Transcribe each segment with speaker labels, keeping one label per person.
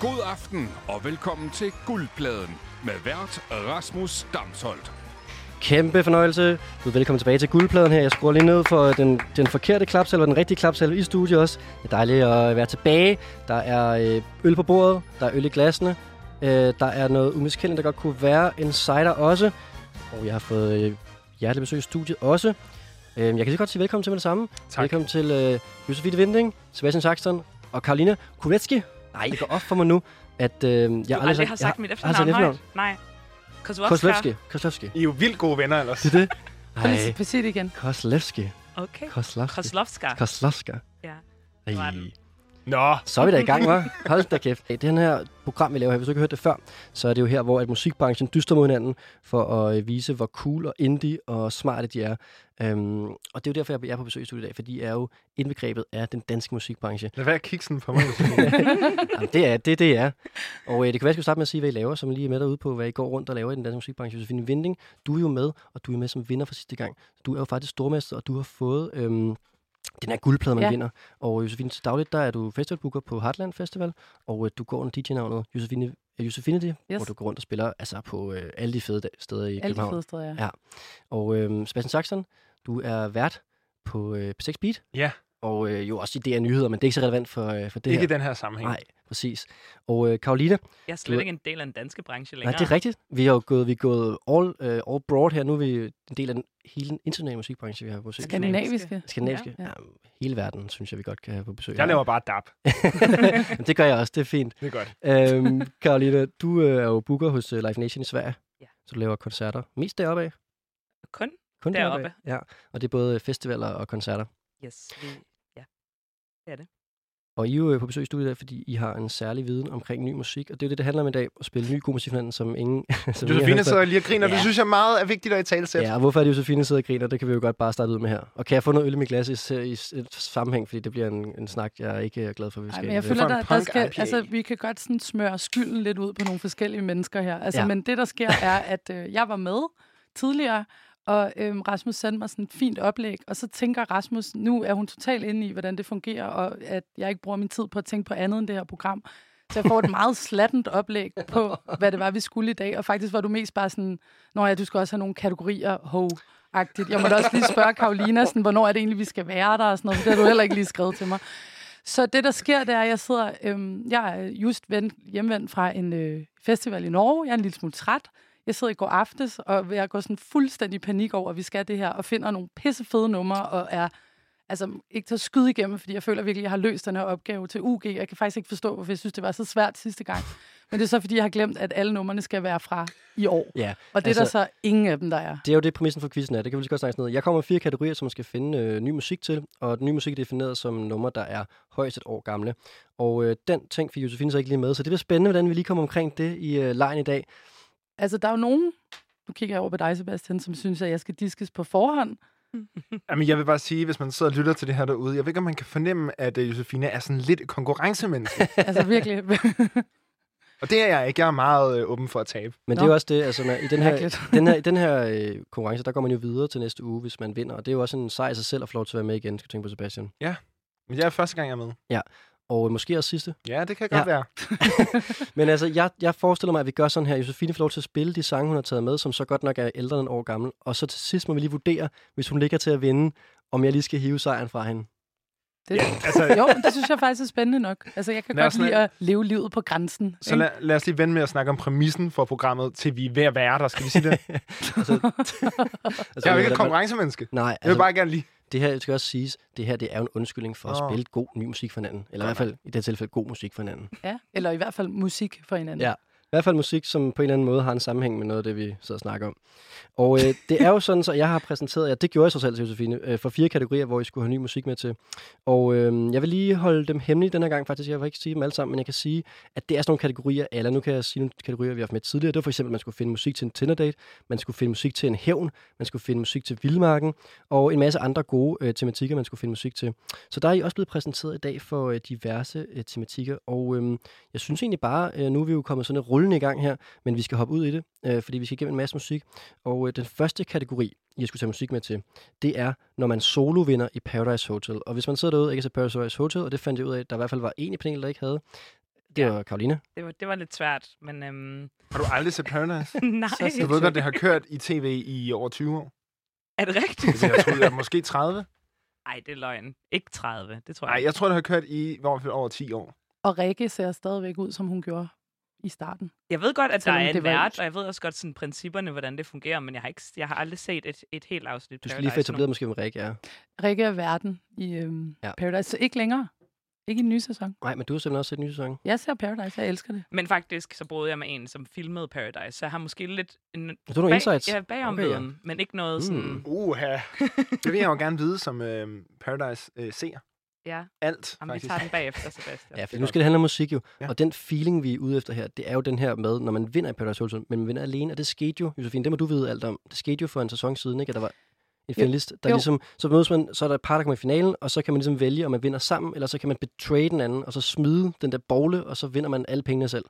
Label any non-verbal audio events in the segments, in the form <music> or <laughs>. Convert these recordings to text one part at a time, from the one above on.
Speaker 1: God aften og velkommen til Guldpladen med vært Rasmus Damsholdt.
Speaker 2: Kæmpe fornøjelse. Du er velkommen tilbage til guldpladen her. Jeg skruer lige ned for den, den forkerte klapsalve og den rigtige klapsalve i studiet også. Det er dejligt at være tilbage. Der er øh, øl på bordet, der er øl i glassene, øh, der er noget umiskendeligt, der godt kunne være en cider også. Og jeg har fået øh, hjertelig besøg i studiet også. Øh, jeg kan lige godt sige velkommen til med det samme.
Speaker 3: Tak.
Speaker 2: Velkommen til øh, Josefine Vinding, Sebastian Saxton og Karolina Kuvetski. Nej, det går op for mig nu, at øh, jeg
Speaker 4: Jeg du aldrig, har sagt mit
Speaker 2: jeg har aldrig
Speaker 4: efternavn
Speaker 2: sagt
Speaker 4: højt. Nej. Kozlovska.
Speaker 2: Koslevski. Koslevski.
Speaker 3: I er jo vildt gode venner ellers.
Speaker 2: Det er det.
Speaker 5: Kom lige
Speaker 2: Ej,
Speaker 5: på sit igen.
Speaker 2: Koslevski.
Speaker 4: Okay.
Speaker 2: Koslevski.
Speaker 4: Kozlovska.
Speaker 2: Koslevska.
Speaker 4: Ja.
Speaker 2: Ej.
Speaker 4: Var den.
Speaker 3: Nå,
Speaker 2: Så er vi da i gang, hva'? Hold da kæft. I den her program, vi laver her, hvis du ikke har hørt det før, så er det jo her, hvor at musikbranchen dyster mod hinanden for at øh, vise, hvor cool og indie og smarte de er. Øhm, og det er jo derfor, jeg er på besøg i studiet i dag, fordi jeg er jo indbegrebet af den danske musikbranche.
Speaker 3: lad være kiksen på mig.
Speaker 2: <laughs> Jamen, det er det, det er. Og øh, det kan være, at jeg skulle starte med at sige, hvad I laver, som lige er med derude på, hvad I går rundt og laver i den danske musikbranche. Josefine Vinding, du er jo med, og du er med som vinder for sidste gang. Du er jo faktisk stormester, og du har fået øhm, den her guldplade, man ja.
Speaker 5: Ja.
Speaker 2: vinder. Og øh, Josefine, til dagligt, der er du festivalbooker på Heartland Festival, og øh, du går under DJ-navnet Josefine, øh, Josefinity, yes.
Speaker 5: Yes.
Speaker 2: hvor du går rundt og spiller altså på øh, alle de fede da- steder i
Speaker 5: Alle de
Speaker 2: København.
Speaker 5: fede steder, ja.
Speaker 2: Ja. Og øh, Sebastian Saxon, du er vært på øh, P6 Beat.
Speaker 3: Ja.
Speaker 2: Og øh, jo også i DR Nyheder, men det er ikke så relevant for, øh, for det
Speaker 3: Ikke i
Speaker 2: her.
Speaker 3: den her sammenhæng.
Speaker 2: Nej, præcis. Og øh, Karolina,
Speaker 4: Jeg er
Speaker 2: Du-
Speaker 4: slet ikke en del af den danske branche længere.
Speaker 2: Nej, det er rigtigt. Vi har jo gået, vi er gået all, uh, all broad her. Nu er vi en del af den, hele den internationale musikbranche, vi har på besøg.
Speaker 5: Skandinaviske.
Speaker 2: Skandinaviske. Ja,
Speaker 5: Ja.
Speaker 2: ja. hele verden, synes jeg, vi godt kan have på besøg.
Speaker 3: Jeg laver bare
Speaker 2: <laughs>
Speaker 3: dab.
Speaker 2: Men det gør jeg også, det er fint.
Speaker 3: Det er godt.
Speaker 2: Øhm, Karolina, du øh, er jo booker hos øh, Live Nation i Sverige.
Speaker 4: Ja.
Speaker 2: Så du laver koncerter. Mest deroppe af.
Speaker 4: Kun?
Speaker 2: Kun
Speaker 4: Deroppe.
Speaker 2: af. Ja, og det er både festivaler og koncerter.
Speaker 4: Yes. Vi... Ja.
Speaker 2: Og I er jo øh, på besøg i studiet, i dag, fordi I har en særlig viden omkring ny musik. Og det er jo det, det handler om i dag. At spille ny god musik for hinanden, som ingen... <laughs> som ingen har
Speaker 3: Josefine
Speaker 2: hørt før.
Speaker 3: sidder lige og griner.
Speaker 2: Ja.
Speaker 3: Det synes jeg meget er vigtigt at i tale sæt.
Speaker 2: Ja, og hvorfor er det Josefine sidder og griner? Det kan vi jo godt bare starte ud med her. Og kan jeg få noget øl i mit glas i, i, i sammenhæng? Fordi det bliver en, en snak, jeg er ikke er glad for, at vi
Speaker 5: Ej,
Speaker 2: skal.
Speaker 5: men jeg
Speaker 2: øh,
Speaker 5: føler,
Speaker 3: for en
Speaker 5: der, der
Speaker 3: punk
Speaker 5: skal,
Speaker 3: IPA.
Speaker 5: altså, vi kan godt sådan smøre skylden lidt ud på nogle forskellige mennesker her. Altså,
Speaker 2: Ja.
Speaker 5: ja. Men det, der sker, er, at øh, jeg var med tidligere, og øhm, Rasmus sendte mig sådan et fint oplæg, og så tænker Rasmus, nu er hun totalt inde i, hvordan det fungerer, og at jeg ikke bruger min tid på at tænke på andet end det her program. Så jeg får et meget slattent oplæg på, hvad det var, vi skulle i dag. Og faktisk var du mest bare sådan, Nå ja, du skal også have nogle kategorier, ho agtigt Jeg måtte også lige spørge Karolina, sådan, hvornår er det egentlig, vi skal være der og sådan noget, for det har du heller ikke lige skrevet til mig. Så det, der sker, det er, at jeg sidder... Øhm, jeg er just vendt, hjemvendt fra en øh, festival i Norge. Jeg er en lille smule træt. Jeg sidder i går aftes, og jeg går sådan fuldstændig i panik over, at vi skal det her, og finder nogle pissefede numre, og er altså, ikke til at skyde igennem, fordi jeg føler virkelig, at jeg har løst den her opgave til UG. Jeg kan faktisk ikke forstå, hvorfor jeg synes, det var så svært sidste gang. Men det er så, fordi jeg har glemt, at alle numrene skal være fra i år.
Speaker 2: Ja,
Speaker 5: Og det er
Speaker 2: Altså-
Speaker 5: der så ingen af dem, der er.
Speaker 2: Det er jo det, præmissen for quizzen er. Det kan vi lige godt snakke sådan noget. Jeg kommer med fire kategorier, som man skal finde øh, ny musik til, og den nye musik er defineret som numre, der er højst et år gamle. Og øh, den ting fik Josefine så ikke lige med, så det bliver spændende, hvordan vi lige kommer omkring det i øh, lejen i dag.
Speaker 5: Altså, der er jo nogen... Nu kigger jeg over på dig, Sebastian, som synes, at jeg skal diskes på forhånd.
Speaker 3: Jamen, jeg vil bare sige, hvis man sidder og lytter til det her derude, jeg ved ikke, om man kan fornemme, at øh, Josefine er sådan lidt et <laughs> konkurrencemenneske.
Speaker 5: Altså, virkelig.
Speaker 3: og det er jeg ikke. Jeg er meget øh, åben for at tabe.
Speaker 2: Men
Speaker 5: Nå.
Speaker 2: det er jo også det, altså man, i den her,
Speaker 5: Mærkeligt.
Speaker 2: den her, i den her øh, konkurrence, der går man jo videre til næste uge, hvis man vinder. Og det er jo også en sejr i sig selv at få lov til at være med igen, skal jeg tænke på Sebastian.
Speaker 3: Men jeg er første gang, jeg er med.
Speaker 2: Og øh, måske også sidste.
Speaker 3: Ja, det kan godt
Speaker 2: Ja.
Speaker 3: være.
Speaker 2: Men altså, jeg, jeg forestiller mig, at vi gør sådan her. Josefine får lov til at spille de sange, hun har taget med, som så godt nok er ældre end en år gammel. Og så til sidst må vi lige vurdere, hvis hun ligger til at vinde, om jeg lige skal hive sejren fra hende.
Speaker 5: Det,
Speaker 3: Ja, altså,
Speaker 5: jo, men det synes jeg faktisk er spændende nok. Altså, jeg kan
Speaker 3: Lad os
Speaker 5: godt lide
Speaker 3: lade-
Speaker 5: at leve livet på grænsen.
Speaker 3: så lad, lad os lige vende med at snakke om præmissen for programmet, til vi er ved at være der. Skal vi sige <laughs> det?
Speaker 2: Altså,
Speaker 3: Jeg er jo ikke
Speaker 2: hvordan-
Speaker 3: et konkurrencemenneske.
Speaker 2: Nej,
Speaker 3: Jeg vil
Speaker 2: altså,
Speaker 3: bare gerne lige...
Speaker 2: det her det skal også siges, det her det er jo en undskyldning for at
Speaker 3: Nå.
Speaker 2: spille god ny musik for hinanden. Eller i hvert fald, i det her tilfælde, god musik for hinanden.
Speaker 5: ikke? Ja, eller i hvert fald musik for hinanden.
Speaker 2: Ja. I hvert fald musik, som på en eller anden måde har en sammenhæng med noget af det, vi sidder og snakker om. Og øh, det er jo sådan, så jeg har præsenteret jer, det gjorde jeg så selv til Josefine, øh, for fire kategorier, hvor I skulle have ny musik med til. Og øh, jeg vil lige holde dem hemmelige den her gang faktisk, jeg vil ikke sige dem alle sammen, men jeg kan sige, at det er sådan nogle kategorier, eller nu kan jeg sige nogle kategorier, vi har haft med tidligere. Det var for eksempel, at man skulle finde musik til en Tinder-date, man skulle finde musik til en hævn, man skulle finde musik til vildmarken, og en masse andre gode øh, tematikker, man skulle finde musik til. Så der er I også blevet præsenteret i dag for øh, diverse øh, tematikker, og øh, jeg synes egentlig bare, øh, nu er vi jo kommet sådan lidt rullende i gang her, men vi skal hoppe ud i det, øh, fordi vi skal igennem en masse musik. Og øh, den første kategori, jeg skulle tage musik med til, det er, når man solo vinder i Paradise Hotel. Og hvis man sidder derude og ikke har set Paradise Hotel, og det fandt jeg ud af, at der i hvert fald var en i panelet, der ikke havde, Det
Speaker 4: Ja.
Speaker 2: var Karoline.
Speaker 4: Det var, det var lidt svært, men
Speaker 2: <laughs>
Speaker 4: øhm,
Speaker 3: Har du aldrig set
Speaker 4: <laughs>
Speaker 3: Paradise?
Speaker 4: nej.
Speaker 5: Så
Speaker 3: Jeg ved godt, det har kørt i tv i over <laughs> 20 år.
Speaker 4: Er det rigtigt?
Speaker 3: Altså, jeg troede, at måske 30.
Speaker 4: Nej, det er løgn. Ikke 30, det tror jeg.
Speaker 3: Nej, jeg tror, det har kørt i i hvert fald over 10 år.
Speaker 5: Og Rikke ser stadigvæk ud, som hun gjorde i starten.
Speaker 4: Jeg ved godt, at der
Speaker 5: Selvom
Speaker 4: er
Speaker 5: det
Speaker 4: en
Speaker 5: var-
Speaker 4: vært, og jeg ved også godt sådan, principperne, hvordan det fungerer, men jeg har, ikke, jeg har aldrig set et, et helt afsnit.
Speaker 2: Du skal lige få
Speaker 4: Paradise nu.
Speaker 2: etableret måske, hvem Rikke er.
Speaker 5: Rikke er verden i øhm,
Speaker 2: Ja.
Speaker 5: ja. Paradise. Så ikke længere. Ikke i den nye sæson.
Speaker 2: Nej, men du har simpelthen også set en ny sæson.
Speaker 5: Jeg ser Paradise, jeg elsker det.
Speaker 4: Men faktisk, så boede jeg med en, som filmede Paradise, så jeg har måske lidt en
Speaker 2: Du har nogle insights.
Speaker 4: ja, bagom
Speaker 2: Okay,
Speaker 4: okay,
Speaker 2: ja.
Speaker 4: ja. men ikke noget sådan...
Speaker 2: Mm.
Speaker 3: Uha. Det vil jeg jo gerne vide som øh, Paradise øh, ser.
Speaker 4: Ja,
Speaker 3: Alt,
Speaker 4: jamen, vi
Speaker 3: faktisk.
Speaker 4: tager den bagefter, Sebastian.
Speaker 2: Ja, for
Speaker 3: er
Speaker 2: nu
Speaker 3: godt.
Speaker 2: skal det handle om musik jo. Ja.
Speaker 3: Ja.
Speaker 2: Og den feeling, vi er ude efter her, det er jo den her med, når man vinder i Paradise Hotel, men man vinder alene, og det skete jo, Josefine, det må du vide alt om. Det skete jo for en sæson siden, ikke? At der var en
Speaker 5: Jo.
Speaker 2: finalist, der
Speaker 5: Jo.
Speaker 2: ligesom, så mødes man, så er der et par, der kommer i finalen, og så kan man ligesom vælge, om man vinder sammen, eller så kan man betray den anden, og så smide den der bogle, og så vinder man alle pengene selv.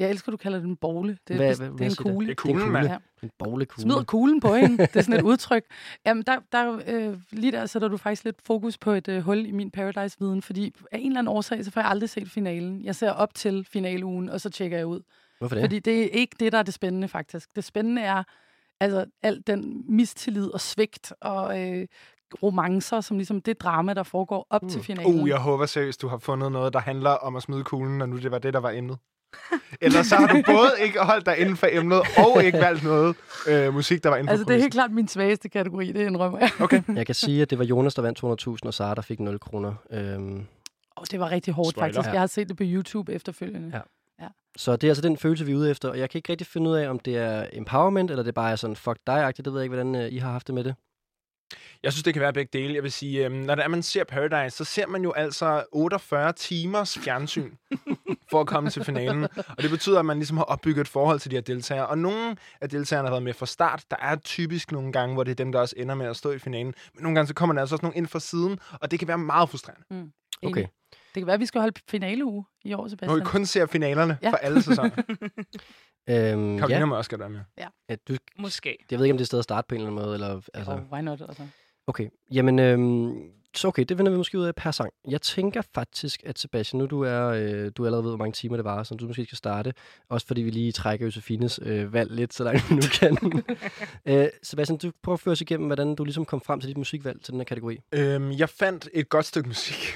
Speaker 5: Jeg elsker, du kalder den bogle. Det,
Speaker 2: Hvad-
Speaker 5: det,
Speaker 2: hvad-
Speaker 5: det
Speaker 2: hvad
Speaker 5: er en
Speaker 2: siger det?
Speaker 5: kugle.
Speaker 3: Det er
Speaker 2: Det er
Speaker 3: cool,
Speaker 2: en
Speaker 3: mand.
Speaker 5: Ja.
Speaker 2: En boglekugle.
Speaker 5: Smider kuglen på hende. Det er sådan et udtryk. Jamen, der, der, øh, lige der sætter du faktisk lidt fokus på et øh, hul i min Paradise-viden, fordi af en eller anden årsag, så får jeg aldrig set finalen. Jeg ser op til finaleugen, og så tjekker jeg ud.
Speaker 2: Hvorfor
Speaker 5: Ja.
Speaker 2: det?
Speaker 5: Fordi det er ikke det, der er det spændende, faktisk. Det spændende er altså alt den mistillid og svigt og øh, romancer, som ligesom det drama, der foregår op mm. til finalen.
Speaker 3: Uh, jeg håber seriøst, du har fundet noget, der handler om at smide kuglen, og nu det var det, der var emnet. Ellers så har du både ikke holdt dig inden for emnet, og ikke valgt noget øh, musik, der var inden
Speaker 5: Altså,
Speaker 3: for
Speaker 5: det er helt klart min svageste kategori, det indrømmer jeg.
Speaker 3: Okay.
Speaker 2: Jeg kan sige, at det var Jonas, der vandt 200.000, og Sara, der fik 0 kroner. Øhm,
Speaker 5: Og det var rigtig hårdt,
Speaker 3: Spoiler.
Speaker 5: faktisk.
Speaker 2: Ja.
Speaker 5: Jeg har set det på YouTube efterfølgende.
Speaker 2: Ja. Så det er altså den følelse, vi er ude efter, og jeg kan ikke rigtig finde ud af, om det er empowerment, eller det bare er sådan, fuck dig-agtigt, det ved jeg ikke, hvordan øh, I har haft det med det.
Speaker 3: Jeg synes, det kan være begge dele. Jeg vil sige, øhm, når det er, man ser Paradise, så ser man jo altså 48 timers
Speaker 2: <laughs>
Speaker 3: fjernsyn for at komme til finalen. Og det betyder, at man ligesom har opbygget et forhold til de her deltagere. Og nogle af deltagerne har været med fra start. Der er typisk nogle gange, hvor det er dem, der også ender med at stå i finalen. Men nogle gange, så kommer der altså også nogle ind fra siden, og det kan være meget frustrerende.
Speaker 5: Enig.
Speaker 2: Okay.
Speaker 5: Det kan være, at vi skal holde finaleuge i år,
Speaker 3: Når vi
Speaker 5: Sebastian.
Speaker 3: kun ser finalerne ja.
Speaker 5: Ja.
Speaker 3: for
Speaker 2: <laughs>
Speaker 3: alle sæsoner.
Speaker 2: Øhm,
Speaker 3: Karoline
Speaker 2: ja,
Speaker 3: ja. må også godt være med.
Speaker 2: ja, du,
Speaker 4: Måske.
Speaker 2: jeg ved ikke, om det er et sted at starte på en eller anden måde, eller altså...
Speaker 5: Oh, why not? Altså.
Speaker 2: Okay, jamen, øhm, så okay, det finder vi måske ud af per sang. Jeg tænker faktisk, at Sebastian, nu du er, øh, du allerede ved, hvor mange timer det var, så du måske skal starte, også fordi vi lige trækker Josefines øh, valg lidt, så langt vi nu kan. øh, Sebastian, du prøver at føre os igennem, hvordan du ligesom kom frem til dit musikvalg til den her kategori.
Speaker 3: Øhm, jeg fandt et godt stykke musik.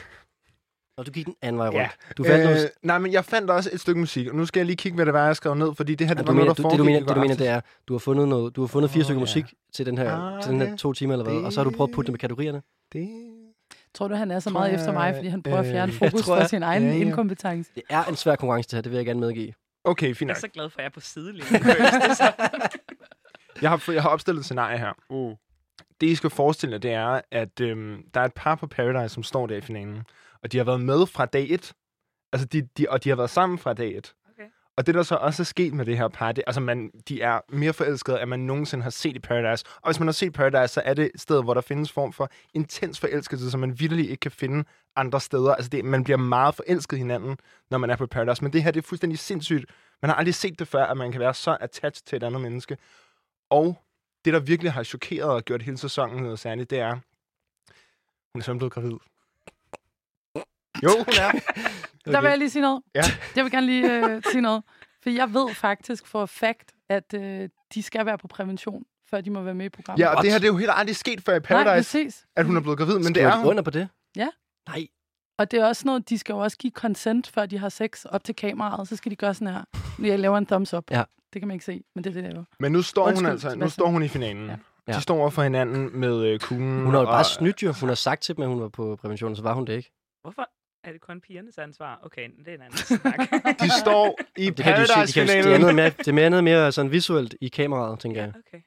Speaker 2: Og du gik den anden vej rundt.
Speaker 3: Ja.
Speaker 2: Du fandt øh,
Speaker 3: øh, nej, men jeg fandt også et stykke musik, og nu skal jeg lige kigge, hvad det var, jeg skrev ned, fordi det her,
Speaker 2: Ja,
Speaker 3: det
Speaker 2: du
Speaker 3: var noget,
Speaker 2: mener,
Speaker 3: der
Speaker 2: du, det, du mener,
Speaker 3: i
Speaker 2: det,
Speaker 3: går
Speaker 2: du mener,
Speaker 3: aftes.
Speaker 2: det er, du har fundet, noget, du har fundet fire
Speaker 3: Åh,
Speaker 2: stykker
Speaker 3: ja.
Speaker 2: musik til den her,
Speaker 3: Ah,
Speaker 2: til den her
Speaker 3: det-
Speaker 2: to timer eller hvad, og så har du prøvet at putte dem i kategorierne.
Speaker 3: Det
Speaker 5: Tror du, han er så
Speaker 3: Tror
Speaker 5: meget
Speaker 3: jeg,
Speaker 5: efter mig, fordi han prøver at fjerne
Speaker 3: øh,
Speaker 5: fokus
Speaker 2: jeg tror,
Speaker 5: fra sin egen
Speaker 3: ja, ja.
Speaker 5: inkompetence?
Speaker 2: Det er en svær konkurrence det her, det vil jeg gerne medgive.
Speaker 3: Okay, fint
Speaker 4: Jeg
Speaker 3: nok.
Speaker 4: er så glad for, at jeg er på
Speaker 3: <laughs>
Speaker 4: sidelinjen. Det er så-
Speaker 3: Jeg har, jeg har opstillet et scenarie her.
Speaker 2: Mm.
Speaker 3: Det, I skal forestille jer, det er, at øhm, der er et par på Paradise, som står der i finalen. Og de har været med fra dag 1. Altså, de, de, og de har været sammen fra dag 1.
Speaker 4: Okay.
Speaker 3: Og det, der så også er sket med det her par, det, altså man, de er mere forelskede, end man nogensinde har set i Paradise. Og hvis man har set Paradise, så er det et sted, hvor der findes form for intens forelskelse, som man virkelig ikke kan finde andre steder. Altså det, man bliver meget forelsket i hinanden, når man er på Paradise. Men det her, det er fuldstændig sindssygt. Man har aldrig set det før, at man kan være så attached til et andet menneske. Og det, der virkelig har chokeret og gjort hele sæsonen noget særligt, det er, hun er simpelthen blevet gravid. Jo, hun er.
Speaker 5: <laughs> Der vil jeg lige sige noget.
Speaker 3: Ja.
Speaker 5: Jeg vil gerne lige øh, sige noget. For jeg ved faktisk for fact, at øh, de skal være på prævention, før de må være med i programmet.
Speaker 3: Ja, og det her, det er jo helt aldrig sket før i
Speaker 5: Nej,
Speaker 3: Paradise,
Speaker 5: præcis.
Speaker 3: at hun er blevet gravid, men det
Speaker 2: Skriver
Speaker 3: er
Speaker 2: de
Speaker 3: hun.
Speaker 2: under på det?
Speaker 5: Ja.
Speaker 2: Nej,
Speaker 5: Og det er også sådan noget, de skal jo også give consent, før de har sex op til kameraet. Så skal de gøre sådan her. Jeg laver en thumbs up.
Speaker 2: Ja.
Speaker 5: Det kan man ikke se, men det er det, der er.
Speaker 3: Men nu står hun
Speaker 5: Undskyld,
Speaker 3: altså, nu
Speaker 5: Sebastian.
Speaker 3: står hun i finalen.
Speaker 5: Ja.
Speaker 2: Ja.
Speaker 3: De står over for hinanden med øh, kuglen.
Speaker 2: hun har jo
Speaker 3: og-
Speaker 2: bare snydt jo. Hun har sagt til dem, at hun var på prævention, så var hun det ikke.
Speaker 4: Hvorfor er det kun pigernes ansvar? Okay, det er en anden
Speaker 3: <laughs>
Speaker 4: snak.
Speaker 3: De står i
Speaker 2: Det kan de jo se. De kan, jo- det, er
Speaker 3: Paradise-finalen.
Speaker 2: noget mere, det er mere, noget mere sådan visuelt i kameraet, tænker jeg.
Speaker 4: Okay.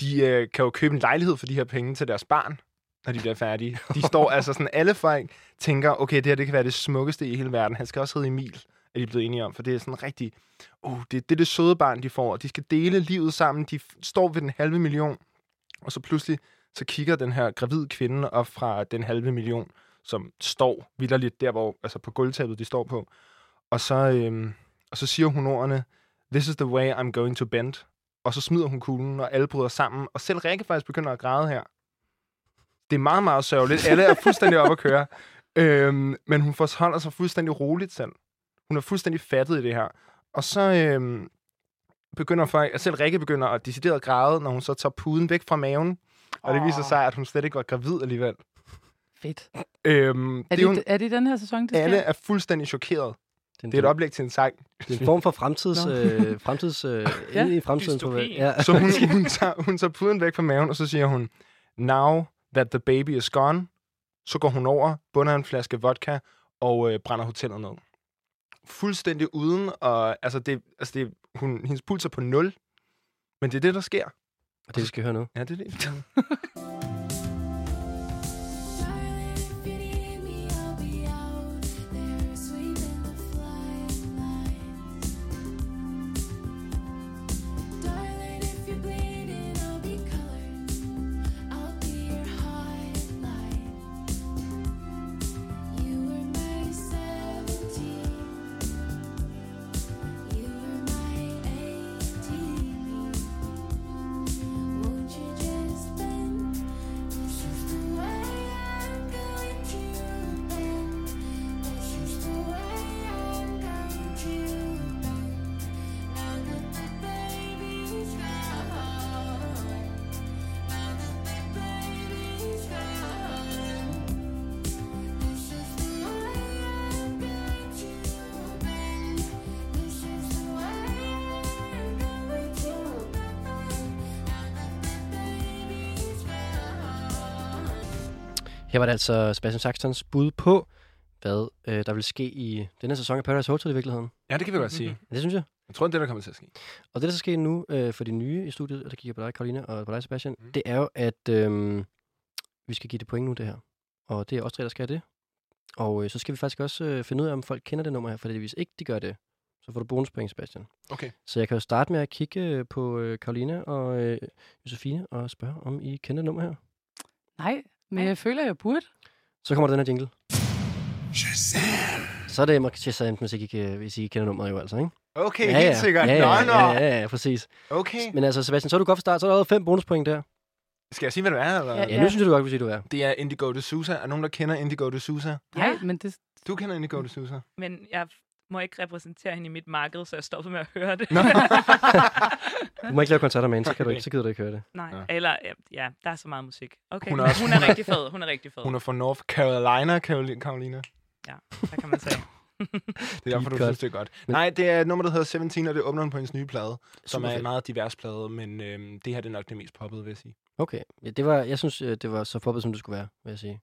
Speaker 3: de øh, kan jo købe en lejlighed for de her penge til deres barn, når de bliver færdige. De står altså sådan, alle folk tænker, okay, det her det kan være det smukkeste i hele verden. Han skal også hedde Emil, er de blevet enige om, for det er sådan rigtig, oh, det, det er det søde barn, de får. De skal dele livet sammen, de f- står ved den halve million, og så pludselig, så kigger den her gravide kvinde op fra den halve million, som står vidderligt der, hvor, altså på gulvtæppet, de står på. Og så, øhm, og så siger hun ordene, this is the way I'm going to bend og så smider hun kuglen, og alle bryder sammen. Og selv Rikke faktisk begynder at græde her. Det er meget, meget sørgeligt. Alle er fuldstændig op at køre. Øhm, men hun forholder sig fuldstændig roligt selv. Hun er fuldstændig fattet i det her. Og så øhm, begynder folk, og selv Rikke begynder at decideret græde, når hun så tager puden væk fra maven. Og det viser
Speaker 4: Åh.
Speaker 3: sig, at hun slet ikke var gravid alligevel.
Speaker 5: Fedt.
Speaker 3: Øhm,
Speaker 5: Er
Speaker 3: det er jo,
Speaker 5: det,
Speaker 3: en,
Speaker 5: er det i den her sæson, det sker?
Speaker 3: alle er fuldstændig chokeret.
Speaker 2: Det er en,
Speaker 3: Det er et oplæg til en sang.
Speaker 2: det er en form for fremtids...
Speaker 5: Nå.
Speaker 2: Øh, fremtids
Speaker 5: <laughs>
Speaker 2: øh,
Speaker 5: Ja.
Speaker 2: ja. i fremtiden, tror jeg.
Speaker 4: Dystopi.
Speaker 2: Ja.
Speaker 3: Så <laughs> hun, hun, tager, hun tager puden væk fra maven, og så siger hun, now that the baby is gone, så går hun over, bunder en flaske vodka og øh, brænder hotellet ned. Fuldstændig uden, og altså, det, altså det, hun, hendes puls er på nul, men det er det, der sker.
Speaker 2: <laughs> Og det, vi skal høre nu.
Speaker 3: Ja, det er det.
Speaker 6: Won't you just bend? That's just the way I'm going to bend. That's just the way I'm going to bend. Now that the baby's gone. Now that the baby's gone. That's just the way I'm going to bend. That's just the way I'm going to bend. Now that the baby's gone.
Speaker 2: Her var det altså Sebastian Saxtons bud på, hvad øh, der vil ske i den her sæson af Paradise Hotel i virkeligheden.
Speaker 3: Ja, det kan vi godt sige.
Speaker 2: Det synes jeg.
Speaker 3: Jeg tror, det er det, der kommer til at ske.
Speaker 2: Og det, der så sker nu øh, for de nye i studiet, og der kigger på dig, Karolina, og på dig, Sebastian, mm. det er jo, at øh, vi skal give det point nu, det her. Og det er også tre, der skal have det. Og øh, så skal vi faktisk også øh, finde ud af, om folk kender det nummer her, for hvis ikke de gør det, så får du bonuspoint, Sebastian.
Speaker 3: Okay.
Speaker 2: Så jeg kan jo starte med at kigge øh, på øh, Karolina og øh, Josefine og spørge, om I kender det nummer her.
Speaker 5: Nej, men jeg føler, jeg burde.
Speaker 2: Så kommer der den her jingle. Shazam! Så er det Shazam, hvis I ikke, øh, hvis I ikke kender nummeret jo altså, ikke?
Speaker 3: Okay, ja, ja. helt sikkert.
Speaker 2: Ja, ja,
Speaker 3: nå, nå.
Speaker 2: ja, ja, ja, præcis.
Speaker 3: Okay.
Speaker 2: Men altså, Sebastian, så er du godt for start. Så er der allerede fem bonuspoint der.
Speaker 3: Skal jeg sige, hvad det er? Eller?
Speaker 5: Ja.
Speaker 2: Ja, nu synes jeg, du godt, hvis du er.
Speaker 3: Det er Indigo D'Souza. Er nogen, der kender Indigo D'Souza?
Speaker 5: Nej,
Speaker 4: Ja.
Speaker 5: men det,
Speaker 3: Du kender Indigo D'Souza.
Speaker 4: Men jeg må ikke repræsentere hende i mit marked, så jeg stoppede med at høre det.
Speaker 2: Du må ikke lave koncerter med hende, så, kan du <laughs> ikke, så gider du ikke høre det.
Speaker 4: <laughs> Nej,
Speaker 3: Nå.
Speaker 4: eller ja, ja, der er så meget musik. Okay,
Speaker 3: Hun
Speaker 4: hun
Speaker 3: er
Speaker 4: er,
Speaker 3: også-
Speaker 4: hun er rigtig fed, hun er rigtig fed.
Speaker 3: Hun er fra North Carolina, Caroli- Carolina.
Speaker 4: Hvad kan man sige?
Speaker 3: Det er derfor, du
Speaker 2: Deep cut.
Speaker 3: synes, det er godt.
Speaker 2: Men-
Speaker 3: Nej, det er et nummer, der hedder 17, og det åbner den på hendes nye plade, som
Speaker 2: Super
Speaker 3: er en
Speaker 2: fedt.
Speaker 3: meget divers plade, men øhm, det her det er nok det mest poppede, vil jeg sige.
Speaker 2: Okay, ja, det var, jeg synes, øh, det var så forberedt, som det skulle være, vil jeg sige.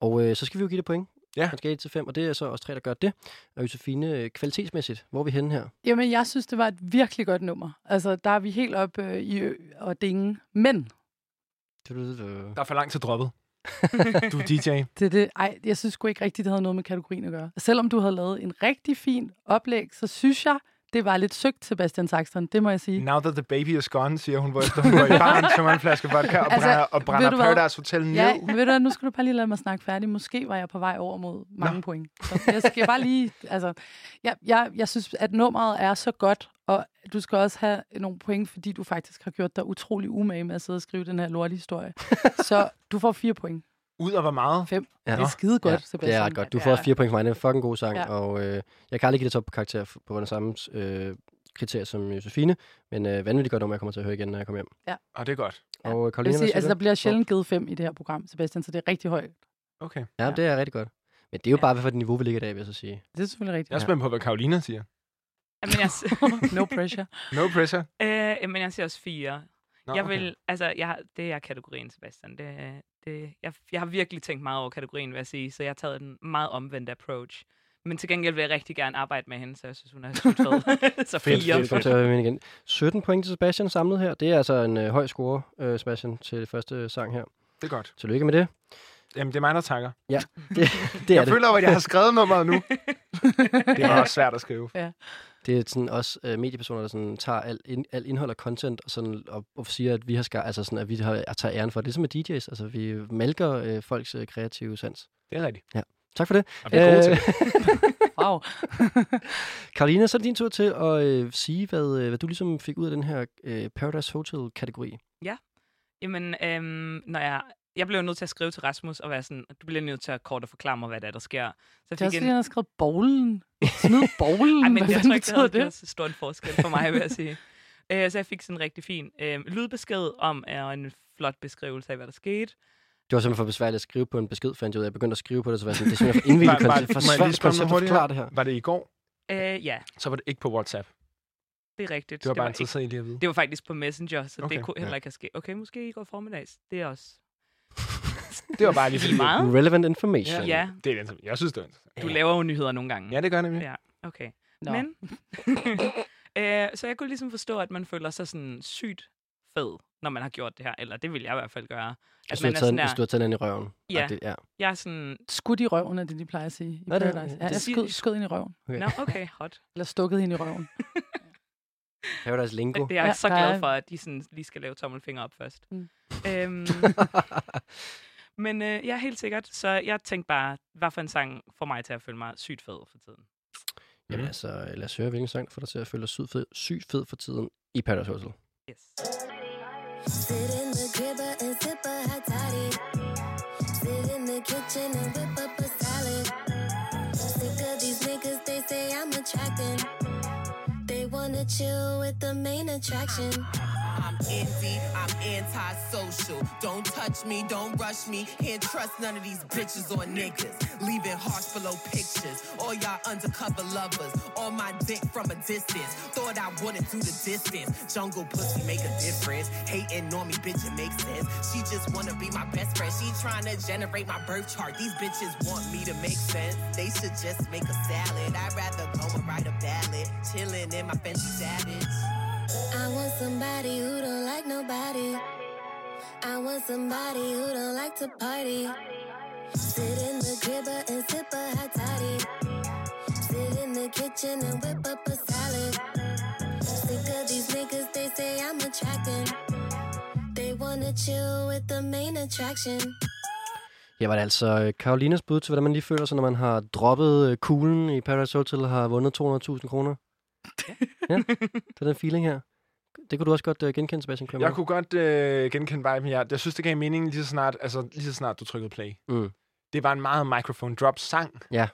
Speaker 2: Og øh, så skal vi jo give det point.
Speaker 3: Ja.
Speaker 2: Man skal 1 til 5, og det er så også tre, der gør det. Og Josefine, øh, kvalitetsmæssigt, hvor er vi henne her?
Speaker 5: jamen, jeg synes, det var et virkelig godt nummer. Altså, der er vi helt op øh, i ø- og dinge. Men
Speaker 2: Du, du, du.
Speaker 3: Der er for langt til droppet.
Speaker 4: <laughs>
Speaker 3: du er DJ.
Speaker 5: det, er det, ej, jeg synes sgu ikke rigtigt, det havde noget med kategorien at gøre. Selvom du havde lavet en rigtig fin oplæg, så synes jeg, det var lidt søgt, Sebastian Saxton. Det må jeg sige.
Speaker 3: Now that the baby is gone, siger hun, hvor efter hun går i baren, tømmer en flaske vodka og,
Speaker 5: Altså,
Speaker 3: altså, brænder, og brænder
Speaker 5: ved du hvad?
Speaker 3: Paradise Hotel ned.
Speaker 5: Ja, ved du hvad, nu skal du bare lige lade mig snakke færdig. Måske var jeg på vej over mod mange Nå. point. Så jeg skal bare lige... Altså, jeg, jeg, jeg synes, at nummeret er så godt, og du skal også have nogle point, fordi du faktisk har gjort dig utrolig umage med at sidde og skrive den her lortehistorie. så du får fire point.
Speaker 3: Ud og hvor meget?
Speaker 5: Fem.
Speaker 2: Ja.
Speaker 5: Ja. Det er skide godt,
Speaker 2: ja, det er ret <laughs> godt. Du får også fire point fra mig. Det er en fucking god sang, ja.
Speaker 5: Ja.
Speaker 2: og øh, jeg kan aldrig give det top karakter f- på den samme øh, kriterie som Josefine, men øh, vanvittigt godt nummer, jeg kommer til at høre igen, når jeg kommer hjem.
Speaker 3: Og Ah, det er godt.
Speaker 5: Ja.
Speaker 2: Og øh,
Speaker 5: Jeg vil
Speaker 2: Karoline, hvad
Speaker 5: sige, altså,
Speaker 2: siger
Speaker 5: der
Speaker 2: du?
Speaker 5: bliver sjældent givet fem i det her program, Sebastian, så det er rigtig højt.
Speaker 3: Okay.
Speaker 2: Ja,
Speaker 5: ja.
Speaker 2: det er rigtig godt. Men det er jo
Speaker 4: Ja.
Speaker 2: bare, hvad for et niveau vi ligger i dag, vil jeg så sige.
Speaker 5: Det er selvfølgelig rigtigt.
Speaker 3: Jeg er spændt på, hvad Karolina siger.
Speaker 4: Jamen, jeg, s-
Speaker 5: <laughs> no
Speaker 4: <laughs>
Speaker 5: pressure.
Speaker 3: <laughs> No pressure.
Speaker 4: øh, jamen, jeg siger også fire.
Speaker 3: Nå,
Speaker 4: jeg
Speaker 3: okay.
Speaker 4: vil, altså, jeg, har- det er kategorien, Sebastian. Det, det, jeg, jeg har virkelig tænkt meget over kategorien, vil jeg sige, så jeg har taget en meget omvendt approach. Men til gengæld vil jeg rigtig gerne arbejde med hende, så jeg synes, hun er sygt fed. <laughs> så
Speaker 3: Fedt,
Speaker 4: fire.
Speaker 2: Vi kommer til at høre hende igen. 17 point til Sebastian samlet her. Det er altså en øh, høj score, øh, Sebastian, til det første øh, sang her.
Speaker 3: Det er godt.
Speaker 2: Tillykke med det.
Speaker 3: Jamen, det er mig, der takker.
Speaker 2: Det er
Speaker 3: Jeg
Speaker 2: det.
Speaker 3: føler jo, at jeg har skrevet nummeret nu. det var også svært at skrive.
Speaker 2: Det er sådan også øh, mediepersoner, der sådan, tager alt ind, al indhold og content og, sådan, og, og siger, at vi har skar, altså sådan, at vi har, at tager æren for det. Ligesom med DJ's. Altså, vi malker øh, folks øh, kreative sans.
Speaker 3: Det er rigtigt.
Speaker 2: Tak for det.
Speaker 3: Og vi er gode til
Speaker 2: Øh.
Speaker 3: det.
Speaker 2: <laughs>
Speaker 5: Wow.
Speaker 2: Karolina, så er det din tur til at øh, sige, hvad, øh, hvad du ligesom fik ud af den her øh, Paradise Hotel-kategori.
Speaker 4: Jamen, øhm, når jeg jeg blev nødt til at skrive til Rasmus og være sådan, du bliver nødt til at kort og forklare mig, hvad der, er, der sker. Så jeg
Speaker 5: Det er også,
Speaker 4: fik
Speaker 5: fordi
Speaker 4: en...
Speaker 5: han har skrevet bowlen. Smid bowlen.
Speaker 4: Ej, men
Speaker 5: Hvad
Speaker 4: jeg
Speaker 5: fanden
Speaker 4: tror ikke, det havde
Speaker 5: betyder
Speaker 4: gjort så stor en forskel for mig, vil jeg sige. Øh, så jeg fik sådan en rigtig fin øh, lydbesked om, øh, og en flot beskrivelse af, hvad der skete.
Speaker 2: Det var simpelthen for besværligt at skrive på en besked, fandt jeg ud af. Jeg begyndte at skrive på det, så var jeg sådan, det er simpelthen for indviklet
Speaker 3: Bare- bare-
Speaker 2: koncept. For
Speaker 3: må jeg lige
Speaker 2: svært
Speaker 3: spørge om
Speaker 2: koncept at
Speaker 3: noget hurtigt
Speaker 2: forklare det her.
Speaker 3: Var det i går,
Speaker 4: Øh, ja,
Speaker 3: så var det ikke på WhatsApp.
Speaker 4: det er rigtigt.
Speaker 3: Det var bare
Speaker 4: ikke-
Speaker 3: interessant lige at vide.
Speaker 4: Det var faktisk på Messenger, så okay,
Speaker 3: Okay,
Speaker 4: det kunne
Speaker 3: ja.
Speaker 4: heller ikke have sket. Okay, måske i går formiddags. Det er også
Speaker 3: Det var bare <laughs> lige
Speaker 4: lige
Speaker 3: fordi,
Speaker 4: meget.
Speaker 2: Relevant information.
Speaker 4: Ja,
Speaker 3: det er interessant. Jeg synes, det var interessant.
Speaker 4: du laver jo nyheder nogle gange.
Speaker 3: Ja, det gør jeg nemlig.
Speaker 4: Ja, okay. Nå.
Speaker 5: Nå. <laughs>
Speaker 4: Men, øh, så jeg kunne ligesom forstå, at man føler sig sådan sygt fed, når man har gjort det her. Eller det vil jeg i hvert fald gøre.
Speaker 2: Altså, Hvis
Speaker 4: At
Speaker 2: du har
Speaker 4: man er sådan
Speaker 2: taget, hvis du
Speaker 4: der,
Speaker 2: har taget den ind i røven.
Speaker 4: Ja.
Speaker 2: Agtigt, ja.
Speaker 4: jeg er sådan,
Speaker 5: Skudt i røven, er det, de plejer at sige. I
Speaker 2: Nå, det-
Speaker 5: Paradise. ja,
Speaker 2: det
Speaker 5: jeg
Speaker 4: siger-
Speaker 5: skød, skød hende i røven.
Speaker 2: Okay.
Speaker 4: nå okay, hot.
Speaker 5: <laughs> Eller stukket hende i røven.
Speaker 2: Paradise Lingo.
Speaker 4: Det er jeg
Speaker 5: Ja,
Speaker 4: så
Speaker 5: der
Speaker 4: glad
Speaker 5: er-
Speaker 4: for, at de sådan lige skal lave tommelfinger op først.
Speaker 5: Mm.
Speaker 4: Mm. Øhm, men øh, ja, helt sikkert. Så jeg tænkte bare, hvad for en sang får mig til at føle mig sygt fed for tiden?
Speaker 2: Jamen
Speaker 4: Mhm.
Speaker 2: altså, lad os høre, hvilken sang der får dig til at føle dig sygt fed, sygt fed for tiden i Paradise Hotel.
Speaker 4: Yes.
Speaker 6: Sit in the cribber and sip a hot toddy. Sit in the kitchen and whip up a salad. Sick of these niggas, they say I'm attracting. They wanna chill with the main attraction.
Speaker 7: I'm indie, I'm antisocial. Don't touch me, don't rush me. Can't trust none of these bitches or niggas. Leaving hearts below pictures. All y'all undercover lovers. On my dick from a distance. Thought I wouldn't do the distance. Jungle pussy make a difference. Hating on me, bitch, it makes sense. She just wanna be my best friend. She trying to generate my birth chart. These bitches want me to make sense. They should just make a salad. I'd rather go and write a ballad. Chilling in my Fenty Savage.
Speaker 6: I want somebody who don't like nobody. I want somebody who don't like to party. Sit in the cribber and sip a hot toddy. Sit in the kitchen and whip up a salad. Sick of these niggas, they say I'm attracting. They wanna chill with the main attraction.
Speaker 2: Her var det altså øh, Karolinas bud til, hvordan man lige føler sig, når man har droppet øh, kuglen i Paradise Hotel og har vundet 200.000 kroner. Ja. det er den feeling her. Det kunne du også godt øh, genkende, Sebastian Klummer.
Speaker 3: Jeg kunne godt øh, genkende viben her. Jeg synes, det gav mening lige så snart, altså, lige så snart du trykkede play.
Speaker 2: Mm.
Speaker 3: Det var en meget microphone drop sang.
Speaker 2: Ja.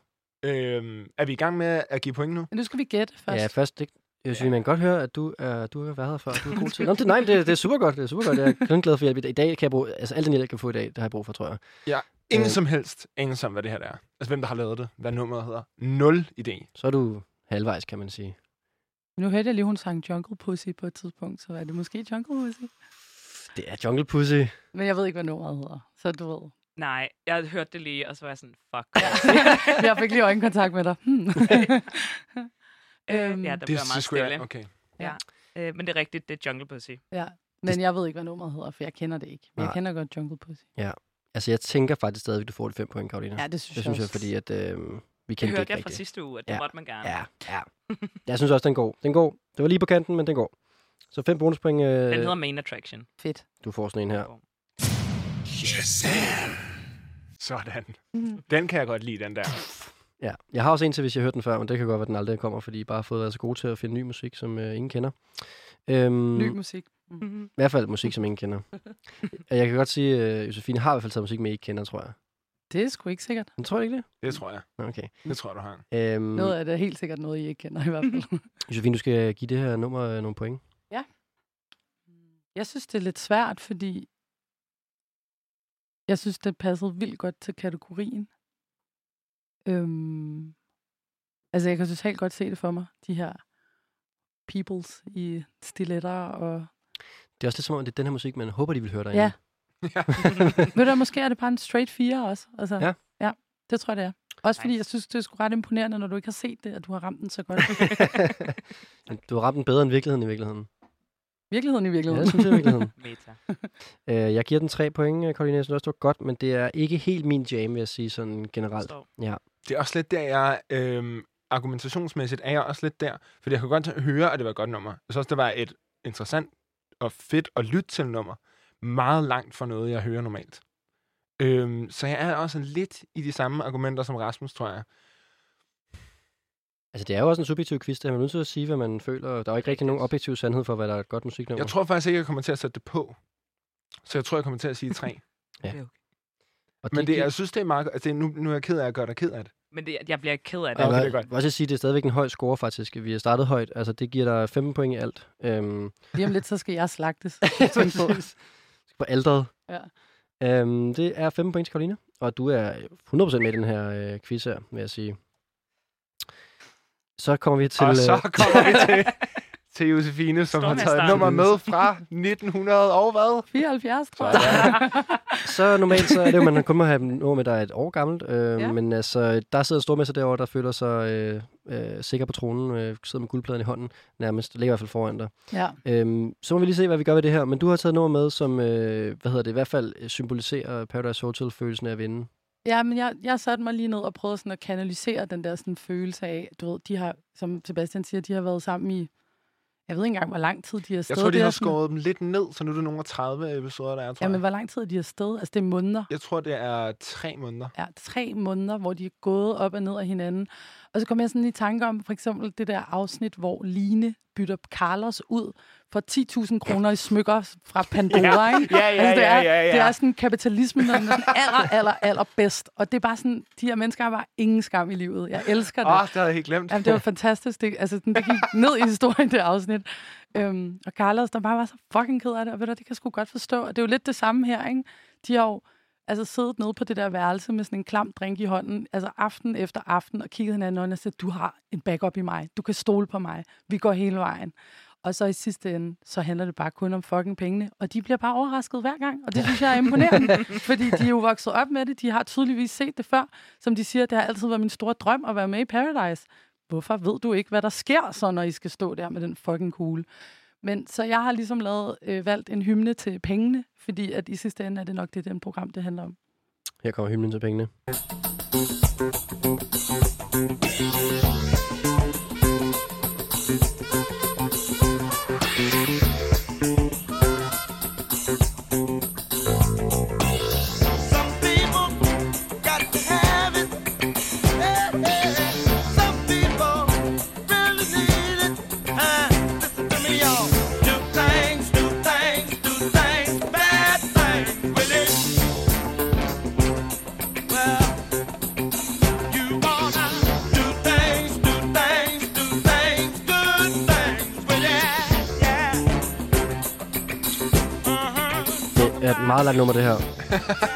Speaker 3: Øhm, er vi i gang med at give point nu?
Speaker 5: Men nu skal vi gætte først.
Speaker 2: Ja, først. Det, jeg synes, ja. man kan godt høre, at du, er, du har været her før. og Du er god til. Nå, men det, nej, men det, det er super godt. Det er super godt. Jeg er kun glad for hjælp. i dag. I dag kan jeg bruge... Altså, alt den hjælp, jeg kan få i dag, det har jeg brug for, tror jeg.
Speaker 3: Ingen
Speaker 2: Øh.
Speaker 3: som helst anelse om, hvad det her er. Altså, hvem der har lavet det. Hvad nummeret hedder. Nul idé.
Speaker 2: Så er du halvvejs, kan man sige.
Speaker 5: Nu hørte jeg lige, hun sang Jungle Pussy på et tidspunkt, så er det måske Jungle Pussy?
Speaker 2: Det er Jungle Pussy.
Speaker 5: Men jeg ved ikke, hvad nummeret hedder, så du ved.
Speaker 4: Nej, jeg hørte det lige, og så var jeg sådan, fuck.
Speaker 5: Jeg fik lige øjenkontakt med dig. Øhm. Hmm.
Speaker 4: øh,
Speaker 5: <laughs>
Speaker 4: <laughs> ja, der
Speaker 3: det
Speaker 4: bliver meget
Speaker 3: sgu jeg-
Speaker 4: stille.
Speaker 3: Okay.
Speaker 4: Øh, men det er rigtigt, det er Jungle Pussy.
Speaker 5: Men jeg ved ikke, hvad nummeret hedder, for jeg kender det ikke. Men jeg
Speaker 2: Nej.
Speaker 5: kender godt Jungle Pussy.
Speaker 2: Altså, jeg tænker faktisk stadig, at du får de fem point, Karolina.
Speaker 5: Ja, det synes
Speaker 2: det
Speaker 5: jeg
Speaker 2: synes jeg,
Speaker 5: også.
Speaker 2: fordi at, øh, vi
Speaker 4: Det
Speaker 2: kendte det
Speaker 4: hørte
Speaker 2: ikke
Speaker 4: jeg fra
Speaker 2: rigtigt.
Speaker 4: sidste uge, at det
Speaker 2: Ja.
Speaker 4: måtte man gerne.
Speaker 2: Ja, ja. Jeg synes også, den går. Den går. Det var lige på kanten, men den går. Så fem bonuspoint. Øh,
Speaker 4: Den hedder Main Attraction.
Speaker 5: Fedt.
Speaker 2: Du får sådan en her.
Speaker 3: Sådan.
Speaker 5: Mhm.
Speaker 3: Den kan jeg godt lide, den der.
Speaker 2: Ja, jeg har også en til, hvis jeg hørte den før, men det kan godt være, at den aldrig kommer, fordi I bare har fået været så gode til at finde ny musik, som øh, ingen kender. Øhm,
Speaker 5: Ny musik.
Speaker 2: I hvert fald musik, som ingen
Speaker 5: <laughs>
Speaker 2: kender. Og jeg kan godt sige, at Josefine har i hvert fald taget musik med, I ikke kender, tror jeg.
Speaker 5: Det er sgu ikke sikkert.
Speaker 2: Men tror jeg ikke det?
Speaker 3: Det tror jeg.
Speaker 2: Nå, Okay.
Speaker 3: Det tror jeg, du har.
Speaker 2: Øhm,
Speaker 5: Noget af det er helt sikkert noget, I ikke kender <laughs> i hvert fald.
Speaker 2: Josefine, du skal give det her nummer øh, nogle point.
Speaker 5: Jeg synes, det er lidt svært, fordi jeg synes, det passede vildt godt til kategorien. Øhm, altså, jeg kan totalt godt se det for mig, de her peoples i stiletter og...
Speaker 2: Det er også lidt som om, det er den her musik, man håber, de vil høre derinde.
Speaker 5: Ja.
Speaker 3: <laughs>
Speaker 5: Ved du, hvad, måske er det bare en straight 4 også. Altså,
Speaker 2: Ja.
Speaker 5: ja. det tror jeg, det er. Også fordi
Speaker 4: Nice.
Speaker 5: jeg synes, det er sgu ret imponerende, når du ikke har set det, at du har ramt den så
Speaker 3: <laughs>
Speaker 5: godt.
Speaker 2: <laughs> Men du har ramt den bedre end virkeligheden i virkeligheden.
Speaker 5: Virkeligheden i
Speaker 2: Ja,
Speaker 5: virkeligheden.
Speaker 2: det synes jeg i virkeligheden.
Speaker 4: Meta.
Speaker 2: Øh, jeg giver den tre point, øh, Karoline. Jeg synes også, det var godt, men det er ikke helt min jam, vil jeg sige sådan generelt.
Speaker 4: Forstår.
Speaker 3: Det er også lidt der, jeg... Øhm, argumentationsmæssigt er jeg også lidt der. Fordi jeg kunne godt høre, at det var et godt nummer. Jeg synes også, det var et interessant og fedt at lytte til nummer. Meget langt fra noget, jeg hører normalt. Øhm, så jeg er også lidt i de samme argumenter som Rasmus, tror jeg.
Speaker 2: Altså, det er jo også en subjektiv quiz, der er man nødt til at sige, hvad man føler. Der er jo ikke rigtig nogen objektiv sandhed for, hvad der er et godt musiknummer. <laughs>
Speaker 3: Jeg tror faktisk ikke, jeg kommer til at sætte det på. Så jeg tror, jeg kommer til at sige tre.
Speaker 2: Ja.
Speaker 4: Det er okay.
Speaker 2: Og
Speaker 3: Men det, jeg synes, det er meget... Altså, nu, nu er jeg ked af at gøre dig ked af det.
Speaker 4: Men det, jeg bliver ikke ked af det.
Speaker 2: Ja,
Speaker 3: okay,
Speaker 2: okay,
Speaker 3: det er godt.
Speaker 2: Jeg vil også sige, det er stadigvæk en høj score, faktisk. Vi har startet højt. Altså, det giver dig 15 point i alt. Øhm,
Speaker 5: Lige om lidt, så skal jeg slagtes.
Speaker 3: <laughs>
Speaker 5: Tænk på.
Speaker 2: på alderet.
Speaker 5: Ja.
Speaker 2: Øhm, det er 15 point til Karoline. Og du er 100% med i den her øh, quiz her, vil jeg sige. Så kommer vi til...
Speaker 3: Til, og så
Speaker 2: øh,
Speaker 3: kommer vi <laughs>
Speaker 2: <laughs>
Speaker 3: til, til Josefine, som
Speaker 4: Står
Speaker 3: har
Speaker 4: med
Speaker 3: taget et
Speaker 4: starten.
Speaker 3: nummer med fra 1900 og hvad?
Speaker 5: 74, tror
Speaker 3: Sådan.
Speaker 5: jeg.
Speaker 2: så normalt så er det jo, man kun må have noget med, der er et år gammelt. Øh, ja.
Speaker 5: Ja.
Speaker 2: Men altså, der sidder en stormester derovre, der føler sig øh, øh, sikker på tronen. Øh, sidder med guldpladen i hånden nærmest. Ligger i hvert fald foran dig.
Speaker 5: <laughs> Ja.
Speaker 2: Øhm, så må vi lige se, hvad vi gør ved det her. Men du har taget noget med, som øh, hvad hedder det, i hvert fald øh, symboliserer Paradise Hotel-følelsen af at vinde.
Speaker 5: Ja, men jeg, jeg satte mig lige ned og prøvede sådan at kanalisere den der sådan følelse af, du ved, de har, som Sebastian siger, de har været sammen i, jeg ved ikke engang, hvor lang tid de har
Speaker 3: Jeg
Speaker 5: stået.
Speaker 3: tror, de
Speaker 5: Det er
Speaker 3: har
Speaker 5: sådan-
Speaker 3: skåret dem lidt ned, så nu er det nogle af 30 episoder, der er, tror
Speaker 5: Jamen,
Speaker 3: jeg.
Speaker 5: hvor lang tid er de har stået? Altså, det er måneder.
Speaker 3: Jeg tror, det er tre måneder.
Speaker 5: Ja, tre måneder, hvor de er gået op og ned af hinanden. Og så kom jeg sådan i tanke om, for eksempel det der afsnit, hvor Line bytter Carlos ud for 10.000 kroner i smykker fra Pandora, ikke? Altså,
Speaker 3: Ja, ja,
Speaker 5: det,
Speaker 3: ja,
Speaker 5: er,
Speaker 3: ja, ja.
Speaker 5: det er sådan kapitalismen, når den er sådan aller, aller, aller bedst. Og det er bare sådan, de her mennesker har bare ingen skam i livet. Jeg elsker det.
Speaker 3: Åh, Ah, det havde jeg helt glemt.
Speaker 5: Jamen, det var fantastisk. Det, altså, den, det gik ned i historien, det afsnit. Øhm, og Carlos, der bare var så fucking ked af det, og ved du, det kan jeg sgu godt forstå. Og det er jo lidt det samme her, ikke? De har jo altså, siddet nede på det der værelse med sådan en klam drink i hånden, altså aften efter aften, og kigget hinanden i øjnene og sagt, du har en backup i mig, du kan stole på mig, vi går hele vejen. Og så i sidste ende, så handler det bare kun om fucking pengene. Og de bliver bare overrasket hver gang. Og det synes jeg er imponerende. fordi de er jo vokset op med det. De har tydeligvis set det før. Som de siger, det har altid været min store drøm at være med i Paradise hvorfor ved du ikke, hvad der sker så, når I skal stå der med den fucking kugle? Men så jeg har ligesom lavet, øh, valgt en hymne til pengene, fordi at i sidste ende er det nok det, den program, det handler om.
Speaker 2: Her kommer hymnen til pengene.
Speaker 8: Some people got to have it. Some people really need it. Listen to me, y'all. Do things, do things, do things, bad things with it. Well, you wanna do things, do things, do things, good things with it. Yeah. Uh-huh.
Speaker 2: Det er et meget langt nummer, det her.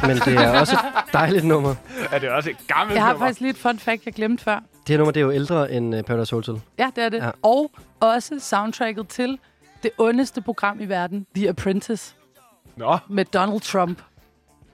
Speaker 2: Men det er også et dejligt nummer.
Speaker 3: Ja, det <laughs> er også et gammelt
Speaker 5: Jeg har
Speaker 3: nummer.
Speaker 5: faktisk lige et fun fact, jeg glemte før.
Speaker 2: Det her nummer, det er jo ældre end øh, Paradise Hotel.
Speaker 5: Ja, det er det.
Speaker 2: Ja.
Speaker 5: Ja. Og også soundtracket til det ondeste program i verden, The Apprentice,
Speaker 3: Nå,
Speaker 5: med Donald Trump.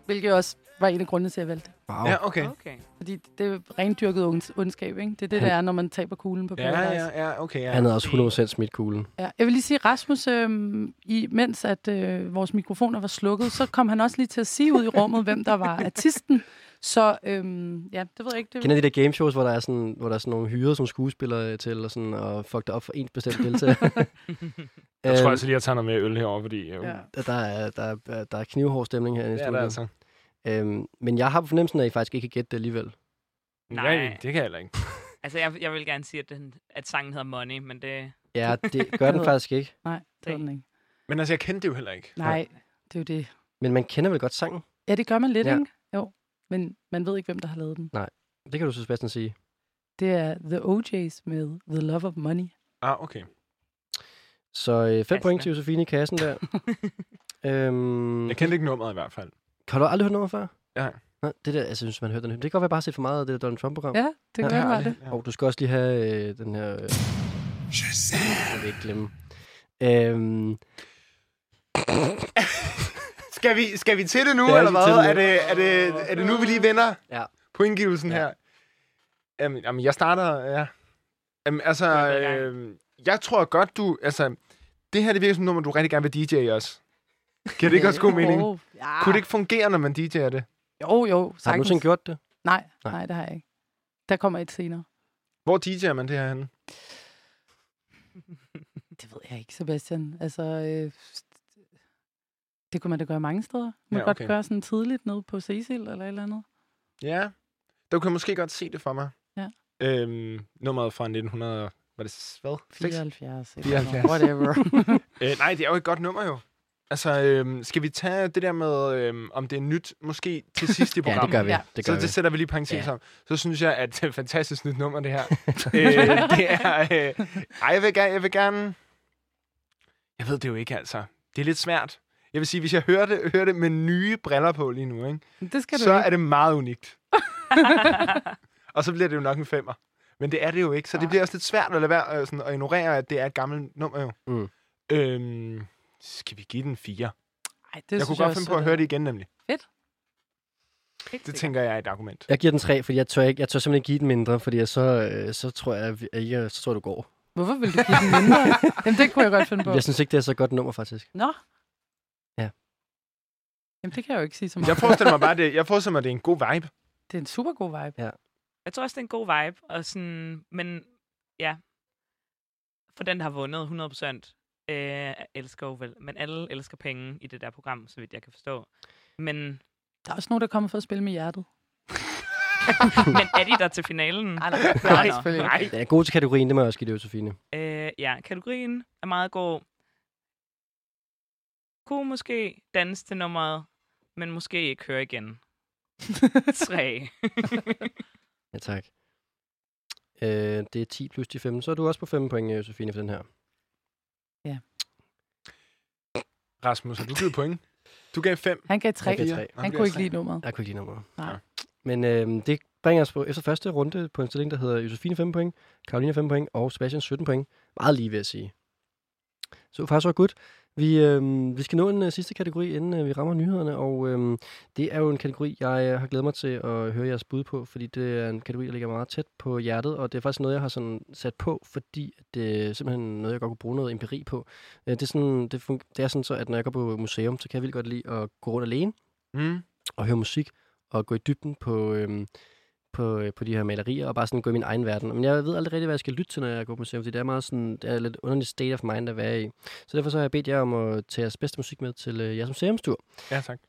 Speaker 5: Hvilket også var en af grundene til, at jeg valgte det.
Speaker 2: Wow.
Speaker 3: ja, okay.
Speaker 4: Okay. <laughs>
Speaker 5: Fordi det er rendyrket ond- ondskab, ikke? Det er det,
Speaker 2: Han-
Speaker 5: der er, når man taber kuglen på Paradise.
Speaker 3: Ja, ja, ja, okay, ja.
Speaker 2: Han havde også 100% smidt kuglen.
Speaker 5: Ja, jeg vil lige sige, Rasmus, øhm, i, mens at øh, vores mikrofoner var slukket, så kom han også lige til at sige ud i rummet, hvem der var artisten. Så øhm, ja, det ved jeg ikke. Det
Speaker 2: Kender de der gameshows, hvor der er sådan, hvor der er sådan nogle hyret som skuespillere øh, til, og, sådan, og fuck det op for en bestemt
Speaker 3: <laughs>
Speaker 2: deltager?
Speaker 3: Jeg tror
Speaker 2: Øhm,
Speaker 3: altså lige, at jeg tager noget mere øl herovre, fordi... Øh,
Speaker 5: ja.
Speaker 3: ja,
Speaker 2: der, er, der, er, der er knivhård stemning her i
Speaker 3: det
Speaker 2: studiet.
Speaker 3: er der altså.
Speaker 2: Øhm, men jeg har på fornemmelsen, at I faktisk ikke kan gætte det alligevel.
Speaker 4: Nej.
Speaker 3: Ja, det kan jeg heller ikke.
Speaker 4: Altså, jeg, jeg vil gerne sige, at, den, at sangen hedder Money, men det...
Speaker 2: Ja, det
Speaker 3: <laughs>
Speaker 2: gør den faktisk ikke.
Speaker 5: Nej, det var den ikke.
Speaker 3: Men altså, jeg kendte det jo heller ikke.
Speaker 5: Nej, det er jo det.
Speaker 2: Men man kender vel godt sangen?
Speaker 5: Ja, det gør man lidt,
Speaker 2: Ja.
Speaker 5: ja. ikke? Jo, men man ved ikke, hvem der har lavet den.
Speaker 2: Det kan du så Sebastian sige.
Speaker 5: Det er The OJ's med The Love of Money.
Speaker 3: Ah, okay.
Speaker 2: Så øh, fem
Speaker 4: Passende.
Speaker 2: point til Josefine i kassen
Speaker 4: <laughs>
Speaker 2: der. øhm,
Speaker 3: Jeg kendte ikke nummeret i hvert fald.
Speaker 2: Har du aldrig hørt noget før?
Speaker 3: Ja.
Speaker 2: Nå, det der, altså, jeg synes, man hører den. Det kan godt være, jeg bare har set for meget af det der Donald Trump-program.
Speaker 5: Ja, det
Speaker 2: Ja,
Speaker 5: gør ja, det.
Speaker 2: Og du skal også lige have øh, den her... Øh... Jeg vil ikke glemme. Øhm,
Speaker 3: Skal vi, skal vi til det nu,
Speaker 2: Ja,
Speaker 3: eller
Speaker 2: vi er til
Speaker 3: hvad?
Speaker 2: det
Speaker 3: Er
Speaker 2: nu.
Speaker 3: det, er, det, er det nu, vi lige vinder
Speaker 2: Ja.
Speaker 3: pointgivelsen
Speaker 2: Ja.
Speaker 3: ja. her? Jamen, jamen, jeg starter... Ja. Jamen, altså,
Speaker 4: Jeg er i gang.
Speaker 3: øh, jeg tror godt, du... Altså, det her det virker som et nummer, du rigtig gerne vil DJ også. Giver det
Speaker 5: <laughs>
Speaker 3: ikke også god mening?
Speaker 5: Jo, ja.
Speaker 3: Kunne det ikke fungere, når man DJ'er det?
Speaker 5: jo, jo
Speaker 2: har du
Speaker 5: sagtens.
Speaker 2: nogensinde gjort det?
Speaker 5: Nej,
Speaker 2: Nej.
Speaker 5: nej, det har jeg ikke. Der kommer et
Speaker 3: <laughs>
Speaker 5: senere.
Speaker 3: Hvor DJ'er man det her henne?
Speaker 5: Det ved jeg ikke, Sebastian. Altså, øh, det kunne man da gøre mange steder. Man
Speaker 3: Ja,
Speaker 5: ja, okay.
Speaker 3: okay.
Speaker 5: godt gøre sådan tidligt nede på Cecil eller et eller andet.
Speaker 3: Ja. Du kan måske godt se det for mig.
Speaker 5: Ja.
Speaker 3: Øhm, nummeret fra 1900... Var det s- hvad? 6?
Speaker 5: 74.
Speaker 3: 74.
Speaker 5: Whatever.
Speaker 3: Øh, nej, det er jo et godt nummer jo. Altså, øhm, skal vi tage det der med, øhm, om det er nyt, måske til sidst
Speaker 2: <laughs>
Speaker 3: i
Speaker 2: Ja,
Speaker 3: programmet?
Speaker 2: det gør vi.
Speaker 5: Ja.
Speaker 2: Det
Speaker 3: så
Speaker 2: gør vi.
Speaker 3: det sætter vi lige parentes
Speaker 2: Ja.
Speaker 3: ja. om. Så synes jeg, at det er et fantastisk nyt
Speaker 2: <laughs>
Speaker 3: nummer, det her. øh, det er... Øh, ej, jeg vil, gerne, jeg vil gerne... Jeg ved det jo ikke, altså. Det er lidt svært. Jeg vil sige, hvis jeg hører det, hører det med nye briller på lige nu, ikke?
Speaker 5: Men <laughs> Det skal
Speaker 3: så
Speaker 5: du
Speaker 3: er det meget unikt. Og så bliver det jo nok en femmer. Men det er det jo ikke, så det
Speaker 5: Nej.
Speaker 3: bliver også lidt svært at lade være øh, sådan, at ignorere, at det er et gammelt nummer jo.
Speaker 2: Mm.
Speaker 3: Øhm, skal vi give den fire?
Speaker 5: Ej, det
Speaker 3: Jeg kunne
Speaker 5: synes
Speaker 3: godt
Speaker 5: også,
Speaker 3: finde på at
Speaker 5: øh,
Speaker 3: høre det igen nemlig.
Speaker 4: Helt
Speaker 3: Det
Speaker 4: sikkert.
Speaker 3: tænker jeg er et argument.
Speaker 2: Jeg giver den tre, fordi jeg tør, ikke, jeg tør simpelthen ikke give den mindre, fordi jeg så, øh, så tror jeg, at vi- at jeg, så tror jeg, du går.
Speaker 5: Hvorfor vil du give den
Speaker 3: <laughs>
Speaker 5: mindre? Jamen, det kunne jeg godt finde <laughs> på.
Speaker 2: Jeg synes ikke, det er så godt et nummer, faktisk.
Speaker 5: Nå.
Speaker 2: Ja.
Speaker 5: Jamen, det kan jeg jo ikke sige så meget.
Speaker 3: Jeg forestiller mig bare, det, jeg forestiller mig, det er en god vibe.
Speaker 5: Det er en super god vibe.
Speaker 4: Jeg tror også, det er en god vibe, og sådan, men ja, for den, der har vundet 100 procent, øh, elsker jo vel, men alle elsker penge i det der program, så vidt jeg kan forstå. Men,
Speaker 5: Der er også nogen, der kommer for at spille med hjertet.
Speaker 4: men er de der til finalen?
Speaker 5: <laughs>
Speaker 4: <laughs>
Speaker 5: Nej, nej,
Speaker 4: nej,
Speaker 5: nej, selvfølgelig ikke.
Speaker 2: Den er god til kategorien, det må jeg også give det, Josefine.
Speaker 4: Øh, ja, kategorien er meget god. Kunne måske danse til nummeret, men måske ikke høre
Speaker 5: <laughs>
Speaker 4: igen. Tre.
Speaker 2: Ja, tak. Øh, det er 10 plus de 15, så er du også på 5 point, Josefine, for den her.
Speaker 3: Rasmus, har du givet point? Du gav fem.
Speaker 5: Han gav tre.
Speaker 2: Jeg gav tre.
Speaker 5: Han kunne ikke lide nummeret.
Speaker 2: Jeg kunne ikke lide nummeret.
Speaker 5: Nej.
Speaker 2: Men øh, det bringer os på efter første runde på en stilling, der hedder Josefine 5 point, Karolina 5 point og Sebastian 17 point. Meget lige ved at sige. Så far så godt. Vi, øh, vi skal nå en øh, sidste kategori, inden øh, vi rammer nyhederne, og øh, det er jo en kategori, jeg øh, har glædet mig til at høre jeres bud på, fordi det er en kategori, der ligger meget tæt på hjertet, og det er faktisk noget, jeg har sådan sat på, fordi det er simpelthen noget, jeg godt kunne bruge noget empiri på. Øh, det, er sådan, det, fun- det er sådan så, at når jeg går på museum, så kan jeg vildt godt lide at gå rundt alene,
Speaker 3: Mm.
Speaker 2: og høre musik og gå i dybden på, øhm, på, øh, på de her malerier og bare sådan gå i min egen verden. Men jeg ved aldrig rigtig, hvad jeg skal lytte til, når jeg går på museum, fordi det er meget sådan, det er lidt underlig state of mind at være i. Så derfor så har jeg bedt jer om at tage jeres bedste musik med til øh, jeres
Speaker 3: <laughs>
Speaker 2: museumstur.
Speaker 3: Ja, tak.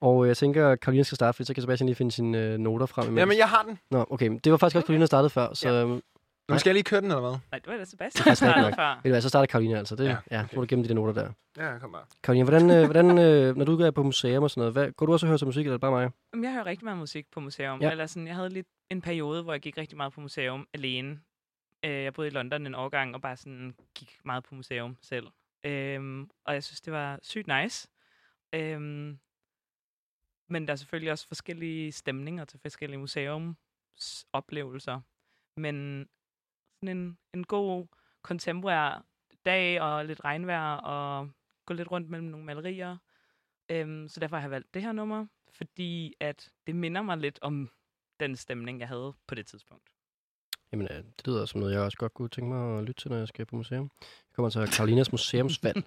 Speaker 2: og øh, jeg tænker, at Karoline skal starte, for så kan Sebastian lige finde sine øh, noter frem. imens.
Speaker 3: Jamen, jeg har den.
Speaker 2: Nå, okay. men Det var faktisk også Karoline, der startede før, så...
Speaker 3: Ja.
Speaker 2: Ja. Ved
Speaker 3: Nu skal jeg lige køre den, eller hvad?
Speaker 4: Nej, det var da Sebastian,
Speaker 2: Det er
Speaker 4: der
Speaker 2: slet ikke
Speaker 4: startede
Speaker 2: nok.
Speaker 4: før.
Speaker 2: du hvad, så starter Karoline altså. Det, ja,
Speaker 3: Ja,
Speaker 2: okay. ja, så
Speaker 3: okay.
Speaker 2: må du gemme de der noter der.
Speaker 3: Ja, kom bare.
Speaker 2: Karoline, hvordan, øh, hvordan øh, når du er på museum og sådan noget, hvad, går du også og hører til musik, eller er det bare mig?
Speaker 4: Jamen, Jeg hører rigtig meget musik på museum.
Speaker 2: Ja.
Speaker 4: Ja. Eller sådan, jeg havde lidt en periode, hvor jeg gik rigtig meget på museum alene. Øh, Jeg boede i London en årgang og bare sådan gik meget på museum selv. Øhm, og jeg synes, det var sygt nice. Øhm, men der er selvfølgelig også forskellige stemninger til forskellige museumsoplevelser. Men sådan en, en god kontemporær dag og lidt regnvejr og gå lidt rundt mellem nogle malerier. Øhm, så derfor har jeg valgt det her nummer, fordi at det minder mig lidt om den stemning, jeg havde på det tidspunkt.
Speaker 2: Jamen, øh, det lyder som noget, jeg også godt kunne tænke mig at lytte til, når jeg skal på museum. Jeg kommer til Karolinas Museumsvalg.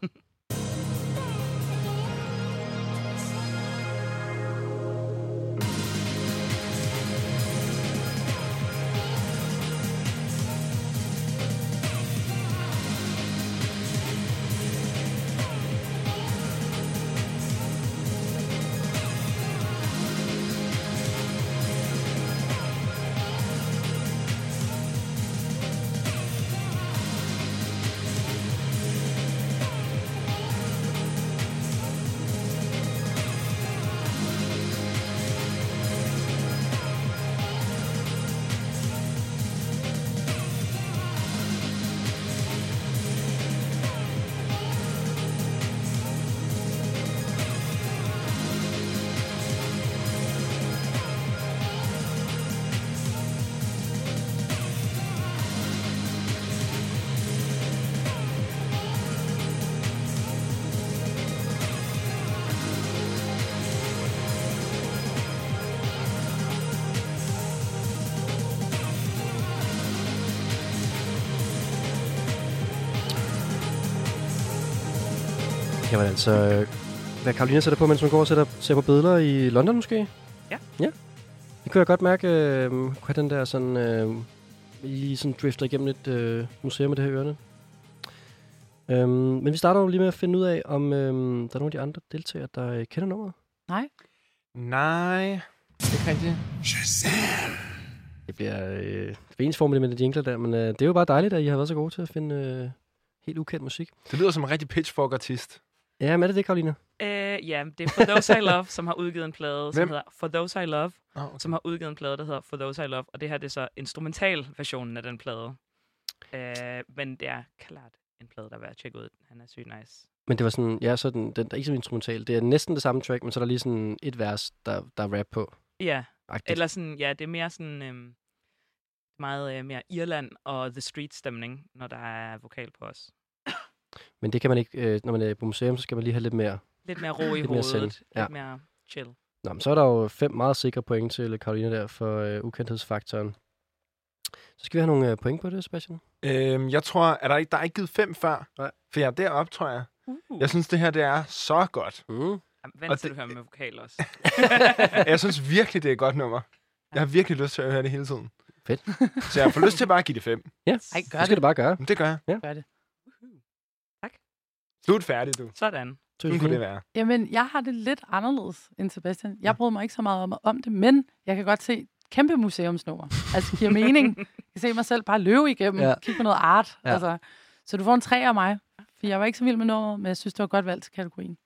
Speaker 2: Jamen altså, øh, hvad Karolina sætter på, mens hun går og sætter, ser på billeder i London måske?
Speaker 4: Ja.
Speaker 2: Ja. Det kunne jeg godt mærke, øh, kunne have den der sådan, øh, lige sådan drifter igennem et øh, museum med det her i ørerne. Øhm, men vi starter jo lige med at finde ud af, om øhm, der er nogle af de andre deltagere, der øh, kender nummeret.
Speaker 3: Nej. Ikke rigtigt.
Speaker 2: Det bliver øh, bensformeligt med de jingler der, men øh, det er jo bare dejligt, at I har været så gode til at finde øh, helt ukendt musik.
Speaker 3: Det lyder som en rigtig pitchfork-artist.
Speaker 2: Ja, men er det det, Karoline?
Speaker 4: Øh, ja, det er For Those I Love, som har udgivet en plade, som
Speaker 3: Hvem?
Speaker 4: hedder For Those I Love,
Speaker 3: Oh, okay.
Speaker 4: som har udgivet en plade, der hedder For Those I Love, og det her det er så instrumentalversionen af den plade. Øh, men det er klart en plade, der er værd at tjekke ud. Han er sygt nice.
Speaker 2: Men det var sådan, ja, så den, den der er ikke så instrumental. Det er næsten det samme track, men så er der lige sådan et vers, der, der er rap på.
Speaker 4: Ja,
Speaker 2: Agtigt.
Speaker 4: eller sådan, ja, det er mere sådan øhm, meget øh, mere Irland og The Street stemning, når der er vokal på os.
Speaker 2: Men det kan man ikke, øh, når man er på museum, så skal man lige have lidt mere.
Speaker 4: Lidt mere ro i
Speaker 2: Lidt mere zen,
Speaker 4: hovedet,
Speaker 2: ja.
Speaker 4: lidt mere chill.
Speaker 2: Nå, men så er der jo fem meget sikre point til Karoline der for øh, ukendthedsfaktoren. Så skal vi have nogle øh, point på det, Sebastian.
Speaker 3: Øhm, jeg tror, at der, ikke, der er ikke givet fem før,
Speaker 2: Nej.
Speaker 3: for jeg er deroppe, tror jeg.
Speaker 4: Uh.
Speaker 3: Jeg synes, det her det er så godt.
Speaker 2: Mm.
Speaker 4: Jamen, Vent
Speaker 3: Og
Speaker 4: til
Speaker 3: det-
Speaker 4: du hører med vokal også.
Speaker 3: <laughs> Jeg synes virkelig, det er et godt nummer. Jeg har virkelig lyst til at høre det hele tiden.
Speaker 2: Fedt.
Speaker 3: Så jeg får lyst til bare at give det fem.
Speaker 2: Ja,
Speaker 5: Ej, gør
Speaker 2: det skal
Speaker 5: det.
Speaker 2: du bare gøre.
Speaker 3: Men det Mm, gør jeg.
Speaker 5: Gør det.
Speaker 3: Slut færdig, du.
Speaker 4: Sådan.
Speaker 3: Sådan kunne det være.
Speaker 5: Jamen, jeg har det lidt anderledes end Sebastian. Jeg bryder mig ikke så meget om, om det, men jeg kan godt se kæmpe museumsnummer. Altså, det
Speaker 2: <laughs>
Speaker 5: giver mening. Jeg kan se mig selv bare løbe igennem,
Speaker 2: Ja.
Speaker 5: ja. kigge på noget art.
Speaker 2: Ja.
Speaker 5: Ja. Altså, så du får en tre af mig. For jeg var ikke så vild med nummeret, men jeg synes, det var godt valgt til kategorien.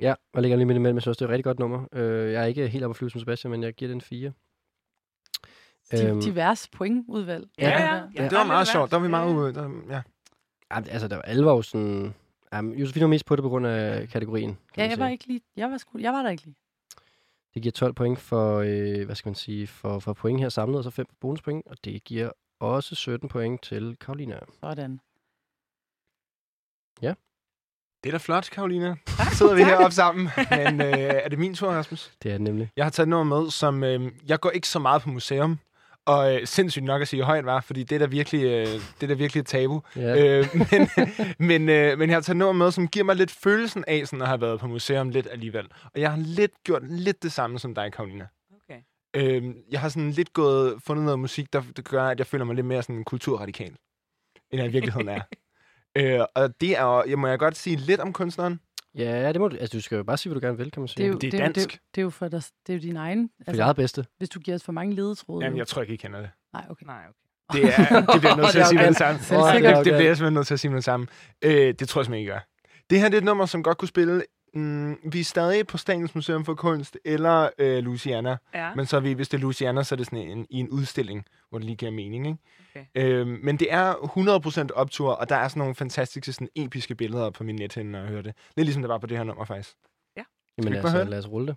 Speaker 2: Ja, og lægger lige midt imellem. Jeg synes også, det er et rigtig godt nummer. Øh, jeg er ikke helt oppe at flyve som Sebastian, men jeg giver den 4.
Speaker 5: Di-
Speaker 2: Øhm.
Speaker 5: Divers pointudvalg.
Speaker 2: Ja, ja.
Speaker 4: Ja,
Speaker 3: Det var
Speaker 4: ej,
Speaker 3: meget
Speaker 4: det er
Speaker 3: sjovt. Der var vi
Speaker 4: værd.
Speaker 3: meget ude. Der, ja.
Speaker 2: Jamen, altså, der var alvor jo sådan... Jamen, Josefine var mest på det på grund af kategorien. Kan
Speaker 5: Ja,
Speaker 2: man
Speaker 5: jeg
Speaker 2: sige.
Speaker 5: var ikke lige... Jeg var, sku, jeg var der ikke lige.
Speaker 2: Det giver 12 point for, øh, hvad skal man sige, for, for point her samlet, og så 5 bonuspoint, og det giver også 17 point til Karolina.
Speaker 5: Sådan.
Speaker 3: Det er da flot, Karolina. Så sidder vi heroppe sammen. Men øh, er det min tur, Rasmus?
Speaker 2: Det er det nemlig.
Speaker 3: Jeg har taget noget med, som... Øh, jeg går ikke så meget på museum. Og øh, sindssygt nok at sige højt, var, fordi det er da virkelig, øh, det er da virkelig et tabu.
Speaker 2: Ja. Øh.
Speaker 3: Øh, men, <laughs> men, øh, men jeg har taget noget med, som giver mig lidt følelsen af sådan at have været på museum lidt alligevel. Og jeg har lidt gjort lidt det samme som dig, Karolina.
Speaker 4: Okay.
Speaker 3: Øh, jeg har sådan lidt gået, fundet noget musik, der, der gør, at jeg føler mig lidt mere sådan kulturradikal, end jeg i virkeligheden <laughs> er. øh, og det er, jo- jeg må jeg godt sige lidt om kunstneren.
Speaker 2: <laughs> ja, det må du, altså du skal jo bare sige, hvad du gerne vil, kan man sige.
Speaker 5: Det er jo, altså-
Speaker 3: det er
Speaker 5: det er, jo- Det er,
Speaker 3: dansk.
Speaker 5: jo- det er jo for, dig, det er jo din egen...
Speaker 2: for dit eget bedste.
Speaker 5: hvis du giver os for mange ledetråde.
Speaker 3: Jamen, jeg tror ikke, I kender det.
Speaker 5: Nej,
Speaker 4: <laughs>
Speaker 5: okay.
Speaker 4: Nej, okay.
Speaker 3: Det, er, det bliver jeg nødt til at sige med det samme.
Speaker 5: Åh, det er
Speaker 3: Det,
Speaker 5: okay.
Speaker 3: det bliver jeg simpelthen nødt til at sige med det samme. Øh, det tror jeg simpelthen ikke, jeg gør. Det her det er et nummer, som godt kunne spille... Mm, vi er stadig på Statens Museum for Kunst eller øh, Luciana.
Speaker 4: Ja.
Speaker 3: Men så er vi, hvis det er Louisiana, så er det sådan en, i en udstilling, hvor det lige giver mening. Ikke?
Speaker 4: Okay.
Speaker 3: Øhm, men det er 100% optur, og der er sådan nogle fantastiske, sådan episke billeder på min nethænde, når jeg hører det. Lidt ligesom det var på det her nummer, faktisk.
Speaker 2: Jamen
Speaker 3: vi
Speaker 2: lad
Speaker 3: bare høre
Speaker 2: os, altså,
Speaker 3: det?
Speaker 2: lad os rulle det.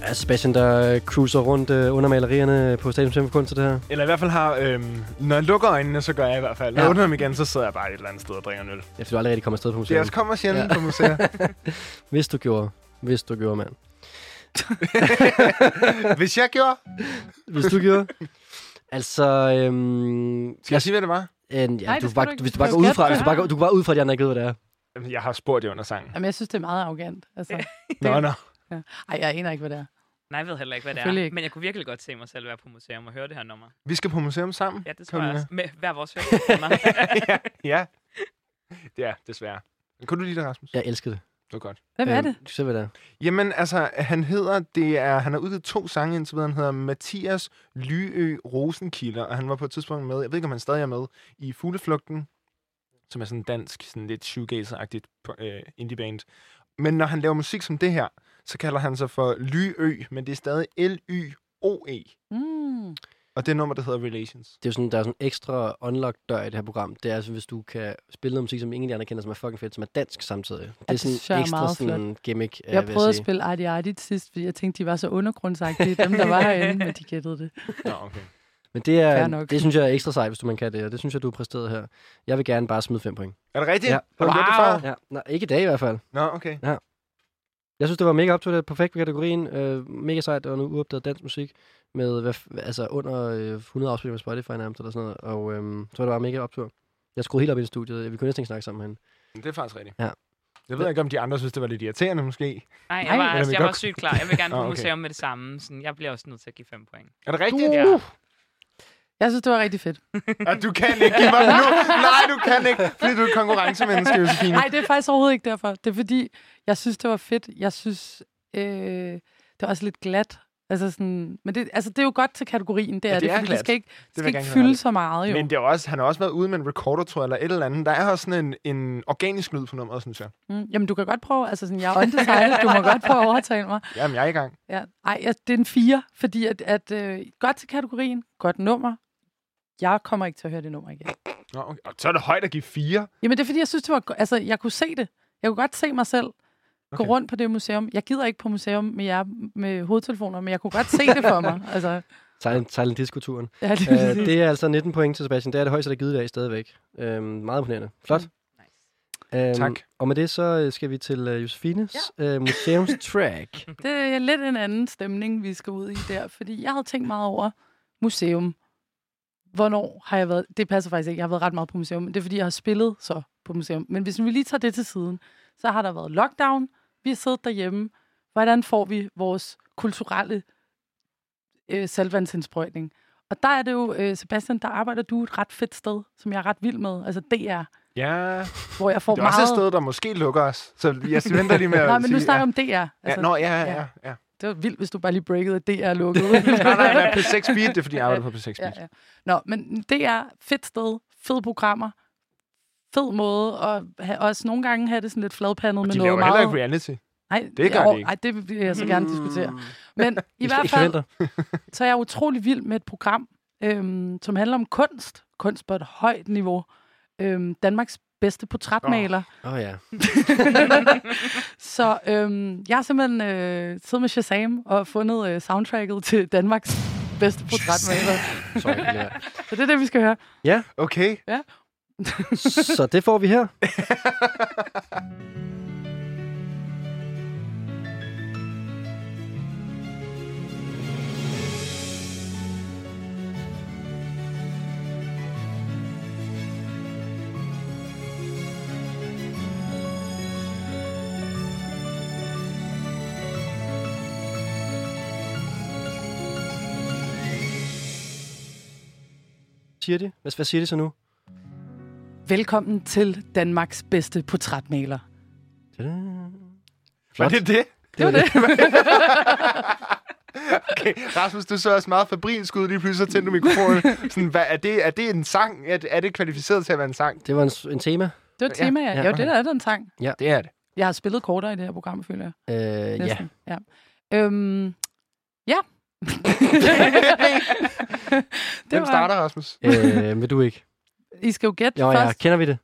Speaker 2: Ja, Sebastian, der øh, cruiser rundt øh, under malerierne på Statens Museum for Kunst og det her.
Speaker 3: Eller i hvert fald har... Øhm, når jeg lukker øjnene, så gør jeg i hvert fald. Når
Speaker 2: Ja.
Speaker 3: jeg åbner dem igen, så sidder jeg bare et eller andet sted og drikker en øl.
Speaker 2: Jeg føler aldrig rigtig kommer afsted på
Speaker 3: Det er
Speaker 2: museet.
Speaker 3: også kommer sjældent ja. på museer.
Speaker 2: Hvis du gjorde. Hvis du gjorde, <laughs> mand.
Speaker 3: Hvis jeg gjorde...
Speaker 2: Hvis du gjorde. Altså, øhm,
Speaker 3: Skal jeg sige, hvad det var?
Speaker 2: en, ja,
Speaker 5: Nej,
Speaker 2: du
Speaker 5: det
Speaker 2: kan
Speaker 5: skal
Speaker 2: bare,
Speaker 5: du ikke.
Speaker 2: hvis du
Speaker 5: Du
Speaker 2: bare går
Speaker 5: skal
Speaker 2: ud fra,
Speaker 5: det.
Speaker 2: hvis du bare går, du går bare ud fra, at de andre ikke ved, hvad det er.
Speaker 3: Jamen, Jeg har spurgt det under sangen.
Speaker 5: Jamen, jeg synes, det er meget arrogant.
Speaker 2: <laughs>
Speaker 5: Altså,
Speaker 3: Nå, nå.
Speaker 5: ej, jeg aner ikke, hvad det er.
Speaker 4: Nej, jeg ved heller ikke, hvad det
Speaker 5: Selvfølgelig
Speaker 4: er.
Speaker 5: ikke.
Speaker 4: Men jeg kunne virkelig godt se mig selv være på museum og høre det her nummer.
Speaker 3: Vi skal på museum sammen.
Speaker 4: Ja, det tror jeg
Speaker 3: Karolina.
Speaker 4: også. Med hver vores hører.
Speaker 3: <laughs> ja, ja. Ja, desværre. Kunne du lide det, Rasmus?
Speaker 2: Jeg elsker det.
Speaker 3: Det var godt.
Speaker 5: Hvem er
Speaker 2: Øhm,
Speaker 5: det?
Speaker 2: Du kan se, hvad det er.
Speaker 3: Jamen, altså, han hedder, det er, han har udgivet to sange indtil videre. Han hedder Mathias Lyø Rosenkilder, og han var på et tidspunkt med, jeg ved ikke, om han stadig er med, i Fugleflugten, som er sådan en dansk, sådan lidt shoegazer-agtigt øh, indie-band. Men når han laver musik som det her, så kalder han sig for Lyø, men det er stadig L-Y-O-E.
Speaker 5: Mm.
Speaker 3: E, Og det nummer, der hedder Relations.
Speaker 2: Det er jo sådan, der er sådan en ekstra unlocked dør i det her program. Det er altså, hvis du kan spille noget musik, som ingen af de andre kender, som er fucking fedt, som er dansk samtidig. Det er
Speaker 5: det
Speaker 2: sådan
Speaker 5: sørger
Speaker 2: en ekstra
Speaker 5: meget
Speaker 2: sådan gimmick, øh,
Speaker 5: Jeg
Speaker 2: vil
Speaker 5: prøvede at
Speaker 2: sige.
Speaker 5: spille Arti Arti til sidst, fordi jeg tænkte, de var så undergrundsagtige, dem der var herinde,
Speaker 3: <laughs>
Speaker 5: men de gættede det.
Speaker 3: Nå, okay.
Speaker 2: Men det,
Speaker 5: Fair
Speaker 2: er,
Speaker 5: nok.
Speaker 2: det synes jeg er ekstra sejt, hvis du man kan det, og det synes jeg, du har præsteret her. Jeg vil gerne bare smide fem point.
Speaker 3: Er det rigtigt?
Speaker 2: Ja.
Speaker 3: Har du gjort det før?
Speaker 2: Ja, nej, ikke i dag i hvert fald.
Speaker 3: Nå, okay.
Speaker 2: Jeg synes, det var mega up to date, perfekt på kategorien. Øh, mega sejt, og nu uopdaget dansk musik med hvad, f- altså under øh, 100 afspilninger på Spotify nærmest, eller sådan noget. Og øhm, så var det bare mega optur. Jeg skruede helt op i studiet. Vi kunne næsten ikke snakke sammen med hende.
Speaker 3: Det er faktisk rigtigt.
Speaker 2: Ja.
Speaker 3: Jeg ved ikke, om de andre synes, det var lidt irriterende, måske.
Speaker 4: Nej, jeg
Speaker 5: Nej,
Speaker 4: var,
Speaker 5: eller
Speaker 4: altså,
Speaker 3: vi
Speaker 4: jeg
Speaker 3: godt
Speaker 4: var sygt klar. Jeg vil gerne
Speaker 3: <laughs> Nå,
Speaker 4: på
Speaker 3: okay.
Speaker 4: museum med det samme. Sådan, jeg bliver også nødt til at give fem point.
Speaker 3: Er det
Speaker 5: Uh.
Speaker 3: rigtigt?
Speaker 4: Ja.
Speaker 5: Jeg synes, det var rigtig fedt.
Speaker 3: Og du kan ikke give mig den nu. Nej, du kan ikke, fordi du er et konkurrencemenneske, Josefine.
Speaker 5: Nej, det er faktisk overhovedet ikke derfor. Det er fordi, jeg synes, det var fedt. Jeg synes, øh, det var også lidt glat. Altså sådan, men det, altså det er jo godt til kategorien, det er
Speaker 3: det
Speaker 5: det,
Speaker 3: er
Speaker 5: fordi det
Speaker 3: glat.
Speaker 5: skal ikke, det
Speaker 3: vil
Speaker 5: skal
Speaker 3: jeg
Speaker 5: ikke
Speaker 3: gerne
Speaker 5: fylde
Speaker 3: have
Speaker 5: så meget, jo.
Speaker 3: Men det er også, han har også været ude med en recorder, tror jeg, eller et eller andet. Der er også sådan en, en organisk lyd på nummeret, synes jeg.
Speaker 5: Mm, jamen, du kan godt prøve, altså sådan, jeg er undecided, du må godt prøve at overtale mig.
Speaker 3: Jamen, jeg er i gang.
Speaker 5: Ja. Ej, jeg, det er en fire, fordi at, at øh, godt til kategorien, godt nummer. Jeg kommer ikke til at høre det nummer igen.
Speaker 3: Nå, okay. Og så er det højt at give fire.
Speaker 5: Jamen, det er fordi, jeg synes, det var... go- Altså, jeg kunne se det. Jeg kunne godt se mig selv okay. gå
Speaker 3: Okay.
Speaker 5: rundt på det museum. Jeg gider ikke på museum med jer med hovedtelefoner, men jeg kunne godt se det for mig. Altså,
Speaker 2: Silent, silent Disco-turen.
Speaker 5: ja, det,
Speaker 2: øh,
Speaker 5: øh, det...
Speaker 2: det er altså 19 point til Sebastian. Det er det højeste, der er givet i dag stadigvæk. Øh, meget imponerende. Flot. Øhm,
Speaker 3: Tak.
Speaker 2: Og med det så øh, skal vi til øh, Josefines ja. øh, museumstrack.
Speaker 5: det er lidt en anden stemning, vi skal ud i der, fordi jeg havde tænkt meget over museum. Hvornår har jeg været... Det passer faktisk ikke. Jeg har været ret meget på museum, men det er, fordi jeg har spillet så på museum. Men hvis vi lige tager det til siden, så har der været lockdown. Vi har siddet derhjemme. Hvordan får vi vores kulturelle øh, saltvandsindsprøjtning. Og der er det jo, øh, Sebastian, der arbejder du et ret fedt sted, som jeg er ret vild med, altså DR,
Speaker 3: Ja,
Speaker 5: hvor jeg får
Speaker 3: det er også et
Speaker 5: meget...
Speaker 3: sted, der måske lukker os.
Speaker 5: <laughs>
Speaker 3: Så jeg venter lige med at
Speaker 5: Nej, men nu
Speaker 3: sige,
Speaker 5: snakker
Speaker 3: ja.
Speaker 5: jeg om DR.
Speaker 3: Altså,
Speaker 5: Altså,
Speaker 3: ja, nå, ja, ja,
Speaker 5: ja.
Speaker 3: ja.
Speaker 5: Det var vildt, hvis du bare lige breakede, at DR lukkede.
Speaker 3: <laughs> Nej, nej, nej, P6 Beat, det er, fordi jeg arbejder på P6 Beat.
Speaker 5: ja, ja. Nå, men DR, fedt sted, fede programmer, fed måde, og ha- også nogle gange have det sådan lidt fladpandet
Speaker 3: Og
Speaker 5: med
Speaker 3: de
Speaker 5: noget
Speaker 3: laver heller
Speaker 5: meget...
Speaker 3: ikke reality.
Speaker 5: Nej,
Speaker 3: Det gør
Speaker 5: jo,
Speaker 3: de ikke. Mm.
Speaker 5: Ej, det vil jeg så gerne diskutere. Men
Speaker 3: <laughs>
Speaker 5: i
Speaker 2: Hvis
Speaker 5: hvert
Speaker 2: I
Speaker 5: fald,
Speaker 2: forventer.
Speaker 5: så er jeg utrolig vild med et program, øhm, som handler om kunst. Kunst på et højt niveau. Øhm, Danmarks bedste portrætmaler. Oh.
Speaker 2: Åh oh, ja.
Speaker 5: Så øhm, jeg har simpelthen øh, siddet med Shazam og fundet øh, soundtracket til Danmarks bedste
Speaker 3: <laughs>
Speaker 5: portrætmaler.
Speaker 2: Sorry, ja.
Speaker 5: Så det er det, vi skal høre.
Speaker 3: Okay.
Speaker 2: Så det får vi her. Siger de? Hvad, hvad siger de så nu?
Speaker 5: Velkommen til Danmarks bedste portrætmaler.
Speaker 2: Tada.
Speaker 3: Var
Speaker 2: Flot.
Speaker 3: det det?
Speaker 2: Det var det.
Speaker 3: Okay. <laughs> Rasmus, du så også meget fabrilsk ud lige pludselig, så tændte du mikrofonen.
Speaker 2: <laughs>
Speaker 3: Sådan, hvad, er, det, er det en sang? Er det, er det kvalificeret til at være en sang?
Speaker 2: Det var en, s- en tema.
Speaker 5: Det var et tema, ja.
Speaker 2: ja,
Speaker 5: ja. Jo,
Speaker 2: okay.
Speaker 5: det der er da en sang.
Speaker 3: Det er det.
Speaker 5: Jeg har spillet kortere i det her program, føler jeg.
Speaker 2: Øh, ja.
Speaker 5: Næsten. Ja. ja. Øhm,
Speaker 2: <laughs>
Speaker 5: ja.
Speaker 3: Den
Speaker 5: var-
Speaker 3: starter, Rasmus.
Speaker 2: Øh, vil du ikke?
Speaker 5: I skal jo gætte
Speaker 2: Jo, ja.
Speaker 5: først.
Speaker 2: Kender vi det?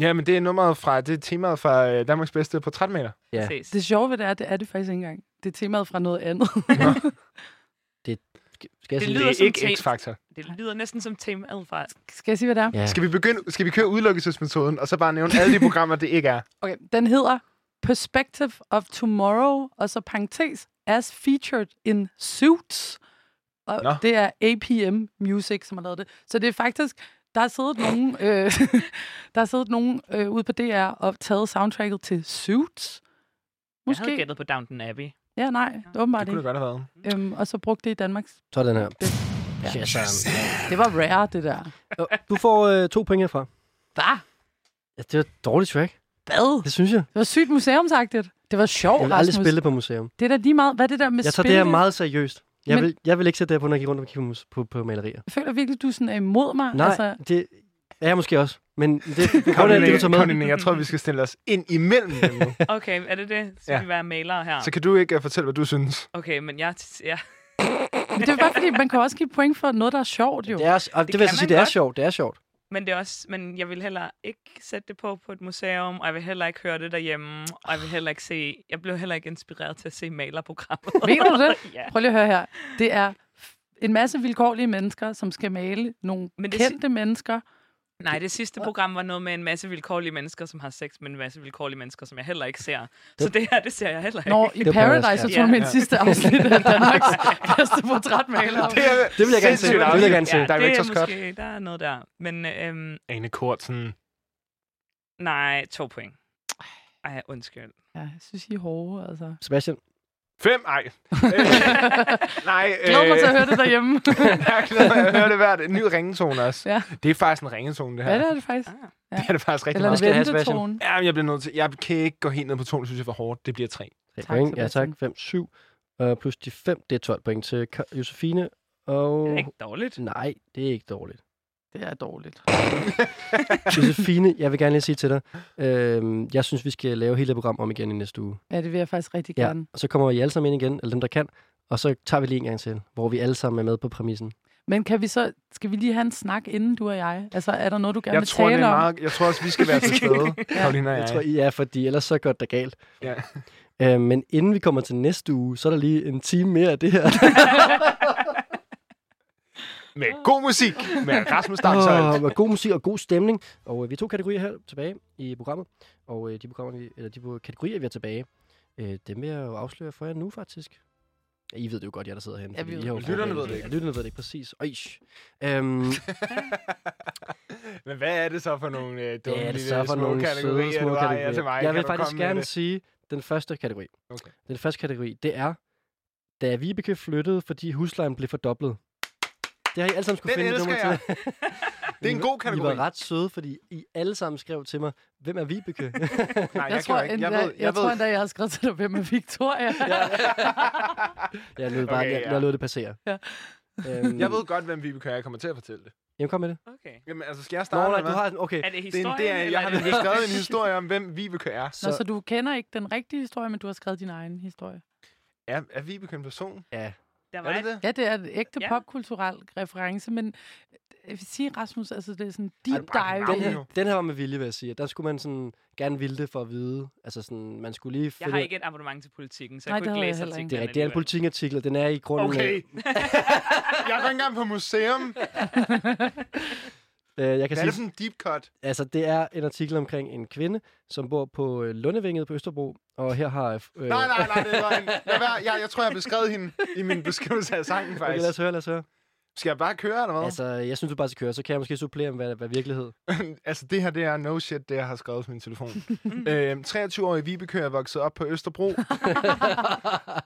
Speaker 3: Ja, men det er nummeret fra, det er temaet fra øh, Danmarks bedste portrætmaler.
Speaker 2: Ja.
Speaker 4: Ses.
Speaker 5: Det sjove ved det er, det er det faktisk ikke engang. Det er temaet fra noget andet. <laughs>
Speaker 2: Skal- Skal jeg
Speaker 4: Det
Speaker 2: sige
Speaker 4: lyder
Speaker 3: Det er
Speaker 4: som
Speaker 3: ikke
Speaker 4: te-
Speaker 3: X-Factor.
Speaker 4: Det lyder næsten som temaet fra.
Speaker 5: skal jeg sige, hvad det er?
Speaker 2: Ja.
Speaker 3: Skal vi, begynde, skal vi køre udelukkelsesmetoden, og så bare nævne alle de programmer, det
Speaker 2: <laughs>
Speaker 3: ikke er?
Speaker 5: Okay, den hedder Perspective of Tomorrow, og så parentes, as featured in Suits. Og
Speaker 3: Nå.
Speaker 5: det er APM Music, som har lavet det. Så det er faktisk, der har siddet nogen, <laughs> øh, der har siddet nogen øh, ude på DR og taget soundtracket til Suits.
Speaker 4: Jeg havde
Speaker 5: Måske.
Speaker 4: gættet på Downton Abbey.
Speaker 5: Ja, nej, åbenbart
Speaker 3: Det kunne det
Speaker 5: ikke.
Speaker 3: godt have været.
Speaker 5: Øhm, og så brugte det i Danmarks.
Speaker 2: Så er den her.
Speaker 5: Det-
Speaker 2: Ja. Shazam.
Speaker 5: Det var rare, det der.
Speaker 2: Nå, Du får øh, to point herfra.
Speaker 5: Hvad?
Speaker 2: Ja, det var et dårligt track.
Speaker 5: Hvad?
Speaker 2: Det synes jeg.
Speaker 5: Det var sygt museumsagtigt. Det var sjovt,
Speaker 2: Jeg vil aldrig
Speaker 5: Rasmus.
Speaker 2: spille det på museum.
Speaker 5: Det er da lige meget. Hvad er det der med
Speaker 2: Jeg tager
Speaker 5: spil?
Speaker 2: det her meget seriøst. Jeg
Speaker 5: Men-
Speaker 2: vil, jeg vil ikke sætte det her på, når jeg gik rundt og kigger på, mus- på, på malerier.
Speaker 5: Jeg føler virkelig, du sådan er imod mig. Altså,
Speaker 2: Nej, det er jeg måske også. Men det, det kommer af, det du tager med.
Speaker 3: Karoline, jeg tror, vi skal stille os ind imellem dem
Speaker 2: <laughs>
Speaker 3: nu.
Speaker 4: Okay, er det det? Skal
Speaker 3: Ja.
Speaker 4: vi være malere her?
Speaker 3: øh, Så kan du ikke uh, fortælle, hvad du synes.
Speaker 4: Okay, men jeg... Ja.
Speaker 5: Det er bare fordi, man kan også give point for noget, der er sjovt, jo.
Speaker 2: Det er, også- og det,
Speaker 4: Det
Speaker 2: det vil jeg
Speaker 4: kan
Speaker 2: så
Speaker 4: man
Speaker 2: sige, det er
Speaker 4: godt.
Speaker 2: sjovt, det er sjovt.
Speaker 4: Men, det er også, men jeg vil heller ikke sætte det på på et museum, og jeg vil heller ikke høre det derhjemme, og jeg vil heller ikke se... Jeg blev heller ikke inspireret til at se malerprogrammet.
Speaker 5: <laughs> Mener du det?
Speaker 4: <laughs> ja.
Speaker 5: Prøv lige at høre her. Det er f- en masse vilkårlige mennesker, som skal male nogle
Speaker 4: Men
Speaker 5: Men
Speaker 4: det
Speaker 5: det
Speaker 4: si-
Speaker 5: kendte mennesker.
Speaker 4: Nej, det sidste program var noget med en masse vilkårlige mennesker, som har sex med en masse vilkårlige mennesker, som jeg heller ikke ser. Så det her, <laughs> det ser jeg heller ikke.
Speaker 5: Når i
Speaker 2: var Paradise,
Speaker 5: Paradise, så
Speaker 4: ja.
Speaker 5: tror jeg,
Speaker 4: Ja.
Speaker 5: min sidste afsnit af Danmarks bedste portrætmaler.
Speaker 3: Det, er
Speaker 2: Det vil jeg gerne se.
Speaker 3: sindssygt
Speaker 2: Det vil jeg gerne se.
Speaker 4: Ja,
Speaker 3: afsnit.
Speaker 4: det
Speaker 3: Director
Speaker 4: er
Speaker 3: Scott.
Speaker 4: måske, der er noget der. Men øhm,
Speaker 3: Ane Kortsen.
Speaker 4: nej, to point. Ej, undskyld.
Speaker 5: Ja, jeg synes, I er hårde, altså.
Speaker 2: Sebastian,
Speaker 3: Fem?
Speaker 2: <laughs>
Speaker 3: Ej. Øh, Nej. øh,
Speaker 5: Glæder mig til at høre det derhjemme.
Speaker 3: <laughs> jeg glæder mig til at høre det hvert. En ny ringetone også.
Speaker 5: Ja.
Speaker 3: Det er faktisk en ringetone, det her.
Speaker 5: Hvad er det faktisk?
Speaker 4: Ah.
Speaker 3: <laughs> Det er det faktisk rigtig
Speaker 5: Eller
Speaker 2: meget
Speaker 5: en
Speaker 2: skal
Speaker 3: meget.
Speaker 2: jeg have, Sebastian?
Speaker 5: ventetone.
Speaker 3: Ja, men jeg bliver nødt til. Jeg kan ikke gå helt ned på tonen, synes jeg var hårdt. Det bliver tre.
Speaker 2: tre
Speaker 5: Tak,
Speaker 2: point. Ja, tak.
Speaker 5: Sebastian.
Speaker 2: 5, 7. Og plus de 5, det er 12 point til Ka- Josefine. Og...
Speaker 4: Det er ikke
Speaker 2: <laughs>
Speaker 4: dårligt. <laughs>
Speaker 2: Nej, det er ikke dårligt. <laughs>
Speaker 5: Det er dårligt.
Speaker 2: Josefine, jeg vil gerne lige sige til dig, øh, jeg synes, vi skal lave hele det program om igen i næste uge.
Speaker 5: Ja, det vil jeg faktisk rigtig
Speaker 2: Ja,
Speaker 5: gerne.
Speaker 2: og så kommer I alle sammen ind igen, eller dem, der kan, og så tager vi lige en gang til, hvor vi alle sammen er med på præmissen.
Speaker 5: Men kan vi så, skal vi lige have en snak, inden du og jeg? Altså, er der noget, du gerne
Speaker 3: Jeg
Speaker 5: vil
Speaker 3: tror, det
Speaker 5: tale
Speaker 3: er
Speaker 5: om?
Speaker 3: meget, jeg tror også, vi
Speaker 5: <laughs>
Speaker 3: skal være til stede, Karolina og
Speaker 2: Jeg
Speaker 3: jeg.
Speaker 2: tror, I er, fordi ellers så går det galt.
Speaker 3: Ja.
Speaker 2: Øh, men inden vi kommer til næste uge, så er der lige en time mere af det her.
Speaker 3: Med god musik, med Rasmus Damsholdt.
Speaker 2: og, og god musik og god stemning. Og øh, vi har to kategorier her tilbage i programmet. Og øh, de, programmer, vi, eller de kategorier, vi har tilbage, øh, dem vil jeg jo afsløre for jer nu, faktisk. Ja, I ved det jo godt, jeg der sidder herinde.
Speaker 5: Ja,
Speaker 2: fordi
Speaker 5: vi
Speaker 2: I
Speaker 5: ved
Speaker 2: har jo
Speaker 3: det. Lytterne
Speaker 2: forberedt en
Speaker 3: ved det
Speaker 2: del.
Speaker 3: ikke.
Speaker 2: Ja, lytterne ved det ikke, præcis. Øj.
Speaker 3: <laughs>
Speaker 2: Øhm,
Speaker 3: <laughs> Men hvad er det så for nogle øh, dumme
Speaker 2: Ja, det
Speaker 3: lille
Speaker 2: så for
Speaker 3: små
Speaker 2: nogle søde
Speaker 3: kategorier,
Speaker 2: små
Speaker 3: du har ja, til
Speaker 2: kategorier.
Speaker 3: mig?
Speaker 2: Jeg vil
Speaker 3: Kan du
Speaker 2: faktisk
Speaker 3: komme med
Speaker 2: gerne
Speaker 3: det?
Speaker 2: sige den første kategori.
Speaker 3: Okay.
Speaker 2: Den første kategori, det er, da Vibeke flyttede, fordi huslejen blev fordoblet. Det har I alle sammen skulle
Speaker 3: Den
Speaker 2: finde et
Speaker 3: elsker
Speaker 2: nummer til.
Speaker 3: Det er en god
Speaker 2: I
Speaker 3: kategori.
Speaker 2: var ret søde, fordi I alle sammen skrev til mig, hvem er
Speaker 3: <laughs>
Speaker 2: Vibeke?
Speaker 3: Nej,
Speaker 5: Jeg, jeg,
Speaker 3: kan
Speaker 5: tror,
Speaker 3: jo ikke.
Speaker 5: endda,
Speaker 3: Jeg
Speaker 5: jeg,
Speaker 3: ved, jeg
Speaker 5: tror
Speaker 3: ved.
Speaker 5: endda, jeg har skrevet til dig, hvem er
Speaker 3: <laughs>
Speaker 5: Victoria.
Speaker 2: jeg lod bare,
Speaker 3: Okay,
Speaker 2: jeg,
Speaker 3: ja.
Speaker 2: jeg lod det passere.
Speaker 5: Ja.
Speaker 2: Øhm,
Speaker 3: <laughs> Jeg ved godt, hvem vi kan. Jeg kommer til at fortælle det.
Speaker 2: Jamen, kom med det.
Speaker 4: Okay.
Speaker 3: Jamen, altså, skal jeg
Speaker 2: Nå,
Speaker 3: starte?
Speaker 2: nej,
Speaker 3: eller
Speaker 2: du
Speaker 3: hvad?
Speaker 2: har den. Okay.
Speaker 4: Er det
Speaker 3: Det er,
Speaker 4: historien,
Speaker 3: en, det er,
Speaker 4: eller
Speaker 3: jeg har
Speaker 4: er det
Speaker 3: nemlig skrevet
Speaker 4: <laughs>
Speaker 3: en historie om, hvem Vibeke er.
Speaker 5: Nå, så du kender ikke den rigtige historie, men du har skrevet din egen historie.
Speaker 3: Er, er Vibeke en person?
Speaker 4: Der var
Speaker 3: Er det
Speaker 4: et,
Speaker 3: det?
Speaker 5: Ja, det er et ægte
Speaker 4: Ja.
Speaker 5: ja. popkulturel reference, men øh, jeg vil sige, Rasmus, altså det er sådan
Speaker 3: Ej,
Speaker 5: deep
Speaker 3: du
Speaker 5: dive.
Speaker 3: brænder
Speaker 2: Den
Speaker 3: navnet
Speaker 5: i-
Speaker 3: jo.
Speaker 2: her, den her var med vilje, vil jeg sige. Der skulle man sådan gerne ville det for at vide. Altså sådan, man skulle lige
Speaker 4: jeg
Speaker 2: finde...
Speaker 4: har ikke et abonnement til politikken, så
Speaker 5: Nej,
Speaker 4: jeg
Speaker 5: det
Speaker 4: kunne ikke
Speaker 5: havde jeg
Speaker 4: læse
Speaker 5: heller ikke.
Speaker 4: artiklen.
Speaker 2: Det er rigtigt. Det er en politikartikel, og den er i grunden...
Speaker 3: Okay. jeg går ikke engang på museum.
Speaker 2: Øh, jeg kan
Speaker 3: Hvad er
Speaker 2: sige,
Speaker 3: det for en deep cut?
Speaker 2: Altså, det er en artikel omkring en kvinde, som bor på øh, Lundevænget på Østerbro, og her har... Øh,
Speaker 3: Nej, nej, nej, det er løgn. Lad være. Jeg, jeg tror, jeg beskrev hende i min beskrivelse af sangen,
Speaker 2: Okay, lad os
Speaker 3: faktisk.
Speaker 2: høre, lad os høre.
Speaker 3: Skal jeg bare køre, eller hvad?
Speaker 2: Altså, jeg synes, du bare skal køre, så kan jeg måske supplere med, hvad, hvad virkelighed.
Speaker 3: altså, det her, det er no shit, det jeg har skrevet på min telefon. øhm, 23-årige Vibeke er vokset op på Østerbro.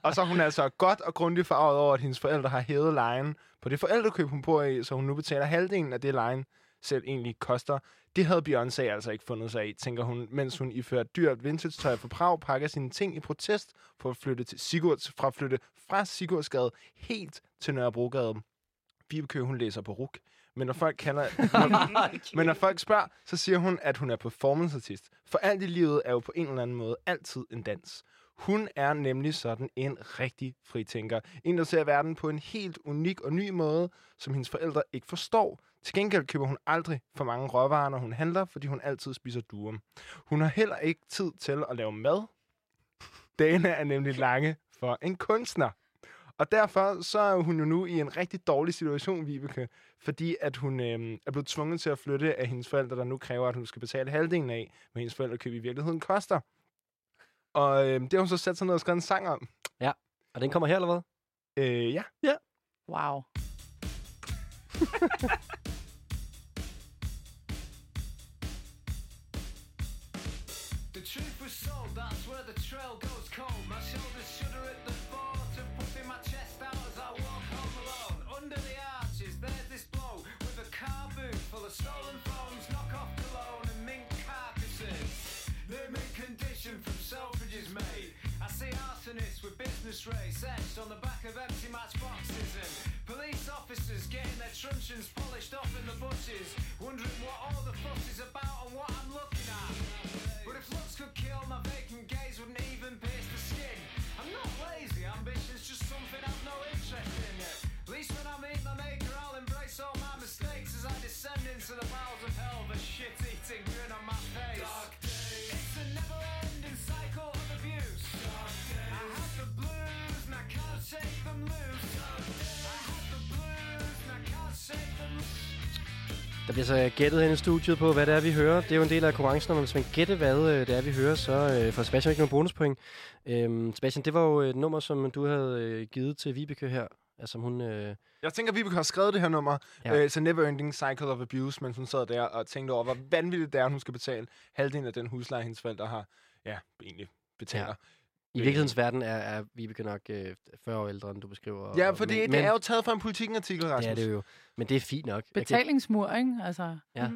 Speaker 3: og så er hun altså godt og grundigt farvet over, at hendes forældre har hævet lejen på det forældrekøb, hun bor i, så hun nu betaler halvdelen af det lejen selv egentlig koster. Det havde Beyoncé altså ikke fundet sig i, tænker hun, mens hun ifører dyrt vintage-tøj fra Prag, pakker sine ting i protest for at flytte til Sigurds, fra at flytte fra Sigurdsgade helt til Nørrebrogade. Vibeke, hun læser på RUK. Men når folk kalder, men når folk spørger, så siger hun, at hun er performanceartist. For alt i livet er jo på en eller anden måde altid en dans. Hun er nemlig sådan en rigtig fritænker. En, der ser verden på en helt unik og ny måde, som hendes forældre ikke forstår. Til gengæld køber hun aldrig for mange råvarer, når hun handler, fordi hun altid spiser durum. Hun har heller ikke tid til at lave mad. Dagene er nemlig lange for en kunstner. Og derfor så er hun jo nu i en rigtig dårlig situation, Vibeke, fordi at hun øh, er blevet tvunget til at flytte af hendes forældre, der nu kræver, at hun skal betale halvdelen af, hvad hendes forældre køb i virkeligheden koster. Og øh, det har hun så sat sig ned og skrevet en sang om.
Speaker 2: Og den kommer her, eller hvad?
Speaker 3: Øh, ja.
Speaker 5: Wow.
Speaker 8: The truth was sold, that's where the trail goes cold. My shoulders shudder at the thought of whipping my chest out as I walk home alone. Under the arches, there's this blow with a car boot full of stolen phones, knock off cologne and mink carcasses. They're in condition from Selfridges made. I see arsonists with business rates etched on the back of empty matchboxes and police officers getting their truncheons polished off in the bushes, wondering what all the fuss is about and what I'm looking at. But if looks could kill, my vacant gaze wouldn't even pierce the skin. I'm not lazy, ambition's just something I've no interest in.
Speaker 2: Der bliver så gættet hen i studiet på, hvad det er, vi hører. Det er jo en del af konkurrencen, og hvis man gætter, hvad øh, det er, vi hører, så øh, får Sebastian ikke nogen bonuspoint. Øhm, Sebastian, det var jo et nummer, som du havde øh, givet til Vibeke her. Altså, som hun... Øh,
Speaker 3: Jeg tænker, vi har skrevet det her nummer
Speaker 2: Ja.
Speaker 3: ja. øh, til Never Ending Cycle of Abuse, mens hun sad der og tænkte over, hvor vanvittigt det er, at hun skal betale halvdelen af den husleje, hendes forældre har ja, egentlig betaler.
Speaker 2: I
Speaker 3: Øh.
Speaker 2: virkelighedens verden er, er Vibeke nok øh, 40 år ældre, end du beskriver. og-
Speaker 3: Ja, ja
Speaker 2: og-
Speaker 3: for det,
Speaker 2: men,
Speaker 3: det er jo taget fra en politikken-artikel,
Speaker 2: men,
Speaker 3: Rasmus.
Speaker 2: Ja, det er det jo. Men det er fint nok. Jeg kan-
Speaker 5: Betalingsmur, ikke? Altså,
Speaker 3: It's a
Speaker 2: Ja,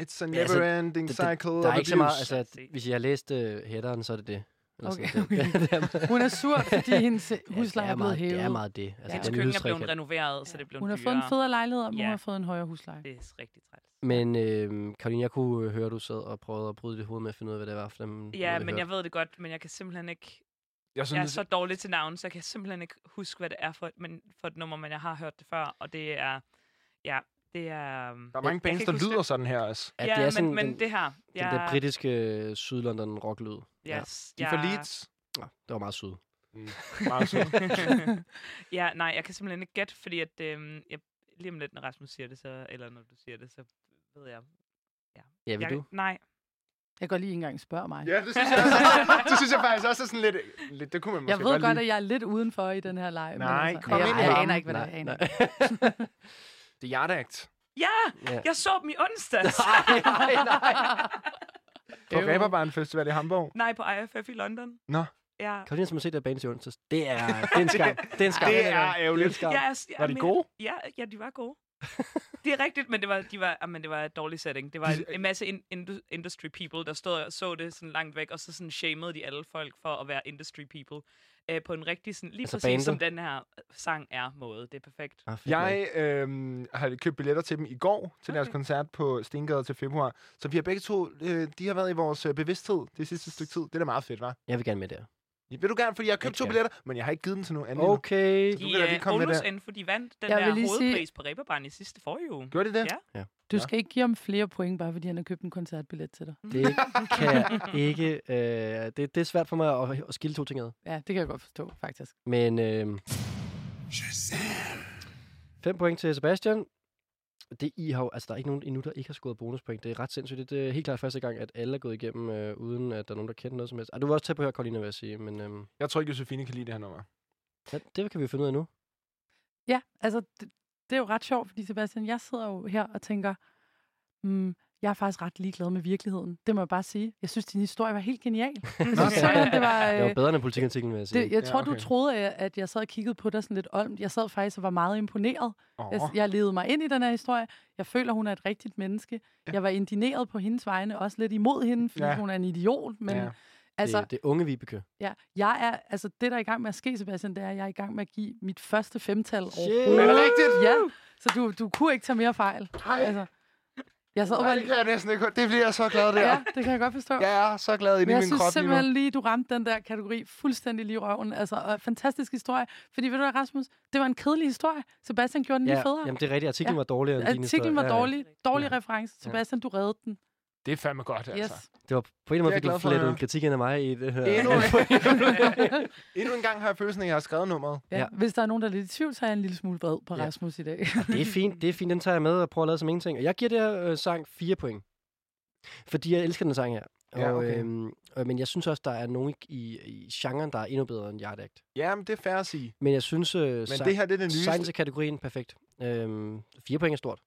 Speaker 2: altså,
Speaker 3: never ending
Speaker 2: det- det-
Speaker 3: cycle of
Speaker 2: Der er ikke så meget,
Speaker 3: abuse.
Speaker 2: altså, at hvis jeg har læst øh, headeren, så er det det.
Speaker 5: Okay,
Speaker 2: sådan, <laughs> det-
Speaker 5: okay.
Speaker 2: det er meget-
Speaker 5: hun er
Speaker 3: <laughs>
Speaker 5: sur, fordi hendes husleje
Speaker 2: <laughs> ja,
Speaker 5: er
Speaker 2: det meget,
Speaker 5: blevet hævet.
Speaker 2: Det er meget det. Altså,
Speaker 5: Ja.
Speaker 4: Hendes
Speaker 2: den
Speaker 4: køkken er
Speaker 2: lydtræk
Speaker 4: blevet
Speaker 2: her.
Speaker 4: renoveret, så det er blevet
Speaker 5: Hun har fået
Speaker 4: dyrere.
Speaker 5: en Mm, federe lejlighed, men
Speaker 4: Ja.
Speaker 5: hun har fået en højere husleje.
Speaker 4: Det er rigtig træls.
Speaker 2: Men øh, Karoline, jeg kunne øh, høre, du sad og prøvede at bryde dit hoved med at finde ud af, hvad det var for dem.
Speaker 4: Ja, men jeg ved det godt, men jeg kan simpelthen ikke...
Speaker 3: Jeg
Speaker 4: Jeg er
Speaker 3: synes,
Speaker 4: så dårlig til navn, så jeg kan simpelthen ikke huske, hvad det er for, et- men for et nummer, men jeg har hørt det før, og det er... Ja, det er...
Speaker 3: der er mange
Speaker 4: Jeg kan
Speaker 3: bands,
Speaker 4: ikke
Speaker 3: der
Speaker 4: huske
Speaker 3: lyder sådan her også.
Speaker 4: Ja, ja
Speaker 2: det er
Speaker 4: men,
Speaker 2: sådan
Speaker 4: men
Speaker 2: den,
Speaker 4: det her...
Speaker 2: den der britiske øh, sydlondon rocklyd. ja.
Speaker 4: Yes,
Speaker 3: De er for Leeds.
Speaker 2: Nå, det var meget syd.
Speaker 3: Meget sødt.
Speaker 4: <laughs> ja, nej, jeg kan simpelthen ikke gætte, fordi at, øhm, jeg, lige om lidt, når Rasmus siger det, så, eller når du siger det, så ved jeg.
Speaker 2: Ja, vil
Speaker 4: jeg
Speaker 2: du?
Speaker 4: Nej,
Speaker 5: Jeg kan godt lige ikke engang spørge mig.
Speaker 3: <laughs> ja, det synes, jeg også, det synes jeg faktisk også er sådan lidt... lidt det kunne man måske
Speaker 5: Jeg ved godt,
Speaker 3: lide.
Speaker 5: at jeg er lidt udenfor i den her leg. men
Speaker 3: Nej,
Speaker 5: altså,
Speaker 3: kom
Speaker 5: jeg,
Speaker 3: ind i
Speaker 5: jeg
Speaker 3: varmen.
Speaker 5: aner ikke, hvad det er. Jeg aner ikke.
Speaker 3: Det er Yard Act.
Speaker 4: Ja,
Speaker 2: Ja.
Speaker 4: jeg så dem i
Speaker 2: <laughs>
Speaker 4: onsdags.
Speaker 2: nej, nej.
Speaker 3: På
Speaker 5: Øv.
Speaker 3: Ræberbaren Festival i Hamburg.
Speaker 4: nej, på IFF i London.
Speaker 3: Nå.
Speaker 4: Ja.
Speaker 2: Karoline, som har set der band i onsdags. Det er, det er en skam. Det er en skam.
Speaker 3: Det
Speaker 2: Det
Speaker 3: er
Speaker 2: er en
Speaker 3: ærgerligt.
Speaker 2: skam.
Speaker 4: Jeg er, altså, jeg,
Speaker 3: Var de gode?
Speaker 4: Ja, ja, de var
Speaker 3: <laughs>
Speaker 4: gode. det er rigtigt, men det var, de var, ah, men det var et dårligt setting. Det var en, en masse in, indu, industry people, der stod og så det sådan langt væk, og så sådan shamede de alle folk for at være industry people. Øh, på en rigtig, sådan, lige
Speaker 2: Altså
Speaker 4: altså præcis bandet. som
Speaker 2: bandet?
Speaker 4: den her sang er måde. Det er perfekt.
Speaker 2: Ah, fedt, mand.
Speaker 3: Jeg øh, har købt billetter til dem i går til deres
Speaker 4: Okay.
Speaker 3: koncert på Stengade til februar. Så vi har begge to, øh, de har været i vores øh, bevidsthed det sidste stykke tid. Det er da meget fedt, var.
Speaker 2: Jeg vil gerne med der.
Speaker 3: Vil du gerne, fordi jeg har købt to
Speaker 2: Ja.
Speaker 3: billetter, men jeg har ikke givet dem til nogen anden. endnu.
Speaker 2: Okay.
Speaker 3: du kan da
Speaker 4: I
Speaker 3: lige
Speaker 4: øh,
Speaker 3: komme med
Speaker 4: Aarhus
Speaker 3: der.
Speaker 4: N, for de vandt den
Speaker 5: Jeg
Speaker 4: der
Speaker 5: vil lige sige-
Speaker 4: hovedpris på Reberbarn i sidste forrige uge.
Speaker 3: Gjorde de det?
Speaker 4: Ja.
Speaker 5: Du
Speaker 3: Nå.
Speaker 5: skal ikke give ham flere point, bare fordi han har købt en koncertbillet til dig.
Speaker 2: Det kan
Speaker 5: <laughs>
Speaker 2: jeg ikke. Øh, det, det er svært for mig at, at skille to ting ad.
Speaker 5: Ja, det kan jeg godt forstå, faktisk.
Speaker 2: Men øh, 5 point til Sebastian. Det I har jo, altså der er ikke nogen endnu, der ikke har scoret bonuspoint. Det er ret sindssygt. Det er helt klart første gang, at alle er gået igennem, øh, uden at der er nogen, der kender noget som helst. Ah, du var også tæt på her, Karoline, vil jeg sige. Men øh,
Speaker 3: Jeg tror ikke, Josefine kan lide det her nummer.
Speaker 2: ja, det kan vi jo finde ud af nu.
Speaker 5: Ja, altså, det, det er jo ret sjovt, fordi Sebastian, jeg sidder jo her og tænker, mm, jeg er faktisk ret ligeglad med virkeligheden. Det må jeg bare sige. Jeg synes, din historie var helt genial. Jeg synes simpelthen, det var...
Speaker 2: Det var
Speaker 5: Øh,
Speaker 2: bedre end politikartiklen, vil jeg sige.
Speaker 5: det, jeg
Speaker 3: Ja,
Speaker 5: tror, ja, okay.
Speaker 3: okay.
Speaker 5: du troede, at- at jeg sad og kiggede på dig sådan lidt olmt. Jeg sad faktisk og var meget imponeret.
Speaker 3: Åh,
Speaker 5: Jeg, jeg levede mig ind i den her historie. Jeg føler, hun er et rigtigt menneske. Ja. Jeg var indineret på hendes vegne, også lidt imod hende, fordi
Speaker 3: Ja.
Speaker 5: ja. hun er en idiot. Men
Speaker 3: Ja.
Speaker 5: ja.
Speaker 2: altså,
Speaker 5: altså,
Speaker 2: det, det er unge Vibeke.
Speaker 5: Ja, jeg er, altså det, der er i gang med at ske, Sebastian, det er, at jeg er i gang med at give mit første femtal
Speaker 2: Shit.
Speaker 5: overhovedet.
Speaker 3: Er det rigtigt?
Speaker 5: Ja, så du, du kunne ikke tage mere fejl.
Speaker 3: Ej.
Speaker 5: Altså, jeg sad
Speaker 3: Nej,
Speaker 5: bare
Speaker 3: det
Speaker 5: lige...
Speaker 3: kan jeg næsten ikke. Det bliver jeg så glad der.
Speaker 5: Ja, det kan jeg godt forstå.
Speaker 3: Jeg er så glad inde
Speaker 5: Men
Speaker 3: i
Speaker 5: jeg
Speaker 3: min
Speaker 5: synes
Speaker 3: krop lige nu.
Speaker 5: simpelthen lige, du ramte den der kategori fuldstændig lige i røven. Altså, og fantastisk historie. Fordi ved du hvad, Rasmus, det var en kedelig historie. Sebastian gjorde den lige federe.
Speaker 2: jamen, det er rigtigt. Artiklen
Speaker 5: Ja.
Speaker 2: var dårligere end din historie.
Speaker 5: Artiklen var
Speaker 2: Ja, ja.
Speaker 5: dårlig. Dårlig reference. Sebastian, du reddede den.
Speaker 3: Det er fandme godt, altså.
Speaker 5: Yes.
Speaker 2: Det var på en eller anden måde,
Speaker 3: Det er
Speaker 2: fik du
Speaker 3: jeg glad for at
Speaker 2: flettet
Speaker 3: høre.
Speaker 2: en kritik ind af mig i det her.
Speaker 3: Endnu,
Speaker 5: <laughs>
Speaker 2: Ja.
Speaker 3: <laughs> endnu en gang har jeg følelsen, af, at jeg har skrevet nummeret.
Speaker 5: Ja.
Speaker 2: Ja.
Speaker 5: Hvis der er nogen, der er lidt i tvivl, så er jeg en lille smule vred på
Speaker 2: Ja.
Speaker 5: Rasmus i dag.
Speaker 2: <laughs> Det er fint, det er fint. Den tager jeg med og prøver at lade som ingenting. Og jeg giver det her øh, sang 4 point. Fordi jeg elsker den sang her. Og,
Speaker 3: Ja, okay.
Speaker 2: øhm, øh, men jeg synes også, der er nogen i, i genren, der er endnu bedre end Yard Act.
Speaker 3: Jamen, det er fair at sige.
Speaker 2: Men jeg synes, øh,
Speaker 3: Men det her, det er det nye.
Speaker 2: science kategorien perfekt. Øhm, 4 point er stort.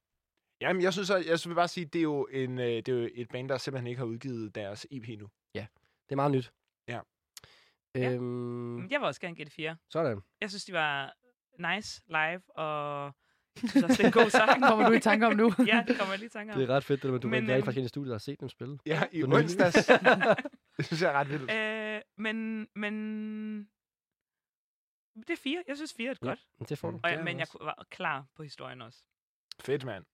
Speaker 3: Jamen, jeg synes, at, jeg vil bare sige, det er jo, en, øh, det er jo et band, der simpelthen ikke har udgivet deres EP nu.
Speaker 2: Det er meget nyt.
Speaker 3: Ja.
Speaker 2: Øhm,
Speaker 4: <laughs> Jeg vil også gerne give det fire.
Speaker 2: Sådan.
Speaker 4: Jeg synes, de var nice live, og jeg synes også, det er en god sang.
Speaker 5: <laughs> Kommer du i tanke om nu?
Speaker 4: <laughs> ja, det kommer jeg lige i tanke om.
Speaker 2: Det er ret fedt, det der, men du
Speaker 4: Men,
Speaker 2: men, ikke rigtig
Speaker 4: øhm,
Speaker 2: faktisk ind i studiet og har set dem spille.
Speaker 3: Ja, i
Speaker 2: Den nye.
Speaker 3: onsdags. <laughs>
Speaker 5: <laughs>
Speaker 3: det synes jeg er ret vildt.
Speaker 4: Øh, men, men... Det er fire. Jeg synes, fire er et
Speaker 2: Ja.
Speaker 4: godt.
Speaker 2: Men Det får du.
Speaker 4: Og
Speaker 3: Det er
Speaker 4: jeg, men
Speaker 3: det
Speaker 4: jeg
Speaker 3: også.
Speaker 4: ku- var klar på historien også.
Speaker 3: Fedt, mand.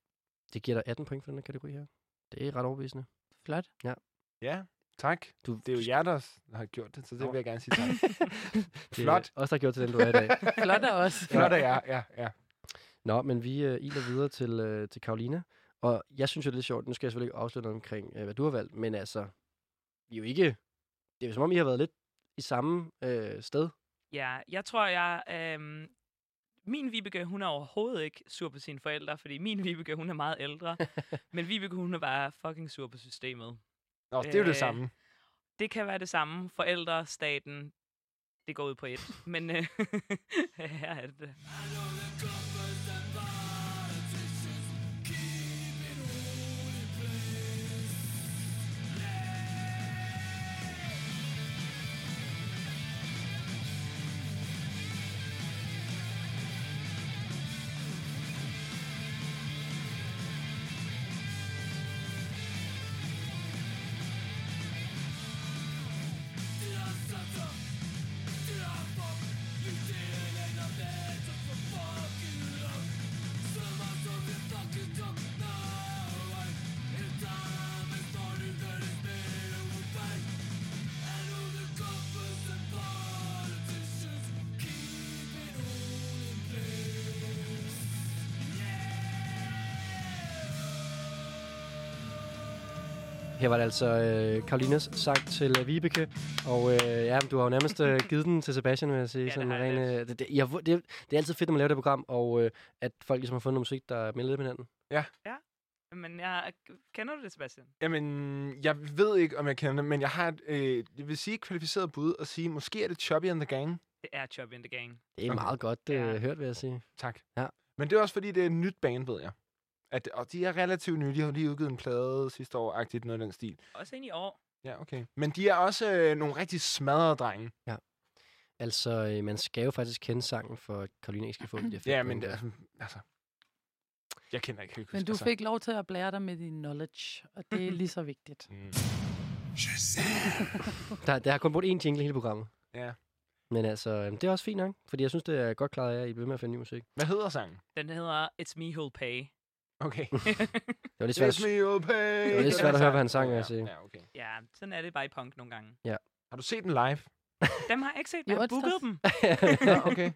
Speaker 2: Det giver dig 18 point for den her kategori her. Det er ret overbevisende.
Speaker 5: Flot.
Speaker 3: Ja, tak.
Speaker 2: Du,
Speaker 3: Det er jo jer, der har gjort det, så det vil jeg gerne sige
Speaker 5: <laughs>
Speaker 3: tak.
Speaker 2: det er
Speaker 3: flot.
Speaker 2: Også der har gjort til den, du er i dag.
Speaker 5: Flot af os.
Speaker 3: Flot af jer, ja, ja.
Speaker 2: Nå, men vi øh, iler videre til, øh, til Karolina. Og jeg synes jo, det er lidt sjovt. Nu skal jeg selvfølgelig ikke afsløre noget omkring, øh, hvad du har valgt. Men altså, vi er jo ikke... Det er jo som om, I har været lidt i samme øh, sted.
Speaker 4: Ja, jeg tror, jeg... Øhm, Min Vibeke, hun er overhovedet ikke sur på sine forældre, fordi min Vibeke, hun er meget ældre. men Vibeke, hun er bare fucking sur på systemet.
Speaker 3: Nå, det er jo det
Speaker 4: Øh,
Speaker 3: samme.
Speaker 4: Det kan være det samme. Forældre, staten, det går ud på et. Men øh, <laughs> her er det.
Speaker 2: Her var det altså øh, Karolinas sang til øh, Vibeke, og øh, ja, du har jo
Speaker 4: <laughs>
Speaker 2: nærmest øh, givet den til Sebastian, vil jeg sige.
Speaker 4: Ja, det har jeg
Speaker 2: ren, øh, det, det, I har, fu- det, det er altid fedt, når man laver det program, og øh, at folk ligesom har fundet noget musik, der er meldet med hinanden.
Speaker 4: Men jeg, kender du det, Sebastian?
Speaker 3: Jamen, jeg ved ikke, om jeg kender det, men jeg har et, øh, jeg vil sige et kvalificeret bud og sige, måske er det Chubby and the Gang.
Speaker 4: Det er Chop in the Gang.
Speaker 2: Det er
Speaker 3: Okay.
Speaker 2: meget godt øh,
Speaker 4: Ja.
Speaker 2: hørt, vil jeg sige.
Speaker 3: Tak.
Speaker 2: Ja.
Speaker 3: Men det er også, fordi det er et nyt band, ved jeg. At, og de er relativt nye. De har lige udgivet en plade sidste år-agtigt, noget af den stil.
Speaker 4: Også ind i år.
Speaker 3: Ja, okay. Men de er også øh, nogle rigtig smadrede drenge.
Speaker 2: Altså, øh, man skal jo faktisk kende sangen, for at Karolina ikke skal få det.
Speaker 3: Ja, men altså, altså... Jeg kender ikke helt
Speaker 5: Men du
Speaker 3: altså.
Speaker 5: fik lov til at blære dig med din knowledge, og det er lige så vigtigt.
Speaker 3: Mm.
Speaker 2: Der, der har kun brugt én jingle i hele programmet.
Speaker 3: Ja.
Speaker 2: Men altså, øh, det er også fint nok, fordi jeg synes, det er godt klaret af, at I bliver ved med at finde ny musik.
Speaker 3: Hvad hedder sangen?
Speaker 4: Den hedder It's Me Who'll Pay. <laughs>
Speaker 3: Okay.
Speaker 2: Det var lidt svært, <laughs>
Speaker 3: It's me, oh, babe.
Speaker 2: det var lidt
Speaker 4: Ja.
Speaker 2: svært at høre, hvad han sang, vil
Speaker 3: ja,
Speaker 2: jeg sige.
Speaker 3: ja, okay.
Speaker 4: Ja, sådan er det bare i punk nogle gange.
Speaker 3: Har du set den
Speaker 2: <laughs>
Speaker 3: live?
Speaker 4: Dem har jeg ikke set,
Speaker 5: I
Speaker 4: men jeg har
Speaker 5: onsdags?
Speaker 4: booket dem
Speaker 3: ja, okay.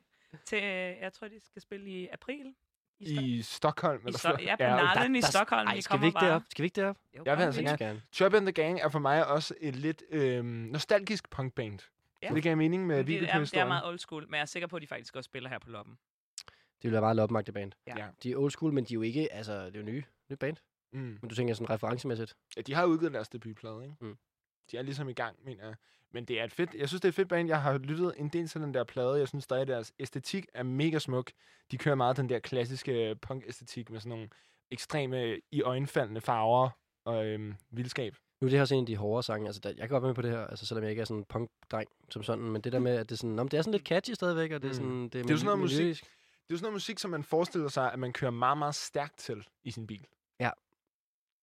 Speaker 4: til, øh, jeg tror, de skal spille i april. Stok-
Speaker 3: I Stockholm?
Speaker 4: i
Speaker 3: Eller
Speaker 4: Sto- ja, på
Speaker 3: okay.
Speaker 4: Narlen i
Speaker 2: Der- der-
Speaker 4: Stockholm.
Speaker 2: Ej,
Speaker 4: I
Speaker 2: skal vi
Speaker 4: kommer
Speaker 2: ikke derop?
Speaker 4: bare.
Speaker 2: Skal vi ikke derop?
Speaker 4: Jo,
Speaker 3: Jeg vil
Speaker 4: kom
Speaker 3: altså
Speaker 4: ind.
Speaker 2: Helt gerne.
Speaker 3: Chop and the Gang er for mig også et lidt øh, nostalgisk punkband.
Speaker 4: Ja.
Speaker 3: Ja. Så det gav mening med
Speaker 4: Men Det, er, det er
Speaker 3: Vibeke-historien.
Speaker 4: meget old school, men jeg er sikker på, at de faktisk også spiller her på loppen.
Speaker 2: Det ville være meget lopmagtigt band.
Speaker 4: Ja.
Speaker 3: Ja.
Speaker 2: De er old school, men de er jo ikke, altså, det er jo nye, nye band.
Speaker 3: Mm.
Speaker 2: Men du tænker sådan referencemæssigt.
Speaker 3: Ja, de har udgivet deres debutplade, ikke?
Speaker 2: Mm.
Speaker 3: Mm. De er ligesom i gang, mener jeg. Men det er et fedt, jeg synes, det er et fedt band. Jeg har lyttet en del til den der plade. Jeg synes stadig, deres æstetik er mega smuk. De kører meget den der klassiske øh, punk-æstetik med sådan nogle ekstreme, i øjenfaldende farver og øhm, vildskab.
Speaker 2: Nu er det her også en af de hårde sange. Altså, der, jeg kan godt være med på det her, altså, selvom jeg ikke er sådan en punk-dreng som sådan. Men det der med, at det er sådan, om det er sådan lidt catchy stadigvæk, og det er
Speaker 3: Mm.
Speaker 2: sådan... Det er,
Speaker 3: jo sådan noget musik.
Speaker 2: miljøisk.
Speaker 3: Det er jo sådan noget musik, som man forestiller sig, at man kører meget, meget stærkt til i sin bil.
Speaker 2: Ja.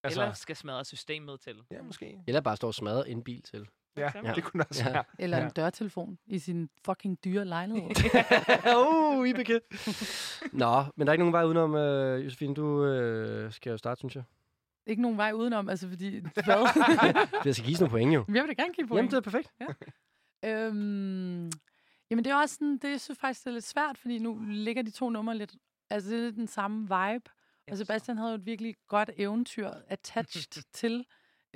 Speaker 3: Altså,
Speaker 4: Eller skal smadre systemet til.
Speaker 3: ja, måske.
Speaker 2: Eller bare står og smadrer en bil til.
Speaker 3: Ja,
Speaker 4: eksempel.
Speaker 3: det kunne det også
Speaker 2: Ja.
Speaker 3: ja. være.
Speaker 5: Eller ja.
Speaker 3: Ja.
Speaker 5: en dørtelefon i sin fucking dyre lejlighed.
Speaker 2: <laughs> oh,
Speaker 4: Uh,
Speaker 2: Ibeke. <laughs> Nå, men der er ikke nogen vej udenom, øh, Josefine. Du øh, skal jo starte, synes jeg.
Speaker 5: ikke nogen vej udenom, altså fordi... <laughs> Hvad?
Speaker 3: <laughs>
Speaker 2: Det skal gives nogle point, jo.
Speaker 5: jeg vil da gerne give point.
Speaker 2: Jamen, det er perfekt.
Speaker 5: Øhm, jamen, det er også sådan, det jeg synes faktisk, det er lidt svært, fordi nu ligger de to numre lidt, altså det er lidt den samme vibe. Og Sebastian havde jo et virkelig godt eventyr
Speaker 2: <laughs>
Speaker 5: attached til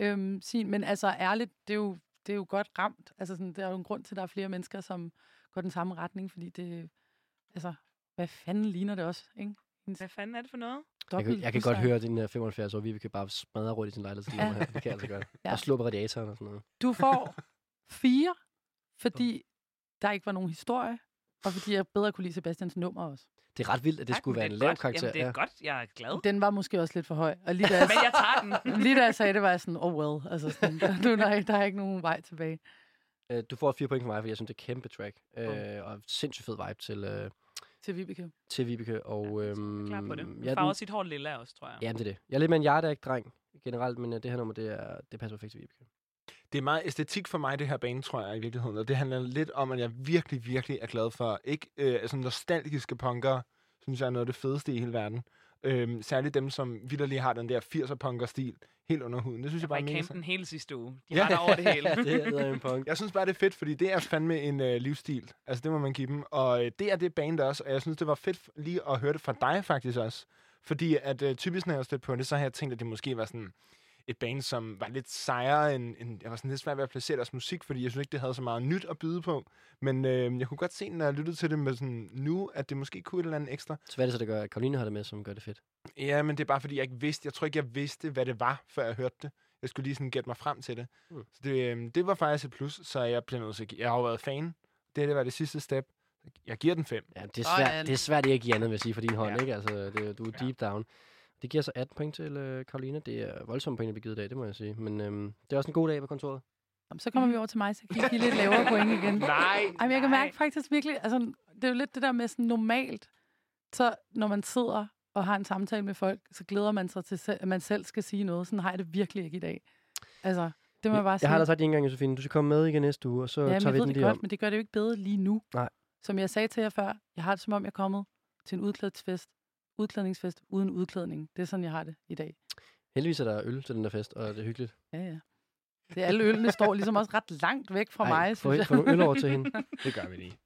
Speaker 5: øhm, sin, men altså ærligt, det er jo, det er jo godt ramt. Altså sådan, der er jo en grund til, at der er flere mennesker, som går den samme retning, fordi det, altså, hvad fanden ligner det også, ikke?
Speaker 4: Hvad fanden er det for noget?
Speaker 2: Jeg kan,
Speaker 5: Dobbelt
Speaker 2: jeg kan godt
Speaker 5: husleje.
Speaker 2: høre, at din øh, 75 år, vi kan bare smadre rundt i sin lejlighed.
Speaker 5: Ja.
Speaker 2: Ja. Det kan jeg altså
Speaker 4: <laughs>
Speaker 2: godt.
Speaker 5: Ja.
Speaker 2: Ja. Og slå på radiatoren og sådan noget.
Speaker 5: Du
Speaker 2: <laughs>
Speaker 5: får fire, fordi der ikke var nogen historie, og fordi jeg bedre kunne lide Sebastians nummer også.
Speaker 2: Det er ret vildt, at det
Speaker 4: Tak,
Speaker 2: skulle
Speaker 4: men
Speaker 2: være
Speaker 4: det
Speaker 2: en
Speaker 4: er
Speaker 2: lav
Speaker 4: godt.
Speaker 2: karakter.
Speaker 4: Jamen, det er godt. Jeg er
Speaker 5: <laughs>
Speaker 4: glad.
Speaker 5: Den var måske også lidt for høj. Og lige
Speaker 4: <laughs>
Speaker 5: da jeg,
Speaker 4: Men jeg tager den.
Speaker 5: lige da jeg sagde det, var jeg sådan, oh well. Altså sådan, nu, der, er ikke- der er ikke nogen vej tilbage.
Speaker 2: ja. Øh, Du får fire point fra mig, fordi jeg synes, det er et kæmpe track.
Speaker 4: Mm.
Speaker 2: Øh, og sindssygt fed vibe til, øh,
Speaker 5: Til Vibeke.
Speaker 2: til Vibeke. Og,
Speaker 4: Ja,
Speaker 2: øhm,
Speaker 4: Klar på det.
Speaker 2: Ja,
Speaker 4: Farver
Speaker 2: den,
Speaker 4: sit hår lilla også, tror jeg.
Speaker 2: jamen, det er det. Jeg er lidt med en Yardak-dreng generelt, men øh, det her nummer, det, er, det passer perfekt til Vibeke.
Speaker 3: Det er meget æstetik for mig, det her bane, tror jeg, i virkeligheden. Og det handler lidt om, at jeg virkelig, virkelig er glad for, ikke øh, altså nostalgiske punkere, synes jeg er noget af det fedeste i hele verden. Øhm, særligt dem, som vidderlig har den der 80'er punker-stil helt under huden. Det synes
Speaker 4: Jeg
Speaker 3: jeg,
Speaker 4: var
Speaker 3: bare
Speaker 4: i
Speaker 3: er mega
Speaker 4: campen
Speaker 3: sejt.
Speaker 4: hele sidste uge. De
Speaker 3: Ja.
Speaker 4: var der over
Speaker 2: <laughs>
Speaker 4: det hele.
Speaker 2: det er eddermame punk.
Speaker 3: Jeg synes bare, det er fedt, fordi det er fandme en øh, livsstil. Altså, det må man give dem. Og øh, det er det band også, og jeg synes, det var fedt f- lige at høre det fra dig faktisk også. Fordi at øh, typisk, når jeg stødte på det, så har jeg tænkt, at det måske var sådan et band, som var lidt sejere end, end... Jeg var sådan lidt svært ved at placere deres musik, fordi jeg synes ikke, det havde så meget nyt at byde på. Men øh, jeg kunne godt se, når jeg lyttede til det med sådan nu, at det måske kunne et eller andet ekstra.
Speaker 2: Så hvad er det så, der gør, at Karoline har det med, som gør det fedt?
Speaker 3: Ja, men det er bare, fordi jeg ikke vidste... Jeg tror ikke, jeg vidste, hvad det var, før jeg hørte det. Jeg skulle lige sådan gætte mig frem til det.
Speaker 2: Mm.
Speaker 3: Mm. Så det, øh, det var faktisk et plus, så jeg blev nødt til at gi- Jeg har jo været fan. Det her, det var det sidste step. Jeg giver den 5.
Speaker 2: Ja, det er svært,
Speaker 5: Sådan.
Speaker 2: det er svært ikke at give andet, vil jeg sige, for din hånd,
Speaker 3: Ja.
Speaker 2: ikke? Altså, det, du er deep down. Det giver så 18 point til øh, Karoline. Det er voldsomme point, vi givet i dag, det må jeg sige. Men øhm, det er også en god dag på kontoret.
Speaker 5: Jamen, Så kommer vi over til mig, så kan jeg give lidt lavere point igen.
Speaker 3: Nej!
Speaker 5: Ej, men jeg kan
Speaker 4: Nej.
Speaker 5: mærke faktisk virkelig, altså, det er jo lidt det der med sådan normalt, så når man sidder og har en samtale med folk, så glæder man sig til, selv- at man selv skal sige noget. Sådan har jeg det virkelig ikke i dag. Altså, det må jeg bare sige.
Speaker 2: jeg har da sagt det en gang, Josefine. Du skal komme med igen næste uge, og så
Speaker 5: ja,
Speaker 2: tager
Speaker 5: men
Speaker 2: vi
Speaker 5: jeg ved
Speaker 2: den
Speaker 5: det
Speaker 2: lige
Speaker 5: godt,
Speaker 2: om.
Speaker 5: men det gør det jo ikke bedre lige nu.
Speaker 2: Nej.
Speaker 5: Som jeg sagde til jer før, jeg har det som om, jeg er kommet til en udklædningsfest, udklædningsfest uden udklædning. Det er sådan, jeg har det i dag.
Speaker 2: Heldigvis er der øl til den der fest, og det er hyggeligt.
Speaker 5: Ja, ja. Det er alle ølene står ligesom også ret langt væk fra mig,
Speaker 2: få,
Speaker 5: synes jeg.
Speaker 2: få nogle øl over
Speaker 5: <laughs>
Speaker 2: til hende.
Speaker 3: Det gør vi lige.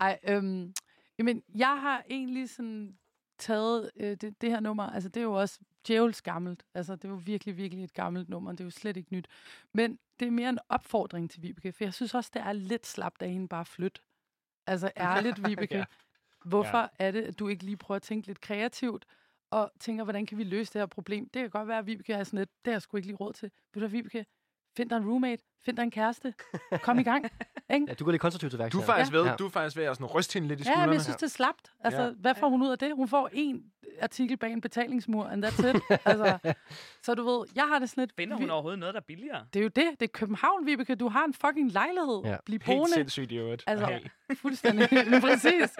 Speaker 5: Ej, øhm, jamen, jeg har egentlig sådan taget øh, det, det her nummer, altså det er jo også djævels gammelt, altså det er jo virkelig, virkelig et gammelt nummer, det er jo slet ikke nyt, men det er mere en opfordring til Vibeke, for jeg synes også, det er lidt slapt af hende bare at flytte. Altså ærligt, Vibeke,
Speaker 3: <laughs> Ja.
Speaker 5: ja. hvorfor ja. er det, at du ikke lige prøver at tænke lidt kreativt, og tænker, hvordan kan vi løse det her problem? Det kan godt være, at Vibeke er sådan lidt, det har jeg sgu ikke lige råd til. Ved du hvad, Vibeke, find dig en roommate, find dig en kæreste, kom i gang. Ikke?
Speaker 2: Ja, du går lidt konstruktivt til værks.
Speaker 3: Du er
Speaker 2: her.
Speaker 3: faktisk
Speaker 2: Ja.
Speaker 3: ved, du er faktisk ved at sådan ryste hende lidt i
Speaker 5: Ja,
Speaker 3: skuldrene.
Speaker 5: men jeg synes, det er slapt. Altså,
Speaker 3: Ja.
Speaker 5: ja. hvad får hun ud af det? Hun får en artikel bag en betalingsmur, and that's it. altså, så du ved, jeg har det sådan lidt...
Speaker 4: Finder
Speaker 5: vi-
Speaker 4: hun overhovedet noget, der er billigere?
Speaker 5: Det er jo det. Det er København, Vibeke. Du har en fucking lejlighed.
Speaker 2: Ja.
Speaker 5: Ja. Bliv
Speaker 3: Helt
Speaker 5: boende.
Speaker 3: sindssygt i øvrigt.
Speaker 5: Altså,
Speaker 3: Ja.
Speaker 5: <laughs> Fuldstændig. Men præcis.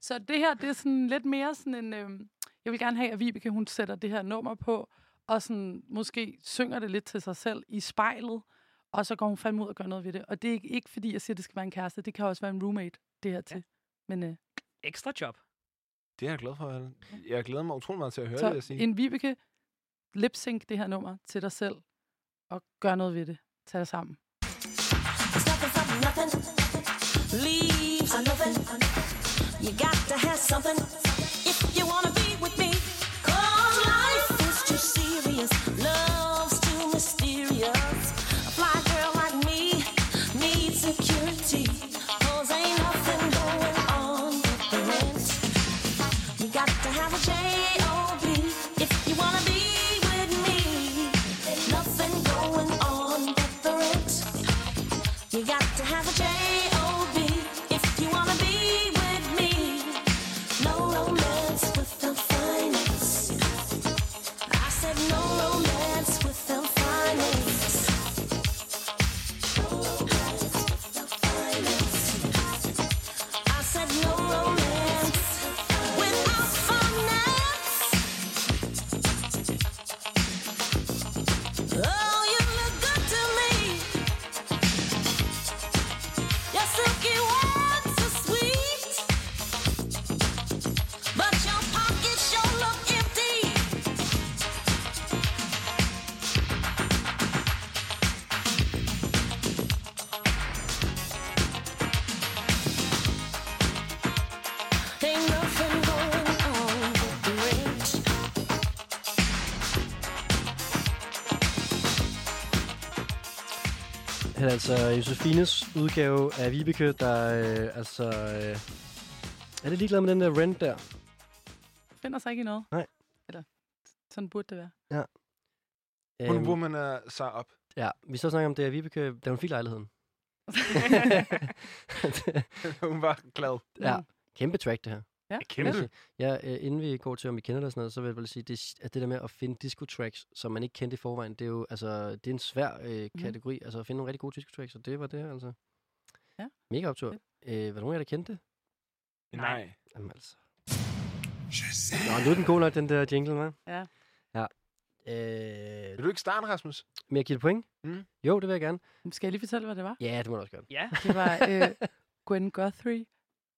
Speaker 5: Så det her, det er sådan lidt mere sådan en... Øhm, jeg vil gerne have, at Vibeke, hun sætter det her nummer på, og sådan måske synger det lidt til sig selv i spejlet, og så går hun fandme ud og gør noget ved det. Og det er ikke, ikke fordi, jeg siger, at det skal være en kæreste. Det kan også være en roommate, det her til. Ja. Men øh,
Speaker 4: Ekstra job.
Speaker 3: Det er jeg glad for. Allan. Jeg glæder mig utrolig meget til at høre det, vil jeg
Speaker 5: Så
Speaker 3: sige.
Speaker 5: en Vibeke, lipsync det her nummer til dig selv, og gør noget ved det. Tag dig sammen.
Speaker 9: Stuff is up nothing. Leaves are nothing. You got to have something if you wanna be with me. Cause life is too serious. Love's too mysterious. A fly girl like me needs security. Cause ain't nothing going on but the rent. You got to have a J-O-B if you wanna be with me. Ain't nothing going on but the rent. You got to have a J-O-B if you wanna be with me. No romance without finance. I said no romance without finance. No romance without finance. I said no romance without finance. Oh, you look good to me. Your silky words are sweet, but your pockets sure look empty. Ain't nothing going on with the rich.
Speaker 2: Han er altså Josefines udgave af Vibeke, der øh, altså... Øh, er det ligeglad med den der rent der?
Speaker 5: Finder sig ikke i noget.
Speaker 2: Nej.
Speaker 5: Eller, sådan burde det være.
Speaker 2: Øhm.
Speaker 3: Hun woman er så op. <laughs>
Speaker 2: ja, vi så snakker om det, at Vibeke, da hun
Speaker 5: <laughs>
Speaker 2: fik lejligheden.
Speaker 3: Hun var glad.
Speaker 2: ja, kæmpe track det her.
Speaker 5: Ja.
Speaker 3: Kæmpe.
Speaker 2: Ja, øh, inden vi går til, om vi kender det og sådan noget, så vil jeg bare lige sige, det, at det der med at finde disco-tracks, som man ikke kendte i forvejen, det er jo altså, det er en svær øh,
Speaker 5: Mhm.
Speaker 2: kategori, altså at finde nogle rigtig gode disco-tracks, og det var det her altså.
Speaker 5: Ja.
Speaker 2: Mega optur. Øh, var der nogen af jer, der kendte det?
Speaker 3: Nej.
Speaker 2: Jamen altså. Nå, nu er den god nok, den der jingle, hva'?
Speaker 5: Ja.
Speaker 2: Ja.
Speaker 3: Vil
Speaker 2: Øh,
Speaker 3: du ikke starte, Rasmus?
Speaker 2: men jeg giver det point?
Speaker 3: Mm.
Speaker 2: Jo, det vil jeg gerne.
Speaker 5: Skal jeg lige fortælle, hvad det var?
Speaker 2: Ja, det må du også gøre.
Speaker 4: Ja.
Speaker 5: Det var øh, Gwen Guthrie,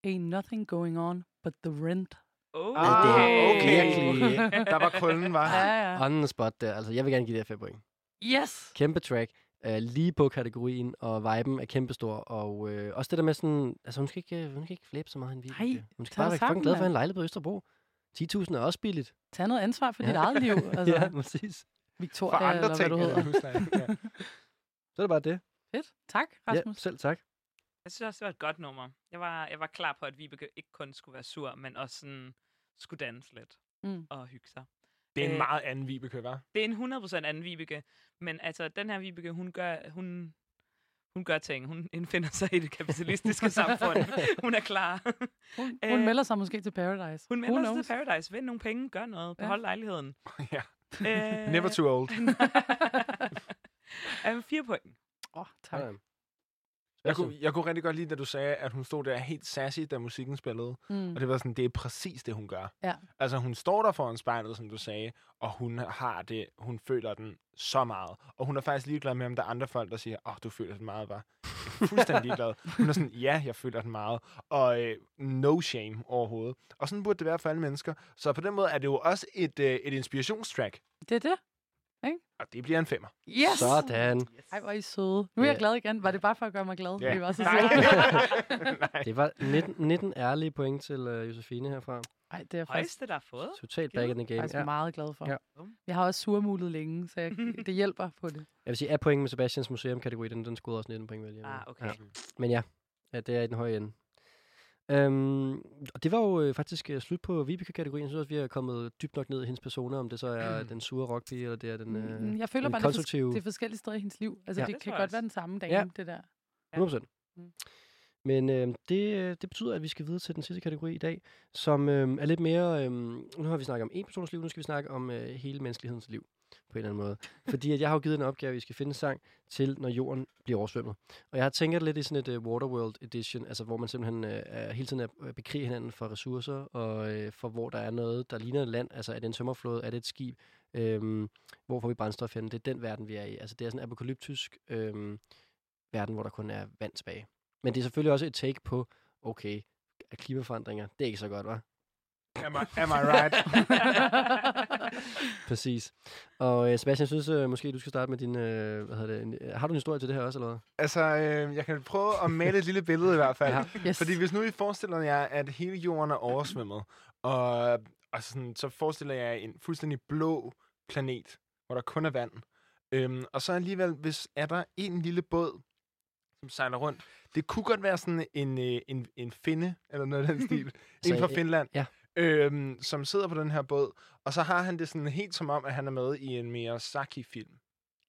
Speaker 5: Ain't nothing going on but the rent.
Speaker 4: Oh.
Speaker 2: Ej, det er
Speaker 3: Ah, Okay.
Speaker 2: virkelig
Speaker 3: Der var krøllen, var.
Speaker 5: Ja, ja.
Speaker 2: on the spot der. Altså, jeg vil gerne give det her 5 point.
Speaker 5: Yes!
Speaker 2: Kæmpe track. Øh, lige på kategorien, og viben er kæmpestor. Og øh, også det der med sådan... Altså, hun skal ikke, øh, hun skal ikke flæbe så meget hende
Speaker 5: Nej,
Speaker 2: Vibeke. Hun skal
Speaker 5: tag
Speaker 2: bare
Speaker 5: dig
Speaker 2: være fucking
Speaker 5: sammen,
Speaker 2: glad for at have
Speaker 5: mand.
Speaker 2: en
Speaker 5: <laughs>
Speaker 2: lejlighed på Østerbro. 10.000 er også billigt.
Speaker 5: Tag noget ansvar for
Speaker 2: Ja.
Speaker 5: dit eget liv. Altså.
Speaker 2: Ja, præcis.
Speaker 5: Victoria,
Speaker 3: For andre
Speaker 5: eller hvad
Speaker 3: ting.
Speaker 5: du
Speaker 3: end
Speaker 5: hedder.
Speaker 3: huslejen. Ja.
Speaker 2: Så er det bare det.
Speaker 5: Fedt. Tak,
Speaker 2: Ja,
Speaker 5: Rasmus.
Speaker 2: selv tak.
Speaker 4: Jeg synes også, det var et godt nummer. Jeg var, jeg var klar på, at Vibeke ikke kun skulle være sur, men også sådan, skulle danse lidt
Speaker 5: Mm.
Speaker 4: og hygge sig.
Speaker 3: Det er en
Speaker 4: Øh,
Speaker 3: meget anden Vibeke, hva'? <laughs>
Speaker 4: Det er en 100% anden Vibeke, men altså, den her Vibeke, hun gør, hun, hun gør ting. Hun indfinder sig i det
Speaker 5: <laughs>
Speaker 4: kapitalistiske samfund. Hun er klar.
Speaker 5: Hun,
Speaker 4: Øh,
Speaker 5: hun melder sig måske til Paradise.
Speaker 4: Hun
Speaker 5: Who
Speaker 4: melder sig
Speaker 5: knows?
Speaker 4: til Paradise. Vind nogle penge, gør noget, behold ja.
Speaker 5: <laughs>
Speaker 4: lejligheden.
Speaker 3: Ja.
Speaker 4: Æh,
Speaker 3: Never
Speaker 4: <laughs>
Speaker 3: too old.
Speaker 4: Æh, Øhm, fire point.
Speaker 5: Åh, oh, tak.
Speaker 2: Ja.
Speaker 3: Jeg
Speaker 5: Altså-
Speaker 3: kunne, jeg kunne rigtig godt lide, da du sagde, at hun stod der helt sassy, da musikken spillede.
Speaker 5: Mm.
Speaker 3: Og det var sådan, det er præcis det, hun gør.
Speaker 5: Ja.
Speaker 3: Altså, hun står der foran spejlet, som du sagde, og hun har det, hun føler den så meget. Og hun er faktisk ligeglad med, om der er andre folk, der siger, åh, oh, du føler den meget, var fuldstændig ligeglad. Hun er sådan, ja, jeg føler den meget. Og øh, no shame overhovedet. Og sådan burde det være for alle mennesker. Så på den måde er det jo også et, øh, et inspirationstrack.
Speaker 5: Det er det.
Speaker 3: Og det bliver en femmer. <laughs>
Speaker 5: Yes!
Speaker 2: Sådan.
Speaker 5: Ej, hvor er I søde. Nu er jeg
Speaker 2: Ja.
Speaker 5: glad igen. Var det bare for at gøre mig glad?
Speaker 3: Ja.
Speaker 5: Vi var så
Speaker 3: <laughs> Nej.
Speaker 5: søde.
Speaker 2: Det var 19, 19 ærlige point til uh, Josefine herfra.
Speaker 5: Ej, det er jeg faktisk,
Speaker 4: Højeste, der har fået.
Speaker 2: Totalt back in the game.
Speaker 5: faktisk
Speaker 2: Ja.
Speaker 5: meget glad for.
Speaker 2: Ja.
Speaker 5: Jeg har også surmulet længe, så jeg, det hjælper på det.
Speaker 2: Jeg vil sige, at point med Sebastians museum-kategori, den, den skulle også 19 point, vel?
Speaker 4: Ah, okay.
Speaker 2: Ja. Men ja, ja, det er i den høje ende. Øhm, og det var jo øh, faktisk øh, slut på Vibeke-kategorien. Jeg synes også, vi er kommet dybt nok ned i hendes personer, om det så er den sure rockpige, eller det er den, øh,
Speaker 5: Mm, jeg føler
Speaker 2: den
Speaker 5: bare, det er, fors-
Speaker 2: konstruktive.
Speaker 5: det er forskellige steder i hendes liv. Altså,
Speaker 2: Ja.
Speaker 5: ja, det,
Speaker 4: Det
Speaker 5: kan
Speaker 4: tror jeg
Speaker 5: godt
Speaker 4: også.
Speaker 5: være den samme dame,
Speaker 2: Ja.
Speaker 5: det der.
Speaker 2: 100%.
Speaker 5: Mm.
Speaker 2: Men øh, det, øh, det betyder, at vi skal videre til den sidste kategori i dag, som øh, er lidt mere... Øh, nu har vi snakket om en persons liv, nu skal vi snakke om øh, hele menneskelighedens liv på en eller anden måde. Fordi at jeg har jo givet en opgave, at vi skal finde en sang til, når jorden bliver oversvømmet. Og jeg har tænkt lidt i sådan et uh, Waterworld edition, altså hvor man simpelthen uh, er, hele tiden er at bekrige hinanden for ressourcer, og uh, for hvor der er noget, der ligner et land. Altså er det en tømmerflåde, er det et skib, øhm, hvor får vi brændstof henne? Det er den verden, vi er i. Altså det er sådan en apokalyptisk øhm, verden, hvor der kun er vand tilbage. Men det er selvfølgelig også et take på, okay, er klimaforandringer, det er ikke så godt, var?
Speaker 3: Am I, am I right?
Speaker 2: Præcis. Og øh, Sebastian, jeg synes øh, måske, du skal starte med din... Øh, hvad hedder det, en, har du en historie til det her også, eller hvad?
Speaker 3: Altså, øh, jeg kan prøve at male et lille billede i hvert
Speaker 2: <laughs>
Speaker 3: fald.
Speaker 2: Ja.
Speaker 5: Yes.
Speaker 3: Fordi hvis nu I forestiller jer, at hele jorden er oversvømmet, og, og sådan, så forestiller jeg jer en fuldstændig blå planet, hvor der kun er vand. Øhm, og så alligevel, hvis er der en lille båd, som sejler rundt. Det kunne godt være sådan en, øh, en, en finne, eller
Speaker 2: <laughs>
Speaker 3: noget af den stil,
Speaker 2: Så
Speaker 3: en fra
Speaker 2: en-
Speaker 3: Finland,
Speaker 2: ja.
Speaker 3: øhm, som sidder på den her båd, og så har han det sådan helt som om, at han er med i en Miyazaki-film.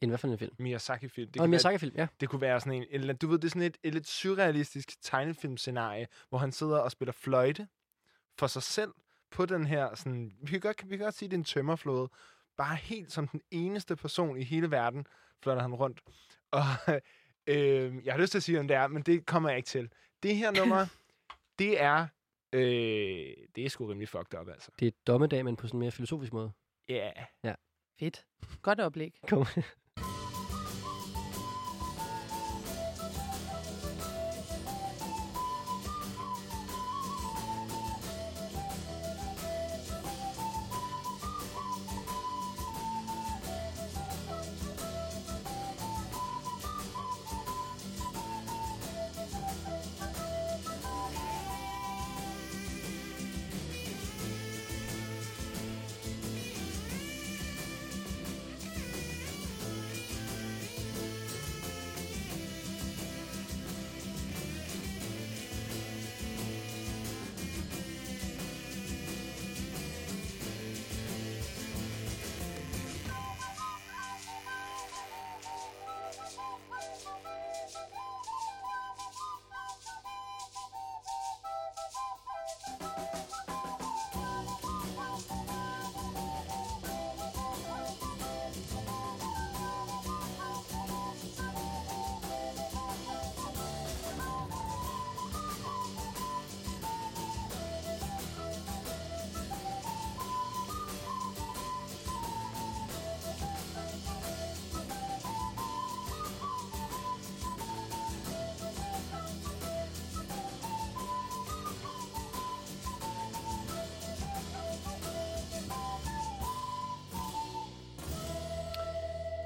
Speaker 2: En hvad for en film?
Speaker 3: Miyazaki-film. Det
Speaker 2: Det og en
Speaker 3: kan være-
Speaker 2: Miyazaki-film, ja.
Speaker 3: det kunne være sådan en, eller, du ved, det er sådan et, et lidt surrealistisk tegnefilmscenarie, hvor han sidder og spiller fløjte for sig selv på den her, sådan, vi kan godt, vi kan godt sige, det er en tømmerflåde, bare helt som den eneste person i hele verden, fløjter han rundt. Og <laughs> øh, jeg har lyst til at sige, om det er, men det kommer jeg ikke til. Det her nummer, <clears throat> det er, øh, det er sgu rimelig fucked up, altså.
Speaker 2: Det er dommedag, men på sådan en mere filosofisk måde.
Speaker 3: Ja. Yeah.
Speaker 5: Fedt. Godt oplæg.
Speaker 2: Kom. <laughs>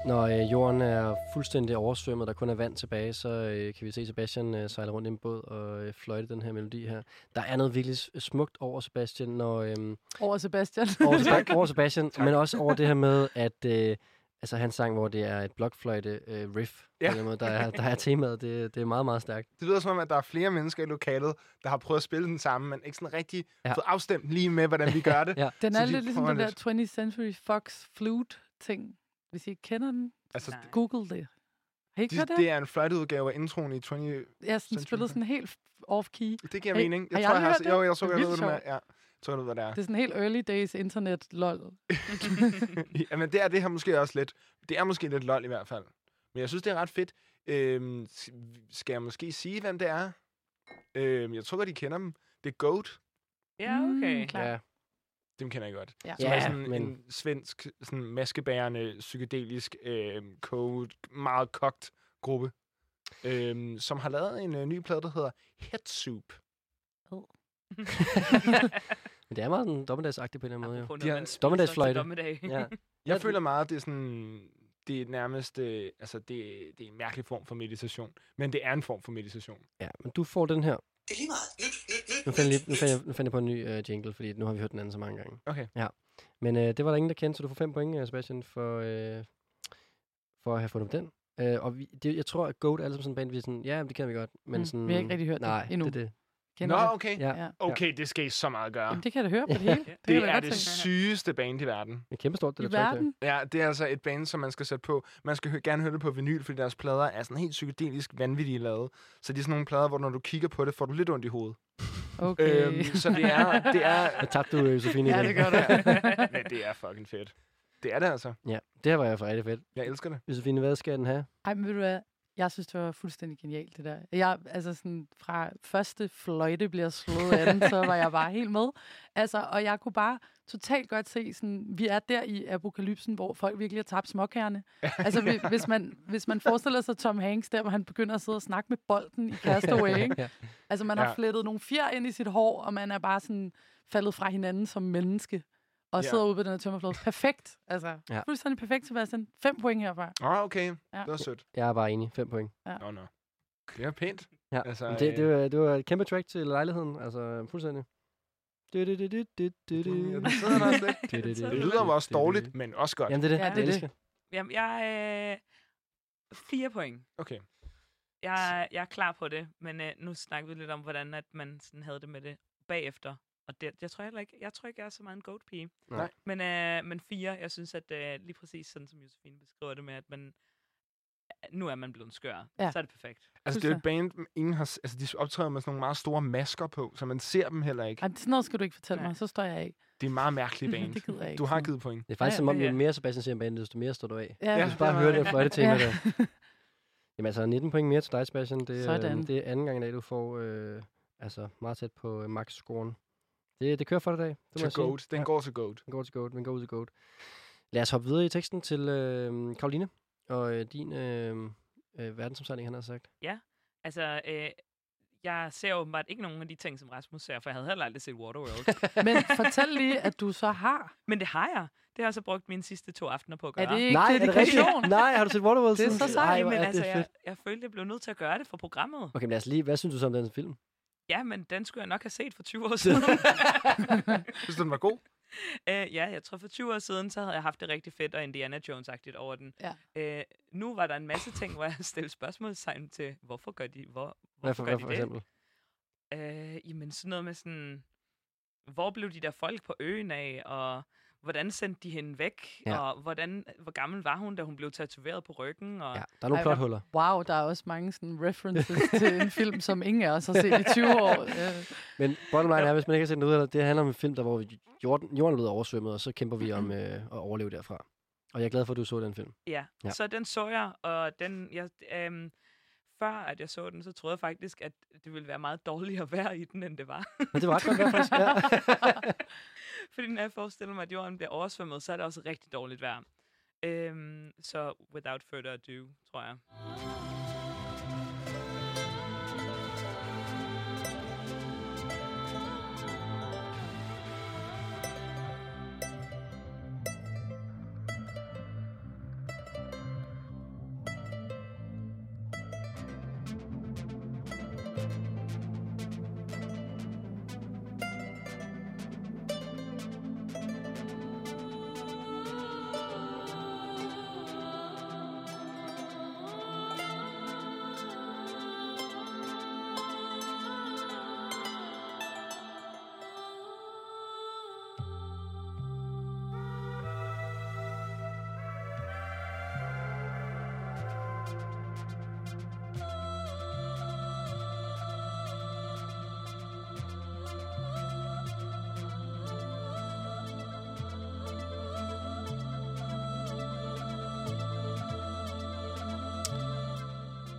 Speaker 2: Når øh, jorden er fuldstændig oversvømmet, der kun er vand tilbage, så øh, kan vi se Sebastian øh, sejle rundt i en båd og øh, fløjte den her melodi her. Der er noget virkelig s- smukt over Sebastian, når, øh,
Speaker 5: Over Sebastian. <laughs>
Speaker 2: over, Seba- over Sebastian men også over det her med, at øh, Altså hans sang, hvor det er et blokfløjte øh, riff,
Speaker 3: Ja.
Speaker 2: ja. på en eller anden måde, der er, der er temaet, det, det er meget, meget stærkt.
Speaker 3: Det lyder som om, at der er flere mennesker i lokalet, der har prøvet at spille den samme, men ikke sådan rigtig ja.
Speaker 2: Ja.
Speaker 3: fået afstemt lige med, hvordan vi gør det.
Speaker 2: Ja.
Speaker 5: Den
Speaker 3: Så
Speaker 5: er
Speaker 3: de
Speaker 5: lidt ligesom
Speaker 3: prøver
Speaker 5: den der
Speaker 3: lidt.
Speaker 5: 20th Century Fox flute-ting. Hvis I ikke kender den,
Speaker 3: Altså,
Speaker 4: Nej.
Speaker 5: google det. Har I ikke
Speaker 3: de,
Speaker 5: hørt det?
Speaker 3: det er en fløjteudgave af introen i 20...
Speaker 5: Jeg har sådan
Speaker 3: Century
Speaker 5: spillet sådan helt off-key.
Speaker 3: Det giver
Speaker 5: Hey,
Speaker 3: mening.
Speaker 5: har I
Speaker 3: tror,
Speaker 5: aldrig hørt
Speaker 3: Jo,
Speaker 5: det?
Speaker 3: jeg så
Speaker 5: Det er
Speaker 3: godt, ved,
Speaker 5: vildt
Speaker 3: hvad den er. Ja. Jeg tror, jeg ved, hvad det er. <laughs>
Speaker 5: Det er sådan helt early days internet lol.
Speaker 3: Jamen, det er det her måske også lidt. Det er måske lidt lol i hvert fald. Men jeg synes, det er ret fedt. Øhm, s- skal jeg måske sige, hvem det er? Øhm, jeg tror godt, de kender dem. Det er Goat.
Speaker 4: <laughs> Ja, okay.
Speaker 5: Mm, klar.
Speaker 2: Ja.
Speaker 3: Dem kender jeg godt.
Speaker 5: Ja.
Speaker 3: Som er
Speaker 2: Ja,
Speaker 3: sådan
Speaker 2: men-
Speaker 3: en svensk, sådan maskebærende, psykedelisk, øhm, kogt, meget kogt gruppe. Øhm, som har lavet en øh, ny plade, der hedder Head Soup.
Speaker 2: Men det er meget en dommedagsagtig på en eller anden måde, jo.
Speaker 4: Apropos noget,
Speaker 3: De har
Speaker 4: man
Speaker 3: en
Speaker 4: spiser
Speaker 2: dommedagsfløjte.
Speaker 4: til Dommedag.
Speaker 2: Ja.
Speaker 3: Jeg
Speaker 2: Ja, det-
Speaker 3: føler meget, det er sådan... Det er nærmest... Øh, altså, det, det er en mærkelig form for meditation. Men det er en form for meditation.
Speaker 2: ja, men du får den her.
Speaker 9: Det er lige meget. Nyt, nyt, nyt,
Speaker 2: Nu fandt, jeg, lige- nu fandt jeg, nu fandt jeg på en ny øh, jingle, fordi nu har vi hørt den anden så mange gange.
Speaker 3: Okay.
Speaker 2: Ja. Men øh, det var der ingen, der kendte, så du får fem point, øh, Sebastian, for, øh, for at have fundet den. Øh, og vi, det, jeg tror, at Goat er ligesom sådan en band, vi er sådan, ja, men det kan vi godt. Men
Speaker 5: Mm,
Speaker 2: sådan,
Speaker 5: vi har ikke rigtig hørt det
Speaker 2: nej,
Speaker 5: endnu.
Speaker 2: det er det.
Speaker 5: Kender
Speaker 3: Nå,
Speaker 5: det?
Speaker 3: okay.
Speaker 2: Ja.
Speaker 5: Ja.
Speaker 3: Okay, det skal I så meget gøre.
Speaker 5: Jamen, det kan jeg da høre på det hele.
Speaker 3: Det,
Speaker 5: kan jeg
Speaker 3: det
Speaker 5: da
Speaker 3: er
Speaker 5: godt
Speaker 3: det
Speaker 5: tænke.
Speaker 3: sygeste band i verden.
Speaker 2: Men kæmpestort, det
Speaker 5: I
Speaker 2: der track der.
Speaker 5: verden.
Speaker 3: Ja, det er altså et band, som man skal sætte på. Man skal hø- gerne høre det på vinyl, fordi deres plader er sådan helt psykedelisk vanvittige lavet. Så det er sådan nogle plader, hvor når du kigger på det, får du lidt ondt i hovedet.
Speaker 5: Okay. Øhm,
Speaker 3: Øhm, så det er, det
Speaker 5: <laughs>
Speaker 3: er,
Speaker 2: Der tabte du, øh, Josefine, i
Speaker 5: ja,
Speaker 2: den.
Speaker 5: det
Speaker 4: <laughs>
Speaker 5: gør det.
Speaker 3: men det er fucking fedt. Det er det altså.
Speaker 2: Ja, det her var jeg for rigtig fedt.
Speaker 3: Jeg elsker det.
Speaker 2: Josefine, hvad skal den have?
Speaker 5: Ej, men ved du hvad? Jeg synes, det var fuldstændig genialt, det der. Jeg, altså sådan, fra første fløjte bliver slået af den, så var jeg bare helt med. Altså, og jeg kunne bare totalt godt se, sådan, vi er der i apokalypsen, hvor folk virkelig har tabt småkærne. Altså, hvi- hvis man, hvis man forestiller sig Tom Hanks der, hvor han begynder at sidde og snakke med bolden i Castaway, ikke? Altså, man har
Speaker 3: Ja.
Speaker 5: flettet nogle fjer ind i sit hår, og man er bare sådan faldet fra hinanden som menneske. Og
Speaker 3: Ja.
Speaker 5: sidder ude på den her tømmerflåde. Perfekt. Altså,
Speaker 2: Ja.
Speaker 5: ja. fuldstændig perfekt, Sebastian. Fem point herfra.
Speaker 3: Åh, oh, okay.
Speaker 5: Ja.
Speaker 3: Det var sødt.
Speaker 2: Jeg er bare enig. 5 point.
Speaker 3: Nå, nå. Det er pænt.
Speaker 2: Ja.
Speaker 3: Altså,
Speaker 2: Altså, det, det,
Speaker 3: øh,
Speaker 2: var, det var et kæmpe track til lejligheden. Altså, fuldstændig. Du, du, du, du, du, du, du.
Speaker 3: Ja, den sidder der også lidt.
Speaker 2: Du, du, du,
Speaker 3: Det
Speaker 2: du,
Speaker 3: lyder jo også
Speaker 2: du, du, du.
Speaker 3: dårligt, men også godt.
Speaker 2: Jamen, det er det.
Speaker 5: Ja,
Speaker 2: Ja,
Speaker 5: det
Speaker 2: det,
Speaker 5: er det.
Speaker 2: det. Elsker.
Speaker 4: Jamen, jeg er... Øh, fire point.
Speaker 3: Okay.
Speaker 4: Jeg, er- jeg er klar på det, men øh, nu snakker vi lidt om, hvordan at man sådan havde det med det bagefter. Og det, jeg tror heller ikke, jeg tror ikke, jeg er så meget en goat pige.
Speaker 3: Nej.
Speaker 4: Men, øh, men fire, jeg synes, at øh, lige præcis sådan, som Josefine beskriver det med, at man, nu er man blevet skør.
Speaker 5: Ja.
Speaker 4: Så er det perfekt.
Speaker 3: Altså, det er jo et band, ingen har, s- altså, de optræder med sådan nogle meget store masker på, så man ser dem heller ikke.
Speaker 5: Ej, sådan noget skal du ikke fortælle
Speaker 4: Nej.
Speaker 5: mig, så står jeg ikke.
Speaker 3: Det er meget mærkelige
Speaker 5: <laughs>
Speaker 3: band.
Speaker 5: Det gider jeg ikke.
Speaker 3: Du har givet point.
Speaker 2: det er faktisk
Speaker 5: Ja,
Speaker 2: som om,
Speaker 4: det
Speaker 2: jo
Speaker 4: er-
Speaker 2: mere Sebastian siger om banen, desto mere står du af.
Speaker 5: Ja,
Speaker 3: Ja,
Speaker 5: ja.
Speaker 2: Hvis du bare
Speaker 3: det var-
Speaker 2: hører det her fløjte tema
Speaker 5: Ja.
Speaker 2: der. Jamen altså, 19 point mere til dig, Sebastian. Det, er,
Speaker 5: Sådan.
Speaker 2: øhm, det er anden gang i dag, du får øh, altså, meget tæt på øh, max-scoren. Det, det kører for dig i dag. Det må jeg
Speaker 3: Til
Speaker 2: sige.
Speaker 3: Goat. Den går til Goat.
Speaker 2: Den går til Goat, den går ud til Goat. Lad os hoppe videre i teksten til øh, Karoline og øh, din øh, øh, verdensomsejling, han har sagt.
Speaker 4: Altså, øh, jeg ser åbenbart ikke nogen af de ting, som Rasmus ser, for jeg havde heller aldrig set Waterworld.
Speaker 5: <laughs> Men fortæl lige, at du så har.
Speaker 4: men det har jeg. Det har jeg så brugt mine sidste to aftener på at gøre.
Speaker 5: Er det ikke dedikation?
Speaker 2: <laughs> Nej, har du set Waterworld
Speaker 5: Det er
Speaker 2: siden?
Speaker 5: så sejt,
Speaker 2: Ej,
Speaker 4: Nej,
Speaker 2: hvor
Speaker 4: men
Speaker 2: er
Speaker 4: altså,
Speaker 2: det
Speaker 4: jeg,
Speaker 2: fedt.
Speaker 4: jeg følte, jeg blev nødt til at gøre det for programmet.
Speaker 2: Okay, men lad os lige, hvad synes du så om den film?
Speaker 4: Ja, men den skulle jeg nok have set for 20
Speaker 2: <laughs>
Speaker 4: år siden.
Speaker 3: Synes du, den var god?
Speaker 4: Æ, ja, jeg tror for 20 år siden, så havde jeg haft det rigtig fedt og Indiana Jones-agtigt over den.
Speaker 5: Ja.
Speaker 4: Æ, nu var der en masse ting, hvor jeg <laughs> stillede spørgsmålstegn til, hvorfor gør de, hvor,
Speaker 2: Hvad
Speaker 4: hvorfor
Speaker 2: for,
Speaker 4: gør
Speaker 2: hvad
Speaker 4: de
Speaker 2: for
Speaker 4: det?
Speaker 2: eksempel?
Speaker 4: Øh, jamen sådan noget med sådan, hvor blev de der folk på øen af, og hvordan sendte de hende væk,
Speaker 2: Ja.
Speaker 4: ja. og hvordan, hvor gammel var hun, da hun blev tatoveret på ryggen, og
Speaker 2: Ja, der er nogle
Speaker 5: Ej,
Speaker 2: plothuller.
Speaker 5: Wow, der er også mange sådan,
Speaker 3: <laughs>
Speaker 5: references til en film, som ingen af os har set i 20 år. Øh,
Speaker 2: Men bottom line er, hvis man ikke har set den ud, det handler om en film, der hvor jorden, jorden lød oversvømmet, og så kæmper vi om øh, at overleve derfra. Og jeg er glad for, at du så den
Speaker 5: <laughs>
Speaker 2: film.
Speaker 4: Ja,
Speaker 2: Ja.
Speaker 4: ja. så den så jeg, og den, jeg, øhm, før at jeg så den, så troede jeg faktisk, at det ville være meget dårligere <laughs> at være i den, end det var.
Speaker 2: Men det var ret godt, i hvert fald. Ja.
Speaker 4: Fordi når jeg forestiller mig, at jorden bliver oversvømmet, så er det også rigtig dårligt vejr. Øhm, så without further ado, tror jeg.
Speaker 6: Thank you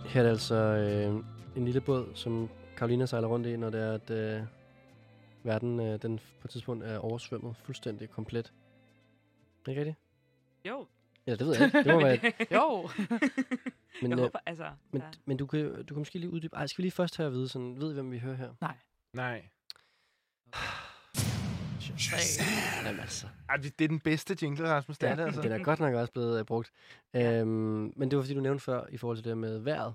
Speaker 2: Her er det altså øh, en lille båd, som Karolina sejler rundt i, når det er, at øh, verden øh, den på et tidspunkt er oversvømmet fuldstændig komplet. Ikke rigtigt?
Speaker 4: Jo,
Speaker 2: Ja, det ved jeg ikke. Det
Speaker 4: <laughs>
Speaker 2: må være,
Speaker 5: Jo.
Speaker 2: men,
Speaker 4: jeg
Speaker 2: øh,
Speaker 4: håber, altså...
Speaker 2: men,
Speaker 4: der-
Speaker 2: men du, kan, du kan måske lige uddybe... Ej, skal vi lige først have at vide, sådan, ved I, hvem vi hører her?
Speaker 3: Nej.
Speaker 2: Jamen altså.
Speaker 3: Ej, det det er den bedste jingle, Rasmus. Det er det,
Speaker 2: Den
Speaker 3: altså.
Speaker 2: er godt nok også blevet øh, brugt. Øhm, men det var, fordi du nævnte før, i forhold til det her med vejret.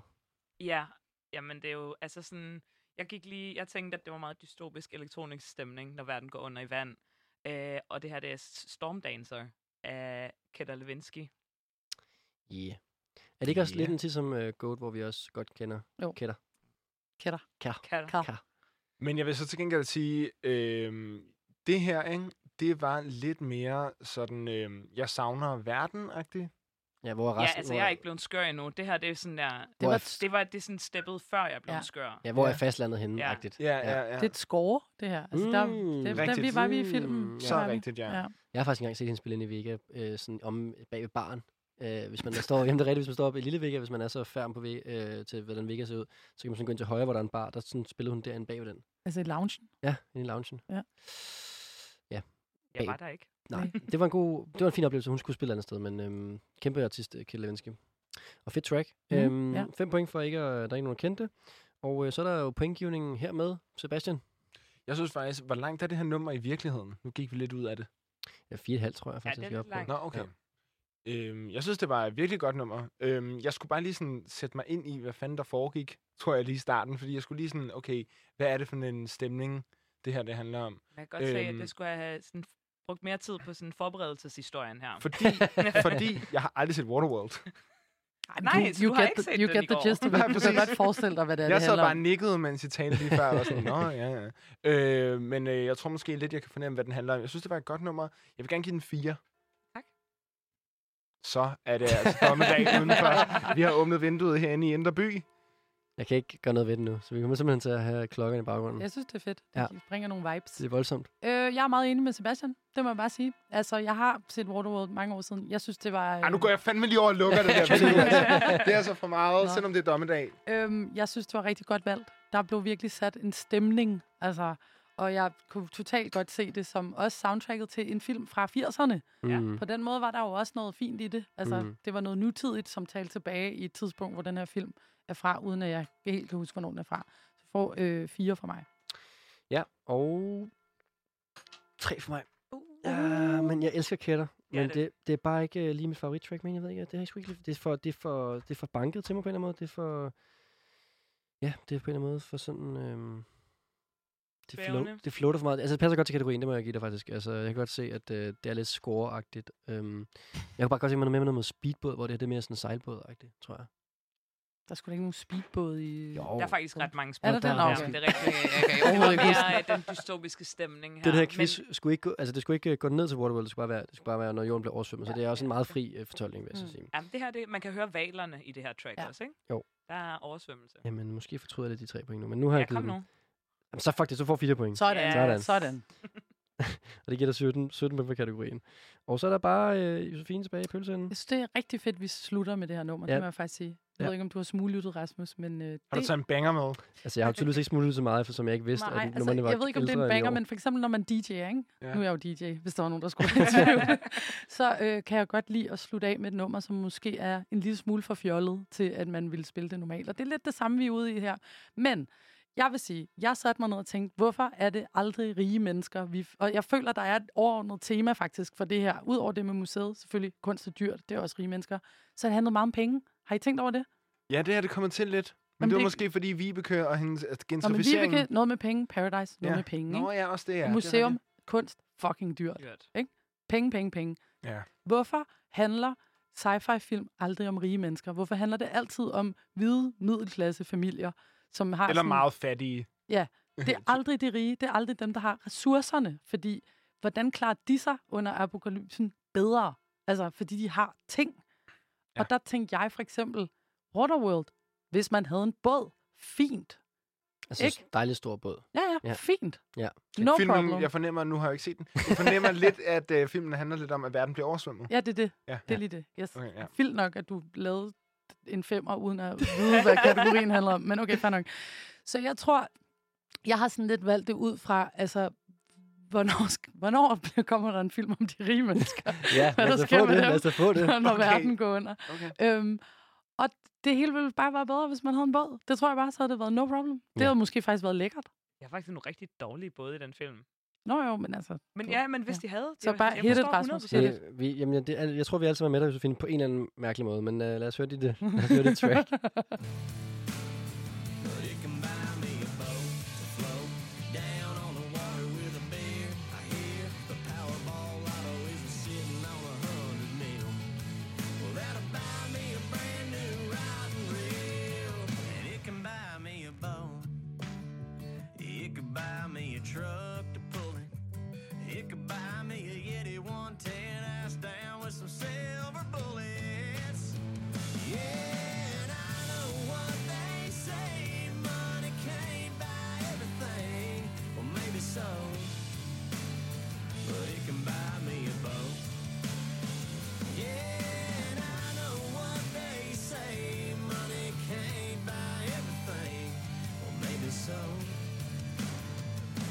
Speaker 4: Ja, jamen det er jo, altså sådan, jeg gik lige, jeg tænkte, at det var meget dystopisk elektronisk stemning, når verden går under i vand. Øh, og det her, det er S- Storm Dancer af Kedda Levinsky.
Speaker 2: Yeah. Er det ikke også
Speaker 3: Ja.
Speaker 2: lidt en tid som uh, Goat, hvor vi også godt kender
Speaker 5: Jo.
Speaker 2: kætter?
Speaker 5: Kætter.
Speaker 2: Kær.
Speaker 4: Kan
Speaker 5: Kar.
Speaker 3: Men jeg vil så til gengæld sige, øh, det her, ikke? det var lidt mere sådan, øh, jeg savner verden-agtigt.
Speaker 2: Ja, hvor er
Speaker 4: Ja,
Speaker 2: resten?
Speaker 4: altså
Speaker 2: hvor,
Speaker 4: jeg er ikke blevet skør endnu. Det her, det er sådan der,
Speaker 2: hvor
Speaker 5: var
Speaker 2: er,
Speaker 5: et
Speaker 2: f-
Speaker 4: det var det er sådan steppet, før jeg blev
Speaker 5: Ja.
Speaker 4: ja. skør.
Speaker 2: ja, hvor er
Speaker 3: Ja.
Speaker 2: fastlandet henne?
Speaker 4: Ja.
Speaker 2: Agtigt.
Speaker 3: Ja, ja, ja.
Speaker 5: Det er et score, det her. Altså, der,
Speaker 2: Mm,
Speaker 5: det, der, vi
Speaker 3: rigtigt.
Speaker 5: var vi i filmen.
Speaker 2: Mm,
Speaker 3: Så
Speaker 5: Var vi.
Speaker 3: rigtigt, Uh, ja.
Speaker 5: Ja.
Speaker 2: Jeg har faktisk engang set hende spille inde i Vega, øh, sådan om bag ved baren. Øh, hvis man der står, jamen det er rigtigt, hvis man står oppe i Lille Vega, hvis man er så færm på ve, øh, til, hvordan Vega ser ud, så kan man sådan gå ind til højre, hvor der er en bar, der sådan spillede hun derinde bag ved den.
Speaker 5: Altså i loungen.
Speaker 2: Ja, inde i loungen.
Speaker 5: Ja.
Speaker 2: Ja,
Speaker 4: Jeg var der ikke.
Speaker 2: nej. Det var en god, det var en fin oplevelse. Hun skulle spille et andet sted, men øhm, kæmpe artist, øh, Kjell Levinsky. Og fedt track.
Speaker 5: Mm,
Speaker 2: Mm, øhm,
Speaker 5: ja.
Speaker 2: Fem point for ikke, at der er ikke nogen, der kendte. Og øh, så er der jo pointgivningen her med Sebastian.
Speaker 3: Jeg synes faktisk, hvor langt er det her nummer i virkeligheden? Nu gik vi lidt ud af det.
Speaker 2: Ja, 4,5 tror jeg
Speaker 4: Ja,
Speaker 2: faktisk,
Speaker 4: det er
Speaker 2: vi
Speaker 4: lidt
Speaker 2: oppe på.
Speaker 4: langt.
Speaker 3: Nå, okay. Ja. Øhm, jeg synes, det var et virkelig godt nummer. Øhm, jeg skulle bare lige sådan sætte mig ind i, hvad fanden der foregik, tror jeg lige i starten. Fordi jeg skulle lige sådan, okay, hvad er det for en stemning, det her det handler om?
Speaker 4: Jeg kan godt øhm. se, at
Speaker 3: Øhm.
Speaker 4: det skulle have sådan, brugt mere tid på sådan forberedelseshistorien her.
Speaker 2: <laughs>
Speaker 3: Fordi, fordi jeg har aldrig set Waterworld.
Speaker 4: Nej, så du har ikke set
Speaker 5: you
Speaker 4: den
Speaker 5: get
Speaker 4: i
Speaker 5: the
Speaker 4: går.
Speaker 5: gist
Speaker 3: <laughs>
Speaker 5: of it.
Speaker 3: Nej,
Speaker 5: Du kan
Speaker 3: præcis.
Speaker 5: godt forestille dig, hvad det er,
Speaker 3: jeg
Speaker 5: det
Speaker 3: sad
Speaker 5: handler
Speaker 3: bare
Speaker 5: om.
Speaker 3: og nikkede, mens I talte lige før, og var sådan, nå, ja, ja. Øh, men øh, jeg tror måske lidt, jeg kan fornemme, hvad den handler om. Jeg synes, det var et godt nummer. Jeg vil gerne give den 4.
Speaker 4: Tak.
Speaker 3: Så er det altså dommedag udenfor. Vi har åbnet vinduet herinde i Indre By.
Speaker 2: Jeg kan ikke gøre noget ved det nu, så vi kommer simpelthen til at have klokkerne i baggrunden.
Speaker 5: Jeg synes, det er fedt.
Speaker 2: Ja.
Speaker 5: Det bringer nogle vibes.
Speaker 2: Det er voldsomt.
Speaker 5: Øh, jeg er meget enig med Sebastian. Det må jeg bare sige. Altså, jeg har set Waterworld mange år siden. Jeg synes, det var...
Speaker 3: Ej, nu
Speaker 5: øh,
Speaker 3: går jeg fandme lige over og lukker det der vindue. altså. Det er altså for meget,
Speaker 5: Nå.
Speaker 3: selvom det er dommedag.
Speaker 5: Øhm, jeg synes, det var rigtig godt valgt. Der blev virkelig sat en stemning, altså, og jeg kunne totalt godt se det som også soundtracket til en film fra 80'erne.
Speaker 4: Ja.
Speaker 3: Mm.
Speaker 5: På den måde var der jo også noget fint i det. Altså,
Speaker 2: Mm.
Speaker 5: mm. det var noget nutidigt, som talte tilbage i et tidspunkt, hvor den her film er fra, uden at jeg helt kan huske, hvornår den er fra. Så får øh, fire fra mig.
Speaker 2: Ja, og tre for mig. Ja, men jeg elsker kætter.
Speaker 4: Ja,
Speaker 2: Men
Speaker 4: det-
Speaker 2: det, det er bare ikke øh, lige mit favorittrack, men jeg ved ikke, det, har jeg sgu ikke, lige- det, er for, det, er for, det er for banket til mig på en eller anden måde. Det er for... Ja, det er på en eller anden måde for sådan... Øhm, det,
Speaker 4: Svævende.
Speaker 2: float, det floater for meget. Altså, det passer godt til kategorien, det må jeg give dig faktisk. Altså, jeg kan godt se, at øh, det er lidt scoreagtigt. Øhm, jeg kunne bare godt se, at man er med med noget med speedbåd, hvor det her det er mere sådan sejlbådagtigt, tror jeg.
Speaker 5: Der skulle da ikke nogen speedbåd i...
Speaker 4: Der er faktisk ret mange
Speaker 5: Er
Speaker 4: spørgsmål.
Speaker 5: der den?
Speaker 4: her,
Speaker 5: Okay.
Speaker 4: men Det er rigtigt. Okay, det var
Speaker 5: overhovedet ikke
Speaker 4: mere øh, den dystopiske stemning her.
Speaker 2: Det her
Speaker 4: men-
Speaker 2: quiz men... skulle ikke gå, altså det skulle ikke øh, gå ned til Waterworld, det skulle bare være, det skulle bare være når jorden blev oversvømmet, ja, så det er også en meget fri øh, fortolkning, vil jeg
Speaker 5: Mm.
Speaker 2: så sige.
Speaker 4: Ja, men det her, det, man kan høre valerne i det her track
Speaker 5: Ja.
Speaker 4: ja. også, ikke?
Speaker 2: Jo.
Speaker 4: Der er oversvømmelse.
Speaker 2: Jamen, måske fortryder jeg lidt de tre point nu, men nu har
Speaker 4: Ja,
Speaker 2: jeg givet
Speaker 4: kom
Speaker 2: dem.
Speaker 4: nu.
Speaker 2: Jamen, så fuck det, så får jeg fire point.
Speaker 5: Sådan,
Speaker 4: Ja.
Speaker 5: sådan.
Speaker 2: Sådan.
Speaker 5: sådan.
Speaker 2: Og det giver dig 17, 17 point for kategorien. Og så er der bare øh, Josefine tilbage i pølseenden.
Speaker 5: Jeg synes, det er rigtig fedt, at vi slutter med det her nummer, ja.
Speaker 2: Ja.
Speaker 5: det må jeg faktisk sige. Jeg
Speaker 2: Ja.
Speaker 5: ved ikke, om du har smuglyttet, Rasmus, men øh,
Speaker 3: Har du taget en banger med?
Speaker 2: Altså, jeg har jo tydeligvis ikke smuttet så meget, for som jeg ikke vidste,
Speaker 5: Nej,
Speaker 2: at
Speaker 5: altså,
Speaker 2: nummerne var
Speaker 5: jeg ved ikke, om det er
Speaker 2: ældre
Speaker 5: en
Speaker 2: end i
Speaker 5: banger,
Speaker 2: år.
Speaker 5: men for eksempel, når man DJ'er, ikke?
Speaker 3: Ja.
Speaker 5: Ja. Nu er jeg jo DJ, hvis der var nogen, der <laughs> skulle være i tvivl. Så øh, kan jeg godt lide at slutte af med et nummer, som måske er en lille smule for fjollet til, at man ville spille det normalt. Og det er lidt det samme, vi er ude i her. Men jeg vil sige, jeg satte mig ned og tænkte, hvorfor er det aldrig rige mennesker? Vi, og jeg føler, der er et overordnet tema faktisk for det her. Udover det med museet, selvfølgelig kunst og dyrt, det er også rige mennesker. Så det handlede meget om penge. Har I tænkt over det?
Speaker 3: Ja, det her, det kommer til lidt. Men
Speaker 5: Jamen,
Speaker 3: det var
Speaker 5: det-
Speaker 3: måske, fordi Vibeke og hendes altså,
Speaker 5: Nå, men
Speaker 3: gentrificering...
Speaker 5: Vibeke, noget med penge. Paradise, noget ja. med penge. Ikke?
Speaker 3: Nå ja, også det, ja. Det
Speaker 5: ja,
Speaker 3: er
Speaker 5: museum, kunst, fucking dyrt.
Speaker 4: Dyrt.
Speaker 5: Penge, penge, penge.
Speaker 3: Ja.
Speaker 5: Hvorfor handler sci-fi-film aldrig om rige mennesker? Hvorfor handler det altid om hvide middelklasse familier, som har...
Speaker 3: rigtigt. Eller
Speaker 5: sådan-
Speaker 3: meget fattige.
Speaker 5: Det er aldrig de rige, det er aldrig dem, der har ressourcerne, fordi hvordan klarer de sig under apokalypsen bedre? Altså, fordi de har ting. Ja.
Speaker 3: Ja.
Speaker 5: Og der tænkte jeg for eksempel, Waterworld, hvis man havde en båd, fint.
Speaker 2: Altså,
Speaker 5: ikke?
Speaker 2: dejlig stor
Speaker 5: <laughs>
Speaker 2: båd.
Speaker 5: Ja, ja,
Speaker 2: Ja.
Speaker 5: fint.
Speaker 2: Ja.
Speaker 5: No
Speaker 3: filmen,
Speaker 5: problem.
Speaker 3: jeg fornemmer, nu har jeg ikke set den, jeg fornemmer lidt, at øh, filmen handler lidt om, at verden bliver oversvømmet.
Speaker 5: Ja, det er det.
Speaker 3: Ja.
Speaker 5: Det er lige det. Yes.
Speaker 3: Okay, ja.
Speaker 5: Vildt nok, at du lavede en femmer, uden at vide, hvad kategorien handler om. Men okay, fair nok. Så jeg tror, jeg har sådan lidt valgt det ud fra, altså, hvornår, sk- hvornår bliver- kommer der en film om de rige
Speaker 2: <laughs>
Speaker 5: mennesker,
Speaker 2: Ja,
Speaker 5: Hvad
Speaker 2: lad
Speaker 5: der
Speaker 2: os da
Speaker 5: sker
Speaker 2: få
Speaker 5: med
Speaker 2: det.
Speaker 5: dem?
Speaker 2: Lad os da
Speaker 5: <laughs>
Speaker 2: få det.
Speaker 5: når
Speaker 3: Okay.
Speaker 5: verden går under.
Speaker 4: Okay.
Speaker 5: Øhm, og det hele ville bare være bedre, hvis man havde en båd. Det tror jeg bare, så havde det været no problem. Det
Speaker 2: Ja.
Speaker 5: havde måske faktisk været lækkert.
Speaker 4: Jeg har faktisk nogle rigtig dårlige både i den film.
Speaker 5: Nå jo, men altså,
Speaker 4: Men
Speaker 5: Du-
Speaker 4: ja, men hvis de havde...
Speaker 5: Så
Speaker 4: jeg-
Speaker 5: bare
Speaker 4: jeg
Speaker 5: hit it,
Speaker 4: forstår
Speaker 5: Rasmus.
Speaker 4: 100%.
Speaker 5: Hit it.
Speaker 2: Det, vi, jamen, ja, det, er- jeg tror, vi alle sammen er med dig, Josefine, på en eller anden mærkelig måde, men uh, lad os høre dit, øh, lad os høre dit track.
Speaker 8: It can buy me a boat. It could buy me a truck to pull it. It could buy me a Yeti 110 ass down with some silver bullets. Yeah, and I know what they say. Money can't buy everything. Well, maybe so. But it can buy me a boat. Yeah, and I know what they say. Money can't buy everything. Well, maybe so.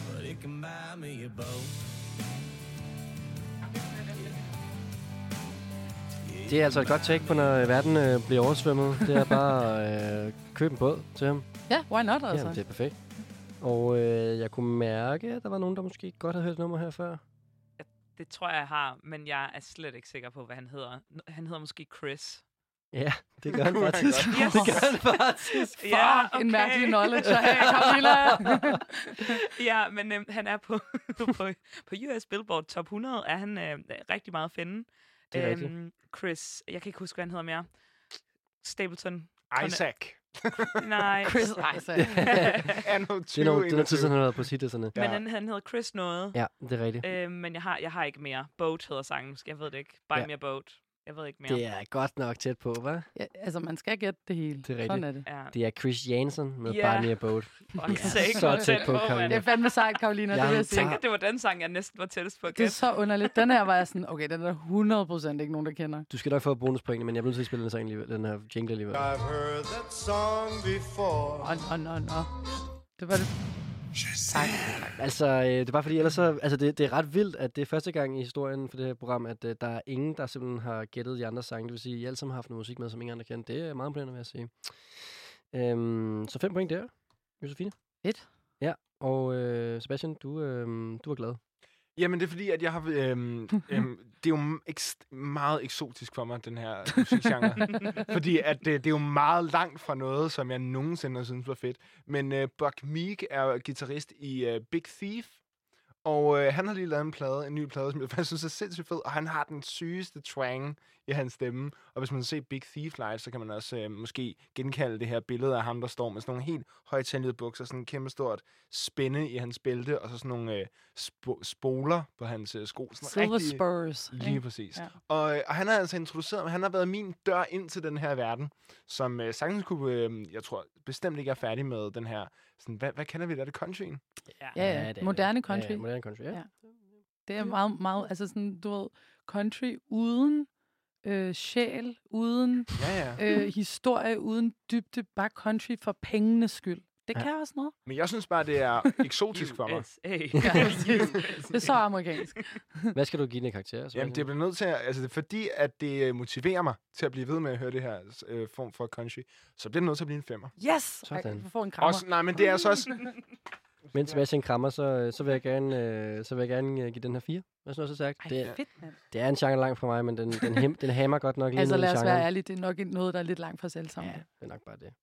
Speaker 8: But it can buy me a boat.
Speaker 2: Det er altså et godt take på, når verden øh, bliver oversvømmet. Det er bare at øh, købe en båd til ham.
Speaker 5: ja, why not
Speaker 2: Altså. Jamen, det
Speaker 5: altså?
Speaker 2: er perfekt. Og øh, jeg kunne mærke, at der var nogen, der måske godt havde hørt et nummer her før.
Speaker 4: Det tror jeg, jeg har, men jeg er slet ikke sikker på, hvad han hedder. N- Han hedder måske Chris.
Speaker 2: Ja, det gør han
Speaker 3: Kunne han
Speaker 2: faktisk.
Speaker 4: godt.
Speaker 2: <laughs> Det gør han
Speaker 5: <laughs>
Speaker 2: faktisk.
Speaker 5: Fuck, ja, okay. en mærkelig knowledge. Jeg har, <laughs> Camilla.
Speaker 4: <laughs> ja, men øhm, han er på, <laughs> på, på US Billboard Top 100, er han øh, rigtig meget at finde. Øhm,
Speaker 2: Det er rigtigt.
Speaker 4: Chris, jeg kan ikke huske, hvad han hedder mere. <laughs> Stapleton.
Speaker 3: Isaac.
Speaker 4: Nej.
Speaker 5: Chris Isaac.
Speaker 3: Anno 20,
Speaker 2: Det er noget, det er noget tid, siden, han har været på sit og sådan noget.
Speaker 4: Men han, han hedder Chris noget.
Speaker 2: Ja, det er rigtigt.
Speaker 4: Øh, men jeg har, jeg har ikke mere. Boat hedder sangen. måske. Jeg ved det ikke. Buy
Speaker 2: Ja.
Speaker 4: me a boat. Jeg ved ikke mere.
Speaker 2: Det er godt nok tæt på, hva'?
Speaker 5: Ja, altså, man skal gætte det hele.
Speaker 2: Det er rigtigt.
Speaker 5: Sådan er det.
Speaker 4: Ja.
Speaker 2: Det er Chris Jansen med
Speaker 4: Ja.
Speaker 2: yeah. Barney Boat.
Speaker 4: Fuck, jeg sagde ikke
Speaker 2: så
Speaker 4: noget
Speaker 2: tæt
Speaker 4: tæt
Speaker 2: på,
Speaker 4: på, mand.
Speaker 5: Det er fandme sejt, Karoline, det
Speaker 2: Jeg
Speaker 5: vil jeg
Speaker 4: Tænk,
Speaker 5: sige.
Speaker 4: at det var den sang, jeg næsten var tættest på at
Speaker 5: Det er
Speaker 4: gætte.
Speaker 5: så underligt. Den her var jeg sådan, okay, den er der 100% ikke nogen, der kender.
Speaker 2: Du skal nok få bonuspoint, men jeg bliver nødt til at spille den, sang alligevel, den her jingle alligevel.
Speaker 8: I've heard that song before.
Speaker 5: Åh, oh, nå, nå. Det var det.
Speaker 2: Altså, øh, det er bare fordi, ellers så... Altså, det, det er ret vildt, at det er første gang i historien for det her program, at øh, der er ingen, der simpelthen har gættet de andre sange. Det vil sige, at I alle sammen har haft noget musik med, som ingen andre kender. Det er meget imponerende, vil jeg sige. Øhm, så fem point der, Josefine.
Speaker 5: Fedt.
Speaker 2: Ja, og øh, Sebastian, du, øh, du er glad.
Speaker 3: Jamen, det er fordi, at jeg har... Øhm, øhm, det er jo ekst- meget eksotisk for mig, den her musikgenre. fordi at det, det er jo meget langt fra noget, som jeg nogensinde har syntes var fedt. Men øh, Buck Meek er guitarist i øh, Big Thief. Og øh, han har lige lavet en plade, en ny plade, som jeg faktisk synes er sindssygt fed. Og han har den sygeste twang i hans stemme. Og hvis man ser Big Thief live, så kan man også øh, måske genkalde det her billede af ham, der står med sådan nogle helt højtandede bukser. Sådan en kæmpe stort spænde i hans bælte. Og så sådan nogle øh, spo- spoler på hans øh, sko. Sådan
Speaker 5: Silver
Speaker 3: rigtig-
Speaker 5: Spurs.
Speaker 3: Lige
Speaker 5: ikke?
Speaker 3: præcis.
Speaker 5: Ja.
Speaker 3: Ja. Og, øh, og han har altså introduceret mig. Han har været min dør ind til den her verden, som øh, sagtens kunne, øh, jeg tror bestemt ikke er færdig med den her, sådan, hvad, hvad kalder vi det? Er det countryen?
Speaker 5: Ja, ja.
Speaker 2: det er det.
Speaker 5: Moderne country.
Speaker 2: Ja, ja, moderne country, ja.
Speaker 5: Ja. Det er meget, meget, altså sådan, du ved, country uden øh, sjæl, uden
Speaker 3: Ja, ja.
Speaker 2: <laughs>
Speaker 5: øh, historie, uden dybde, bare country for pengenes skyld. Det
Speaker 2: Ja.
Speaker 5: kan også noget.
Speaker 3: <laughs> Men jeg synes bare, det
Speaker 2: <laughs>
Speaker 3: er eksotisk for mig.
Speaker 4: USA.
Speaker 5: Det er så amerikansk.
Speaker 2: Hvad skal du give den karakter? Sebastian?
Speaker 3: Jamen, det bliver nødt til at, altså, det er fordi, at det øh, motiverer mig til at blive ved med at høre det her øh, form for country, så bliver det nødt til at blive en femmer.
Speaker 5: Yes!
Speaker 2: Sådan.
Speaker 5: Ej, du får en krammer.
Speaker 3: Også, nej, men det er
Speaker 5: <laughs>
Speaker 3: så også...
Speaker 2: Men Sebastian krammer, så, øh, så vil jeg gerne, øh, så vil jeg gerne øh, give den her fire. Hvad sådan noget, så sagt?
Speaker 5: Ej,
Speaker 2: Det,
Speaker 5: det
Speaker 2: er-
Speaker 5: fedt, mand.
Speaker 2: det er en genre langt fra mig, men den, den, hem, den hammer godt nok lige
Speaker 5: Altså
Speaker 2: ned i
Speaker 5: lad os være
Speaker 2: genren.
Speaker 5: ærlige, det er nok ikke noget, der er lidt langt fra os alle sammen.
Speaker 2: Ja, det er nok bare det.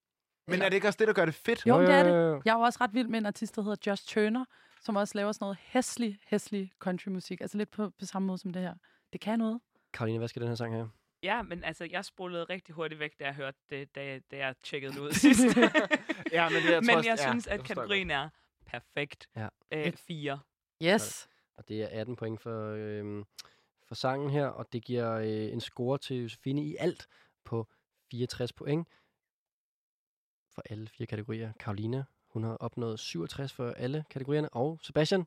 Speaker 3: Men er det ikke også det, der gør det fedt?
Speaker 5: Jo, men det er
Speaker 2: jo, jo.
Speaker 5: det. Jeg er jo også ret vild med en artist, der hedder Josh Turner, som også laver sådan noget hæslig, hæslig countrymusik. Altså lidt på, på samme måde som det her. Det kan noget.
Speaker 2: Karoline, hvad skal den her sang have?
Speaker 4: Ja, men altså, jeg spolede rigtig hurtigt væk, da jeg hørte det, da, da jeg tjekkede det ud sidst.
Speaker 3: Ja, men det
Speaker 4: <laughs>
Speaker 3: er
Speaker 4: men
Speaker 3: trods-
Speaker 4: jeg
Speaker 3: ja,
Speaker 4: synes,
Speaker 3: jeg
Speaker 4: at
Speaker 3: forstår
Speaker 4: kategorien er perfekt.
Speaker 2: Ja.
Speaker 4: Øh, fire.
Speaker 5: Yes.
Speaker 2: Og det er 18 point for, øhm, for sangen her, og det giver øh, en score til Josefine i alt på 64 point for alle fire kategorier. Karoline, hun har opnået 67 for alle kategorierne, og Sebastian,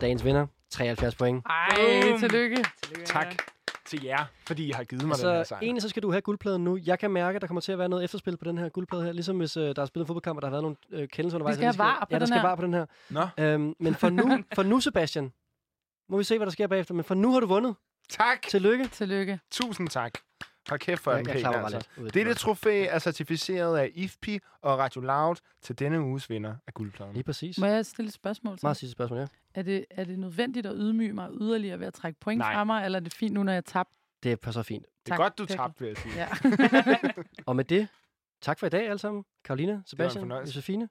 Speaker 2: dagens vinder, 73 point.
Speaker 5: Ej,
Speaker 4: Boom.
Speaker 5: tillykke.
Speaker 4: Tillykke,
Speaker 3: Tak.
Speaker 4: Anna.
Speaker 3: til jer, fordi I har givet mig altså, den her
Speaker 2: Altså,
Speaker 3: sang.
Speaker 2: egentlig så skal du have guldpladen nu. Jeg kan mærke, at der kommer til at være noget efterspil på den her guldplade her. Ligesom hvis øh, der er spillet en fodboldkamp, og der har været nogle øh, kendelser undervejs.
Speaker 5: skal
Speaker 2: og
Speaker 5: have var på
Speaker 2: ja, der
Speaker 5: den
Speaker 2: skal
Speaker 5: her.
Speaker 2: var på den her.
Speaker 3: Nå,
Speaker 2: Øhm, men for
Speaker 5: <laughs>
Speaker 2: nu, for nu, Sebastian, må vi se, hvad der sker bagefter. Men for nu har du vundet.
Speaker 3: tak.
Speaker 2: Tillykke.
Speaker 5: Tillykke.
Speaker 3: Tusind tak. Hold kæft for en
Speaker 2: jeg
Speaker 3: pæn,
Speaker 2: klapper
Speaker 3: altså.
Speaker 2: bare lidt.
Speaker 3: Dette trofæ er certificeret af IFPI og Radio Loud til denne uges vinder af guldpladen.
Speaker 2: Lige præcis.
Speaker 5: Må jeg stille et spørgsmål? Så?
Speaker 2: Meget sidste spørgsmål, ja.
Speaker 5: Er det, er det nødvendigt at ydmyge mig yderligere ved at trække point
Speaker 3: Nej.
Speaker 5: fra mig, eller er det fint nu, når jeg tabte?
Speaker 2: Det passer fint.
Speaker 3: Det er godt, du tabte, vil jeg sige.
Speaker 5: Ja.
Speaker 3: <laughs>
Speaker 2: Og med det, tak for i dag alle sammen. Carolina,
Speaker 3: var en
Speaker 2: Sebastian,
Speaker 3: fornøjelse.
Speaker 2: Josefine.